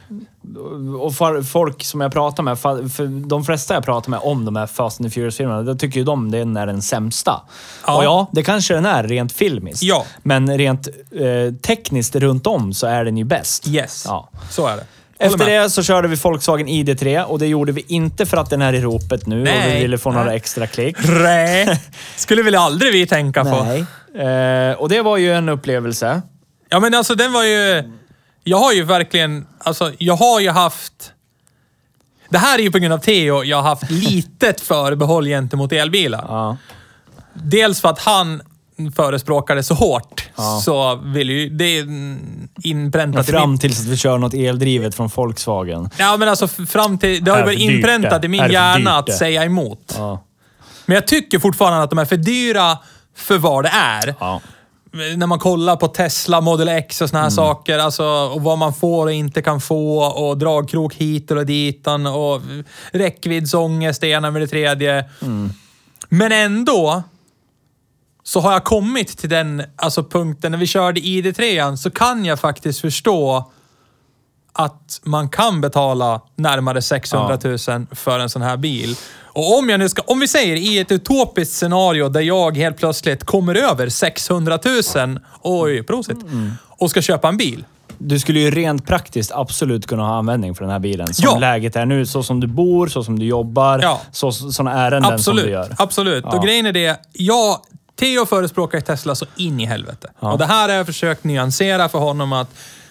Och far, folk som jag pratar med, fa- för de flesta jag pratar med om de här Fast and the Furious-filmerna, då tycker ju de den är den sämsta. Ja. Och ja, det kanske den är rent filmiskt. Ja. Men rent eh, tekniskt runt om så är den ju bäst. Yes, Ja. så är det. Håller Efter med. det så körde vi Volkswagen ID3 och det gjorde vi inte för att den är i ropet nu och vi Nej. ville få några Nej. extra klick. Rä. Skulle väl aldrig vi tänka på. Eh, och det var ju en upplevelse. Ja, men alltså den var ju... Jag har ju verkligen... Alltså, jag har ju haft... Det här är ju på grund av Theo jag har haft litet förbehåll gentemot elbilar. Ja. Dels för att han förespråkar det så hårt, Ja. så vill ju... Det är mm, inpräntat i min Fram tills att vi kör något eldrivet från Volkswagen. Ja, men alltså f- fram till... Det har ju Är det varit för dyrt inpräntat det? i Är min det för dyrt hjärna att det? säga emot. Ja. Men jag tycker fortfarande att de är för dyra för vad det är. Ja. När man kollar på Tesla Model X och såna här saker, alltså, och vad man får och inte kan få och dragkrok hit och ditan och räckviddsångest det ena med det tredje. Men ändå så har jag kommit till den alltså, punkten, när vi körde ID3 så kan jag faktiskt förstå att man kan betala närmare 600 000 för en sån här bil. Och om jag nu ska, om vi säger i ett utopiskt scenario där jag helt plötsligt kommer över 600 000, oj, prosit, och ska köpa en bil. Du skulle ju rent praktiskt absolut kunna ha användning för den här bilen. Som Ja. läget är nu, så som du bor, så som du jobbar, Ja. så, sådana ärenden som du Absolut, gör. absolut. Ja. Och grejen är det, jag, Theo förespråkar ju Tesla så in i helvete. Och det här har jag försökt nyansera för honom att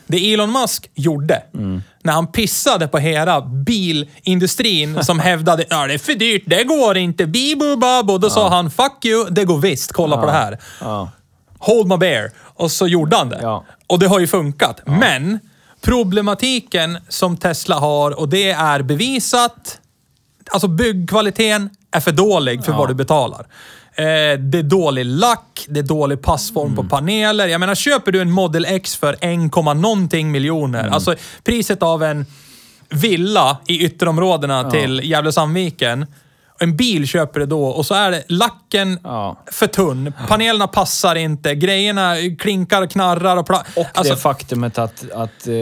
det Elon Musk gjorde, Mm. när han pissade på hela bilindustrin som hävdade att det är för dyrt, det går inte, bibu babu. Då sa han “fuck you, det går visst, kolla på det här”. Ja. Hold my bear. Och så gjorde han det. Ja. Och det har ju funkat. Men problematiken som Tesla har, och det är bevisat, alltså byggkvaliteten är för dålig för vad du betalar. Eh, det är dålig lack, det är dålig passform Mm. på paneler. Jag menar, köper du en Model X för 1, någonting miljoner, Mm. alltså priset av en villa i ytterområdena till Gävle-Sandviken. En bil köper du då och så är det lacken Ja. för tunn, panelerna passar inte, grejerna klinkar och knarrar och... Pla- Och alltså, det faktumet att, att eh,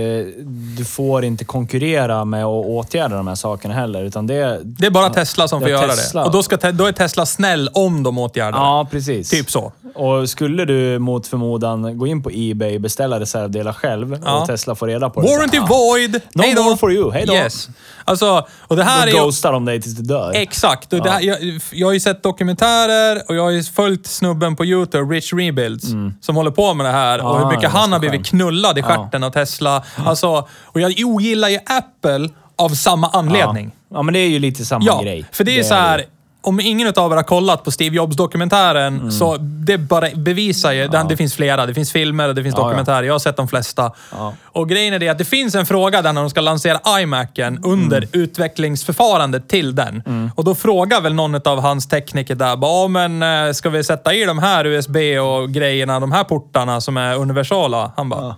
du får inte konkurrera med att åtgärda de här sakerna heller. Utan det, det är bara Tesla som Det får är göra Tesla. det. Och då, ska te- då är Tesla snäll om de åtgärder det. Ja, precis. Typ så. Och skulle du mot förmodan gå in på Ebay och beställa reservdelar själv Ja. och Tesla får reda på det. Warranty så, ah, void! No Hej då. more for you. Hej då. Yes. Alltså, och det här Då är ju... ghostar de dig tills du dör. Exakt. Och det här, jag, jag har ju sett dokumentärer och jag har ju följt snubben på YouTube, Rich Rebuilds, som håller på med det här och Mm. Ah, hur mycket det han var har så blivit skönt. knullad i stjärten av Tesla. Alltså, och jag ogillar ju Apple av samma anledning. Ja. ja, men det är ju lite samma Ja, grej. för det är ju ju- så här. Om ingen av er har kollat på Steve Jobs-dokumentären, Mm. så det bara bevisar ju... Det, det finns flera. Det finns filmer och det finns Ja, ja. dokumentärer. Jag har sett de flesta. Ja. Och grejen är det att det finns en fråga där när de ska lansera iMacen under Mm. utvecklingsförfarandet till den. Och då frågar väl någon av hans tekniker där, bara, "Ja, men eh, ska vi sätta i de här USB och grejerna, de här portarna som är universala? Han bara,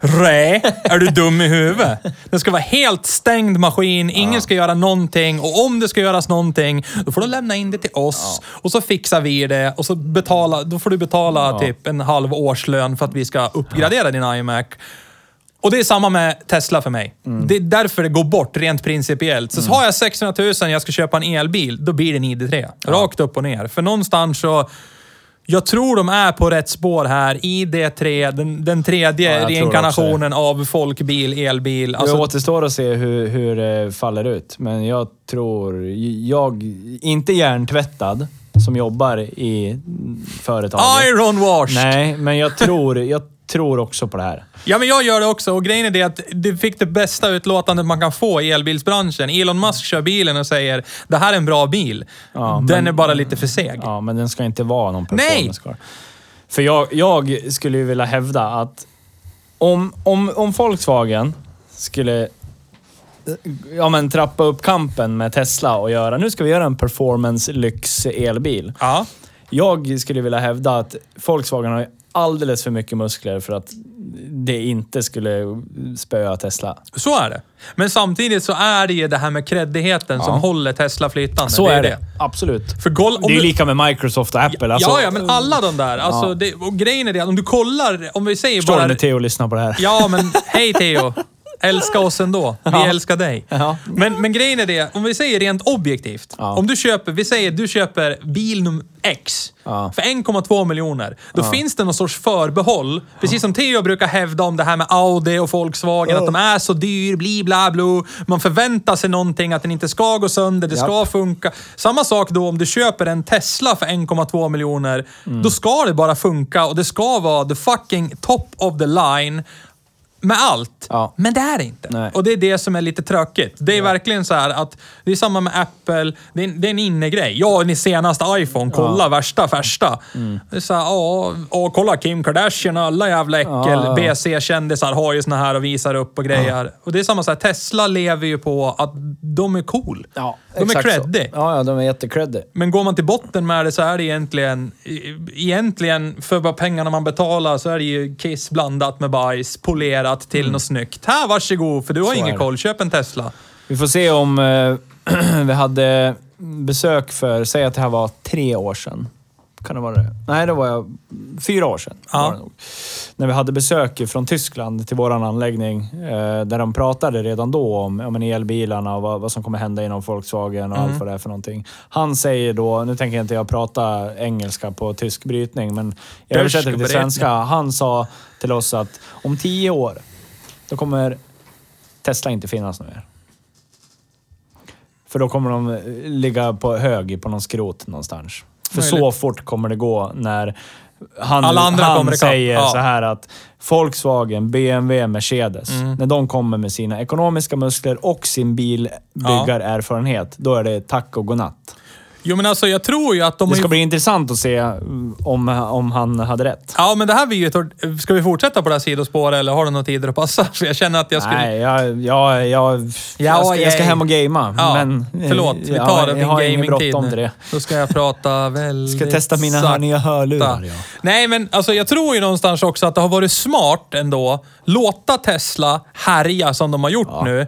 Rä, är du dum i huvudet? Det ska vara helt stängd maskin, ingen ska göra någonting och om det ska göras någonting, då får du lämna in det till oss och så fixar vi det och så betala, då får du betala typ en halv årslön för att vi ska uppgradera din iMac. Och det är samma med Tesla för mig. Mm. Det är därför det går bort rent principiellt. Så, har jag 600 000 jag ska köpa en elbil, då blir det en ID3. Rakt upp och ner. För någonstans så... Jag tror de är på rätt spår här. ID3, den, den Ja, tredje jag tror reinkarnationen av folkbil, elbil. Det Alltså, återstår att se hur, hur det faller ut, men jag tror... Jag, inte hjärntvättad, som jobbar i företaget. Iron wash! Nej, men jag tror, jag tror också på det här. Ja, men jag gör det också. Och grejen är det att du fick det bästa utlåtandet man kan få i elbilsbranschen. Elon Musk kör bilen och säger det här är en bra bil. den är bara lite för seg. Ja, men den ska inte vara någon Nej! performance car. För jag, jag skulle ju vilja hävda att om, om, om Volkswagen skulle eh, ja, men trappa upp kampen med Tesla och göra, nu ska vi göra en performance lyx elbil. Ja. Jag skulle vilja hävda att Volkswagen har ju alldeles för mycket muskler för att det inte skulle spöa Tesla. Så är det. Men samtidigt så är det ju det här med kreddigheten som håller Tesla flytande. Så det är det. Absolut. För gol- om Det är ju du- lika med Microsoft och Apple. Alltså, ja, ja, men alla de där. Alltså, det, och grejen är det att om du kollar, om vi säger Förstår du bara... när Theo lyssnar på det här? Ja, men hej Theo. Älska oss ändå. Vi älskar dig. Men, men grejen är det, om vi säger rent objektivt. Ja. Om du köper, vi säger du köper bil nummer X Ja. för 1,2 miljoner. Då finns det någon sorts förbehåll. Precis som Theo brukar hävda om det här med Audi och Volkswagen, att de är så dyr, bli bla bla. Man förväntar sig någonting, att den inte ska gå sönder, det ska funka. Samma sak då om du köper en Tesla för 1,2 miljoner. Då ska det bara funka och det ska vara the fucking top of the line med allt. Ja. Men det är det inte. Nej. Och det är det som är lite tråkigt. Det är verkligen så här att det är samma med Apple. Det är, det är en innegrej. Ja, ni senaste iPhone. Kolla värsta färsta. Mm. Det är så här, ja, och kolla Kim Kardashian och alla jävla äckel. ja. BC-kändisar har ju såna här och visar upp och grejer. Och det är samma så här, Tesla lever ju på att de är cool. Ja, de är exakt så. creddy. Ja, ja, de är jättecreddy. Men går man till botten med det så är det egentligen, e- egentligen för vad pengarna man betalar så är det ju kiss blandat med bajs, polerat till något snyggt. Här, varsågod, för du har Mm. Så är ingen det. koll. Köp en Tesla. Vi får se om eh, vi hade besök för, säg att det här var tre år sedan. Kan det vara det? Nej, det var jag, fyra år sedan. Ja. Var det nog. När vi hade besök från Tyskland till vår anläggning, eh, där de pratade redan då om ja, men elbilarna och vad, vad som kommer hända inom Volkswagen och allt vad det är för någonting. Han säger då, nu tänker jag inte jag prata engelska på tysk brytning, men jag översätter det till brytning. svenska. Han sa till oss att om tio år, då kommer Tesla inte finnas nu mer. För då kommer de eh, ligga på hög på någon skrot någonstans. För så Möjligt. fort kommer det gå när han, Alla andra kommer han ikapp. säger Ja. så här att Volkswagen, BMW, Mercedes, Mm. när de kommer med sina ekonomiska muskler och sin bilbyggarerfarenhet, då är det tack och godnatt. Jo, men alltså jag tror ju att de... Det har ska ju... bli intressant att se mm, om, om han hade rätt. Ja, men det här blir ju... ett ord- Ska vi fortsätta på det här sidospåret eller har du några tider att passa? För jag känner att jag skulle... Nej, jag, jag, jag, jag, ska, jag ska yay. hem och gamea. Ja, men, eh, förlåt, vi ja, tar det Jag har din inget gamingtid bråttom nu. till det. Då ska jag prata väldigt Ska testa mina sakta. nya hörlurar, ja. Nej, men alltså, jag tror ju någonstans också att det har varit smart ändå. Låta Tesla härja som de har gjort nu.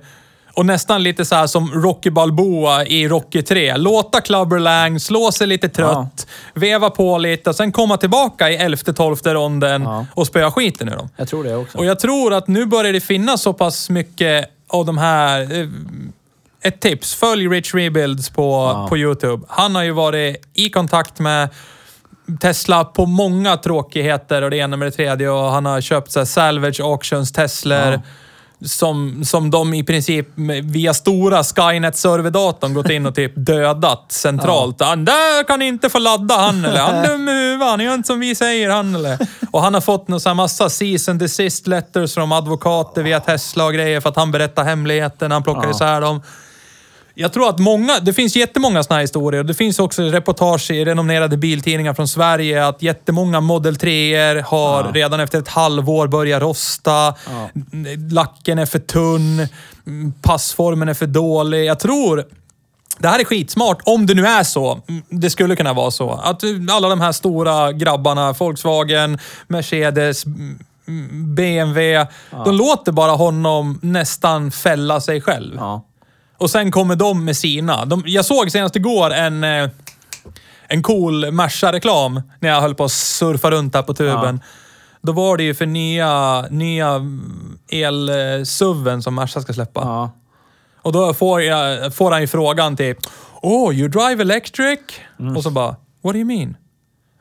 Och nästan lite så här som Rocky Balboa i Rocky 3. Låta Clubber Lang slå sig lite trött, veva på lite och sen komma tillbaka i elfte, tolfte ronden Ja. och spöa skiten ur dem. Jag tror det också. Och jag tror att nu börjar det finnas så pass mycket av de här... eh, Ett tips. Följ Rich Rebuilds på, på YouTube. Han har ju varit i kontakt med Tesla på många tråkigheter och det ena med det tredje och han har köpt så här salvage auctions, Teslor. Som, som de i princip med- via stora Skynet-serverdatorn gått in och typ dödat centralt. Han där kan inte få ladda han eller. Han är dum i huvudet. Han gör inte som vi säger han eller. Och han har fått någon så här massa season desist letters från advokater via Tesla och grejer för att han berättar hemligheter när han plockar isär dem. Jag tror att många, det finns jättemånga såna här historier och det finns också reportage i renommerade biltidningar från Sverige att jättemånga Model 3 har redan efter ett halvår börjat rosta, n- lacken är för tunn, mm, passformen är för dålig. Jag tror det här är skitsmart, om det nu är så. Mm, Det skulle kunna vara så. Att eh, alla de här stora grabbarna, Volkswagen, Mercedes, mm, mm, BMW, de låter bara honom nästan fälla sig själv. Ja. Och sen kommer de med sina. De, jag såg senast igår en, eh, en cool Merca-reklam när jag höll på att surfa runt här på tuben. Då var det ju för nya, nya el-suven som Merca ska släppa. Ja. Och då får, jag, får han ju frågan typ “Oh, you drive electric?” Och så bara “What do you mean?”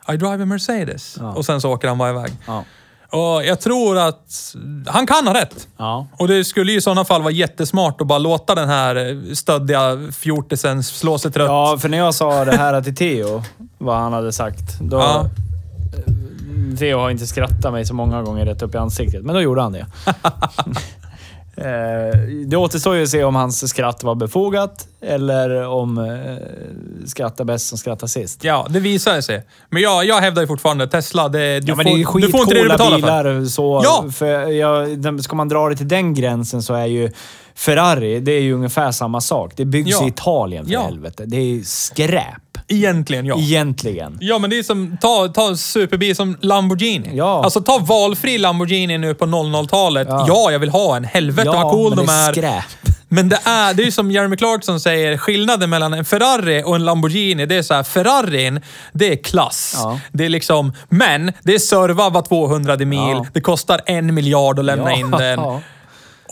“I drive a Mercedes.” Och sen så åker han bara iväg. Ja. Och jag tror att han kan ha rätt. Ja. Och det skulle ju i sådana fall vara jättesmart att bara låta den här stöddiga fjortisen slå sig trött. Ja, för när jag sa det här till Theo, vad han hade sagt, då... Ja. Theo har inte skrattat mig så många gånger rätt upp i ansiktet, men då gjorde han det. Eh, det återstår ju att se om hans skratt var befogat eller om eh, skrattar bäst som skrattar sist. Ja, det visar sig. Men jag, jag hävdar ju fortfarande Tesla, det, du, Ja, får, men det är ju du får inte det du skitcoola betalar för. bilar. eh, Så, Ja! för jag, den- ska man dra det till den gränsen så är ju Ferrari, det är ju ungefär samma sak. Det byggs Ja. i Italien för Ja. helvete. Det är ju skräp. Egentligen ja. Egentligen. Ja, men det är som, ta, ta en superbil som Lamborghini. Ja. Alltså ta valfri Lamborghini nu på 00-talet. Ja. Ja. jag vill ha en. Helvete vad cool de är. skräp. Men det är, det är ju som Jeremy Clarkson säger, skillnaden mellan en Ferrari och en Lamborghini, det är så här, Ferrarin, det är klass. Ja. Det är liksom, men det är serva var 200 mil, Ja. det kostar en miljard att lämna in den. Ja.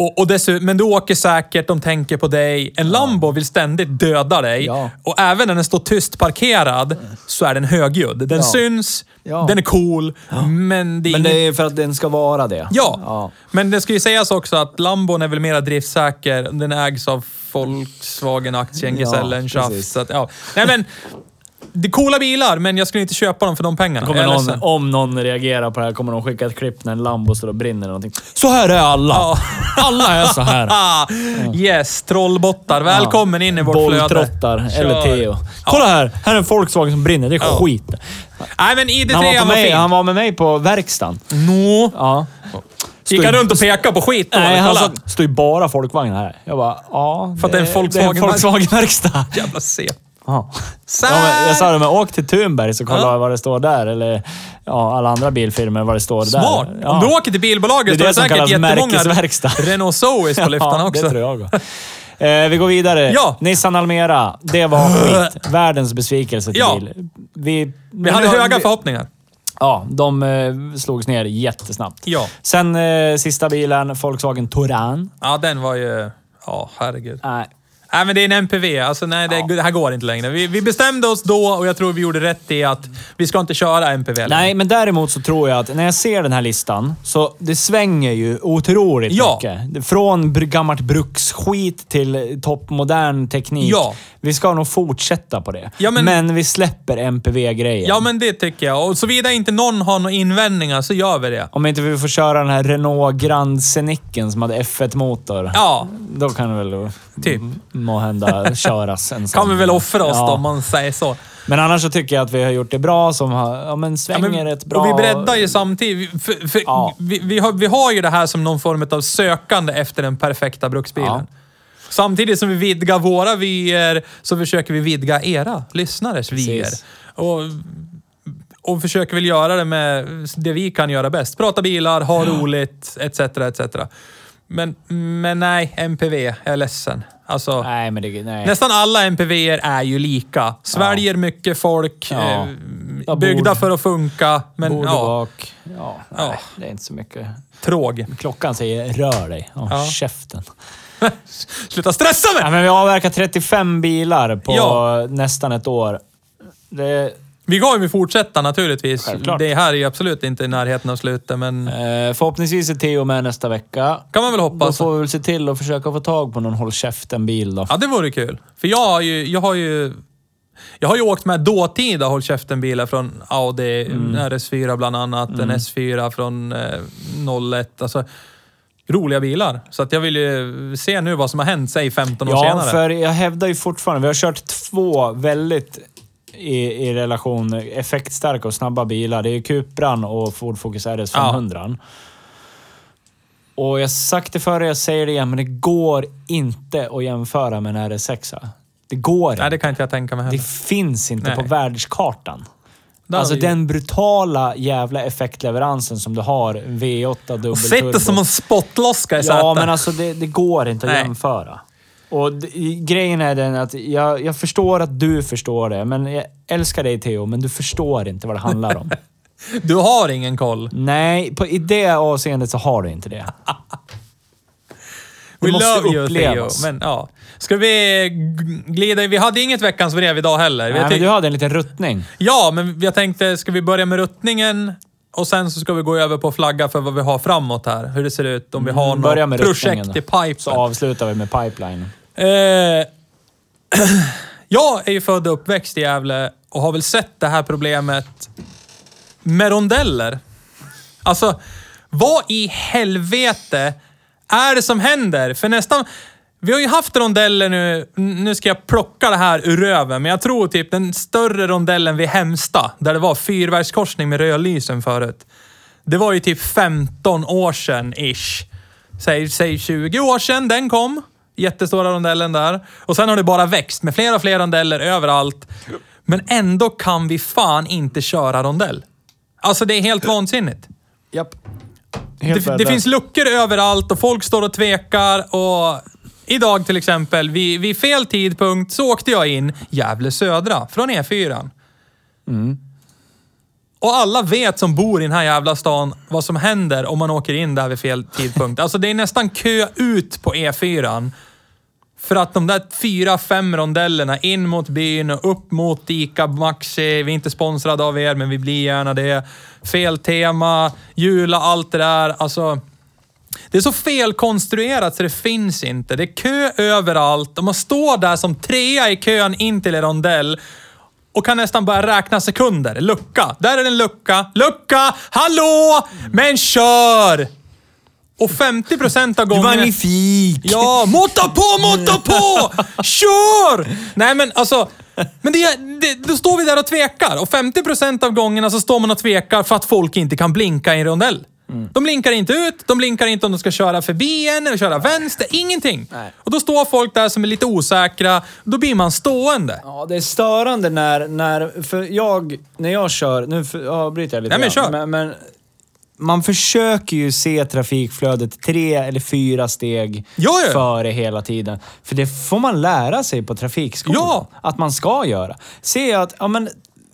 Och, och dessutom, men du åker säkert, de tänker på dig. En Lambo vill ständigt döda dig. Ja. Och även när den står tyst parkerad så är den högljudd. Den syns, Ja. den är cool, men det är Men ingen... det är för att den ska vara det. Ja. ja. men det ska ju sägas också att Lambon är väl mera driftsäker. Den ägs av Volkswagen-aktien Ja, Gesellenschaft. precis. så att, ja. Nej, men det är coola bilar, men jag skulle inte köpa dem för de pengarna. Kommer Jag är någon, ledsen. om någon reagerar på det här kommer de skicka ett klipp när en Lambo står och brinner eller någonting. Så här är alla! Alla är så här. Ah, yes, trollbottar. Välkommen in i vårt flöde. Bolltrottar eller Kör. Teo. Kolla här! Här är en Volkswagen som brinner. Det är skit. Nej, men ID3 Han var, på var mig, fin. han var med mig på verkstaden. Mm. Nå. Ja. Gick han runt och pekade på skit då? Nej, eller? han Kolla. sa står ju bara folkvagn här. Jag bara, ja. För att det är en Volkswagen- Volkswagen-verkstad. Jävla C. Ja. Ja, men jag sa det, men åk till Thunberg så kollar Ja. jag vad det står där. Eller ja, alla andra bilfirmor, vad det står Smart! där. Om du åker till Det är bilbolaget det står som det säkert kallas jättemånga märkesverkstad. Renault Zoes på lyftarna också. det tror jag också. Eh, vi går vidare. Ja. Nissan Almera. Det var skit. Världens besvikelse till Ja. bil. Vi, Vi hade höga förhoppningar. Ja, de eh, slogs ner jättesnabbt. Ja. Sen eh, sista bilen, Volkswagen Touran. Äh, Ja, den var ju... Ja, herregud. Nej. Nej, men det är en MPV. Alltså, nej, det, det här går inte längre. Vi, vi bestämde oss då och jag tror vi gjorde rätt i att vi ska inte köra MPV längre. Nej, men däremot så tror jag att när jag ser den här listan så det svänger ju otroligt Ja. mycket. Från br- gammalt bruksskit till toppmodern teknik. Ja. Vi ska nog fortsätta på det. Ja, men- vi släpper MPV-grejen. Ja, men det tycker jag. Och såvida inte någon har några invändningar så gör vi det. Om inte vi får köra den här Renault Grand Scenicken som hade F1-motor. Ja, Då kan det väl typ. må hända köras en sån. Kan vi väl offra oss Ja. då, om man säger så. Men annars så tycker jag att vi har gjort det bra som har, ja men Ja, svänger rätt bra. Och vi breddar ju samtidigt. För, för Ja. vi, vi, har, vi har ju det här som någon form av sökande efter den perfekta bruksbilen. Ja. Samtidigt som vi vidgar våra vyer så försöker vi vidga era lyssnares vyer. Och, och försöker väl göra det med det vi kan göra bäst. Prata bilar, ha roligt, etc. etc. Men, men nej, MPV. Jag är ledsen. Alltså, Nej, men det... Nej. Nästan alla MPVer är ju lika. Sväljer mycket folk, Ja. eh, Ja, bord. byggda för att funka, men Bord och ja, bak. Ja, Ja. Nej, det är inte så mycket. tråg. Klockan säger rör dig. Ja, Ja. käften. Sluta stressa Nej, mig! men vi avverkar 35 bilar på Ja. nästan ett år. Det, Vi kommer ju fortsätta naturligtvis. Självklart. Det här är ju absolut inte i närheten av slutet, men eh, förhoppningsvis är Theo med nästa vecka. kan man väl Då hoppas. får vi väl se till att försöka få tag på någon håll käften-bil då. Ja, det vore kul. För jag har ju... Jag har ju jag har ju åkt med dåtida Håll käften-bilar från Audi, Mm. en RS4 bland annat, en S4 från eh, 01. Alltså, roliga bilar. Så att jag vill ju se nu vad som har hänt, säg 15 år Ja, senare. för jag hävdar ju fortfarande, vi har kört två väldigt i, i relation effektstarka och snabba bilar. Det är ju Cupran och Ford Focus RS 500. Och jag har sagt det förr, jag säger det igen, men det går inte att jämföra med en RS6. Det går inte. Nej, det, det kan inte jag tänka mig heller. finns inte Nej. på världskartan. Där alltså har vi- den brutala jävla effektleveransen som du har, V8 dubbelturbo. Och sitter som en spottloska i sätet. Ja, men alltså det, det går inte att Nej. jämföra. Och d- i- grejen är den att jag, jag förstår att du förstår det, men jag älskar dig Theo, men du förstår inte vad det handlar om. Du har ingen koll. Nej, på, i det avseendet så har du inte det. Det We måste love you Theo. upplevas. Men, ja. Ska vi g- glida in? Vi hade inget veckans brev idag heller. Vi Nej, men tyck- du hade en liten ruttning. Ja, men jag tänkte, ska vi börja med ruttningen? Och sen så ska vi gå över på flagga för vad vi har framåt här. Hur det ser ut, om vi har Mm, Börja med något projekt ruttningen i då. Så pipen. avslutar vi med pipeline. Eh, jag är ju född och uppväxt i Gävle och har väl sett det här problemet med rondeller. Alltså, vad i helvete är det som händer? För nästan... Vi har ju haft rondeller nu. Nu ska jag plocka det här ur röven, men jag tror typ den större rondellen vid Hemsta, där det var fyrverkskorsning med rödlysen förut. Det var ju typ 15 år sedan, ish. Säg, säg 20 år sedan den kom. Jättestora rondellen där. Och sen har det bara växt med fler och fler rondeller överallt. Men ändå kan vi fan inte köra rondell. Alltså det är helt vansinnigt. Japp. Helt Det, det värdelöst. finns luckor överallt och folk står och tvekar och... Idag till exempel, vid, vid fel tidpunkt så åkte jag in Gävle Södra från E4. Mm. Och alla vet som bor i den här jävla stan vad som händer om man åker in där vid fel tidpunkt. Alltså det är nästan kö ut på E E4. För att de där fyra, fem rondellerna in mot byn och upp mot Ica Maxi. Vi är inte sponsrade av er, men vi blir gärna det. Fel tema, jula, allt det där. Alltså, det är så felkonstruerat så det finns inte. Det är kö överallt och man står där som trea i kön in till en rondell och kan nästan börja räkna sekunder. Lucka. Där är det en lucka. Lucka! Hallå! Men kör! Och 50% av gångerna... Magnifik! Ja, måtta på, måtta på! Kör! Nej men alltså, men det, det, då står vi där och tvekar och 50% av gångerna så står man och tvekar för att folk inte kan blinka i en rondell. Mm. De blinkar inte ut, de blinkar inte om de ska köra förbi en eller köra vänster, ingenting. Och då står folk där som är lite osäkra, då blir man stående. Ja, det är störande när, när för jag, när jag kör, nu för- avbryter jag lite Nej, men grann, kör. men, men man försöker ju se trafikflödet tre eller fyra steg Jo, jo. före hela tiden. För det får man lära sig på trafikskolan. Ja. Att man ska göra. Ser jag att, ja men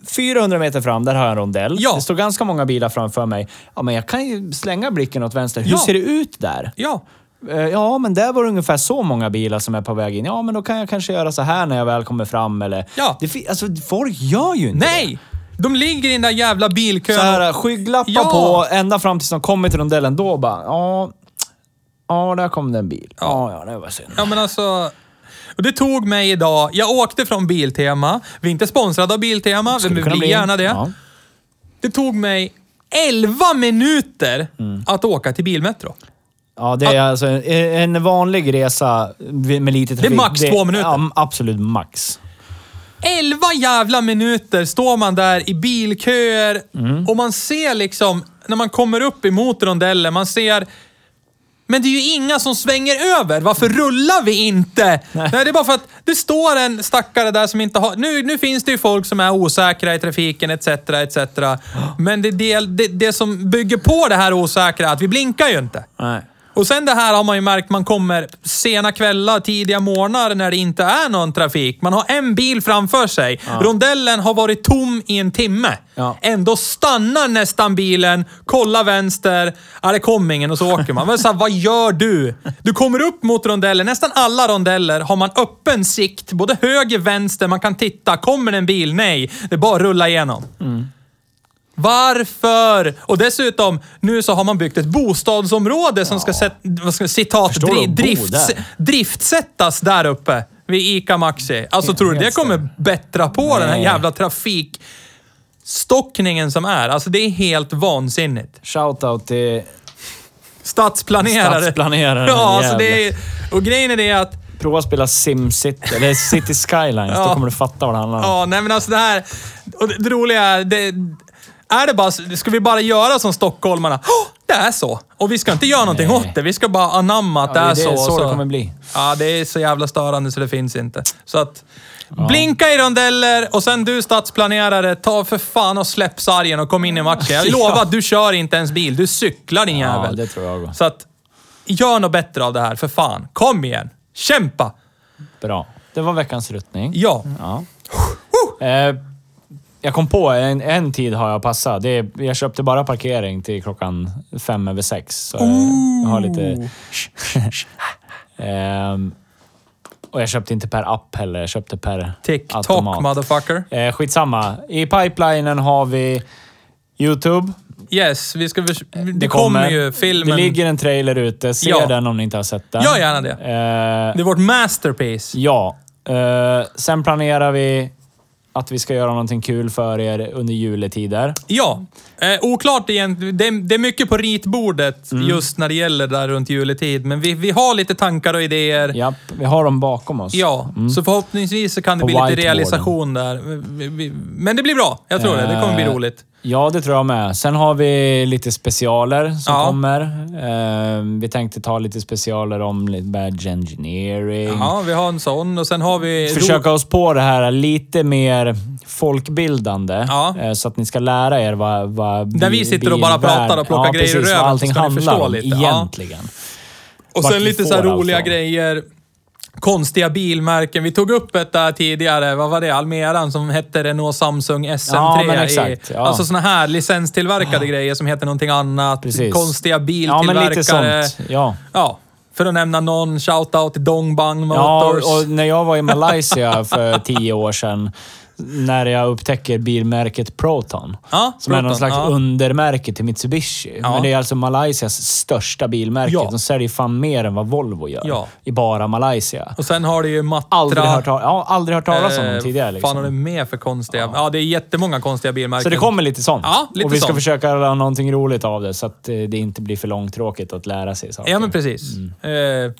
400 meter fram, där har jag en rondell. Ja. Det står ganska många bilar framför mig. Ja, men jag kan ju slänga blicken åt vänster. Hur Ja. ser det ut där? Ja. Eh, Ja, men där var det ungefär så många bilar som är på väg in. Ja, men då kan jag kanske göra så här när jag väl kommer fram eller... Ja. Det, fi- alltså, folk gör ju inte Nej! De ligger i den där jävla det. bilkön. Så här, skygglappar Ja. på ända fram tills de kommer till rondellen. Då bara, ja... Ja, där kom det en bil. Ja, ja, det var synd. Ja, men alltså... Och det tog mig idag. Jag åkte från Biltema. Vi är inte sponsrade av Biltema, men Skulle vi kunna blir bli- gärna det. Ja. Det tog mig 11 minuter att åka till Bilmetro. Ja, det är alltså en, en vanlig resa vid- med lite trafik. max två minuter. Ja, absolut max. 11 jävla minuter står man där i bilköer och man ser liksom, när man kommer upp emot rondellen, man ser men det är ju inga som svänger över. Varför rullar vi inte? Nej. det är bara för att det står en stackare där som inte har... Nu, nu finns det ju folk som är osäkra i trafiken etc. etc. Men det, är del, det, det som bygger på det här osäkra, är att vi blinkar ju inte. Nej. Och sen det här har man ju märkt, man kommer sena kvällar, tidiga morgnar när det inte är någon trafik. Man har en bil framför sig. Rondellen har varit tom i en timme. Ja. Ändå stannar nästan bilen, kollar vänster. Ja, det kom ingen och så åker man. Men så här, vad gör du? Du kommer upp mot rondellen. Nästan alla rondeller har man öppen sikt, både höger, vänster. Man kan titta. Kommer det en bil? Nej. Det är bara att rulla igenom. Varför? Och dessutom, nu så har man byggt ett bostadsområde som ska, sätt, vad ska citat, Förstår du dri, att bo drifts, där? driftsättas där uppe vid ICA Maxi. Alltså tror du det helt kommer bättra på den här Nej. jävla trafikstockningen som är? Alltså det är helt vansinnigt. Shoutout till Stadsplanerare. Stadsplanerare, Ja, alltså jävlar. det är, och grejen är det att Prova att spela SimCity, eller City Skylines. Ja. Då kommer du fatta vad det handlar om. Ja, nej men alltså det här... Och det, det roliga är... Det, är det bara... Ska vi bara göra som stockholmarna? "Åh, det är så! Och vi ska inte göra någonting Nej. åt det. Vi ska bara anamma att Ja, det är, så. det och så det kommer bli. Ja, det är så jävla störande så det finns inte. Så att... Blinka i rondeller och sen du stadsplanerare, ta för fan och släpp sargen och kom in i matchen. Jag Ja. lovar att du kör inte ens bil. Du cyklar din Ja, jävel. det tror jag. Så att... Gör något bättre av det här, för fan. Kom igen! Kämpa! Bra. Det var veckans ruttning. Ja. Ja. Eh, jag kom på, en, en tid har jag passat. Det är, jag köpte bara parkering till klockan fem över sex. Så jag, jag har lite... Ehm, och jag köpte inte per app heller, jag köpte per TikTok, automat. motherfucker. Eh, skitsamma. I pipelinen har vi YouTube. Yes, vi ska... Vers- det, kommer. ju filmen. Eh, Det ligger en trailer ute. Se Ja. den om ni inte har sett den. Gör gärna det. Eh, Det är vårt masterpiece. Ja. Eh, sen planerar vi att vi ska göra någonting kul för er under juletider. Ja. Eh, oklart egentligen. Det, är- det är mycket på ritbordet Mm. just när det gäller där runt juletid. Men vi, vi har lite tankar och idéer. Ja. Japp, vi har dem bakom oss. så förhoppningsvis så kan det Mm. På bli lite whiteboarden. realisation där. Vi- vi- Men det blir bra. Jag tror det. Det kommer bli Eh, roligt. Ja, det tror jag med. Sen har vi lite specialer som Ja. kommer. Eh, vi tänkte ta lite specialer om lite badge engineering. Ja, vi har en sån och sen har vi... Försöka oss på det här lite mer folkbildande. Ja. eh, Så att ni ska lära er vad, vad Där vi sitter och bara pratar och plockar ja, grejer ur precis, vad röven, allting så ska ni handlar förstå om lite. Ja. egentligen. Och Vart sen vi lite får så här allt roliga ifrån. grejer. Konstiga bilmärken. Vi tog upp ett där tidigare, vad var det? Almeran som hette Renault Samsung SM3. Ja, men i- exakt, ja. Alltså såna här licenstillverkade grejer som heter någonting annat. Precis. Konstiga Ja, biltillverkare. men lite sånt. Ja. Ja, för att nämna någon. Shoutout till Dongbang Ja, Motors. och när jag var i Malaysia för tio år sedan, när jag upptäcker bilmärket Proton, Ja, som är någon Proton, slags ja. undermärke till Mitsubishi. Ja. Men det är alltså Malaysias största bilmärke. Ja. De säljer fan mer än vad Volvo gör Ja. i bara Malaysia. Och sen har det ju Matra. Aldrig hört, tal- ja, aldrig hört talas om Eh, dem tidigare. fan har det Liksom. med för konstiga... Ja, det är jättemånga konstiga bilmärken. Så det kommer lite sånt. Ja, lite och vi ska sånt. försöka göra någonting roligt av det så att eh, det inte blir för långtråkigt att lära sig saker. Ja, men precis. Eh,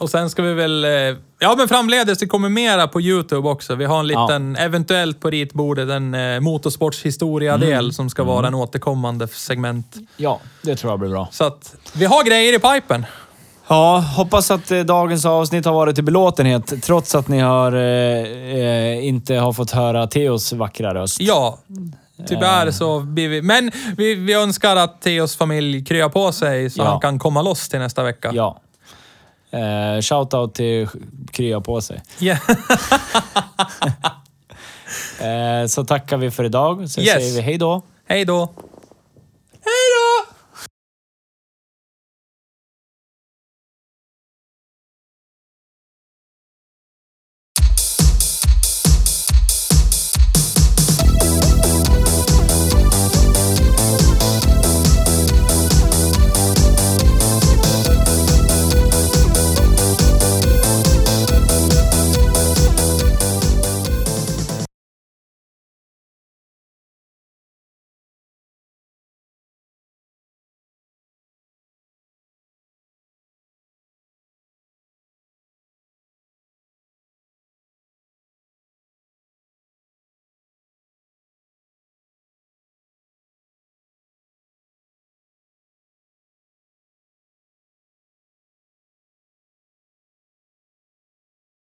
och sen ska vi väl... Eh, ja, men framledes, det kommer mera på YouTube också. Vi har en liten, eventuellt på ritbordet, en eh, motorsportshistoria-del som ska vara en återkommande segment. ja, det tror jag blir bra. Så att vi har grejer i pipen. Ja, hoppas att eh, dagens avsnitt har varit till belåtenhet, trots att ni har, eh, eh, inte har fått höra Theos vackra röst. Ja, tyvärr så blir vi... Men vi, vi önskar att Theos familj kryar på sig så Ja. han kan komma loss till nästa vecka. Ja. Eh, Shoutout till Krya på sig. Ja. Eh, så tackar vi för idag, så Yes. säger vi hej då. Hej då!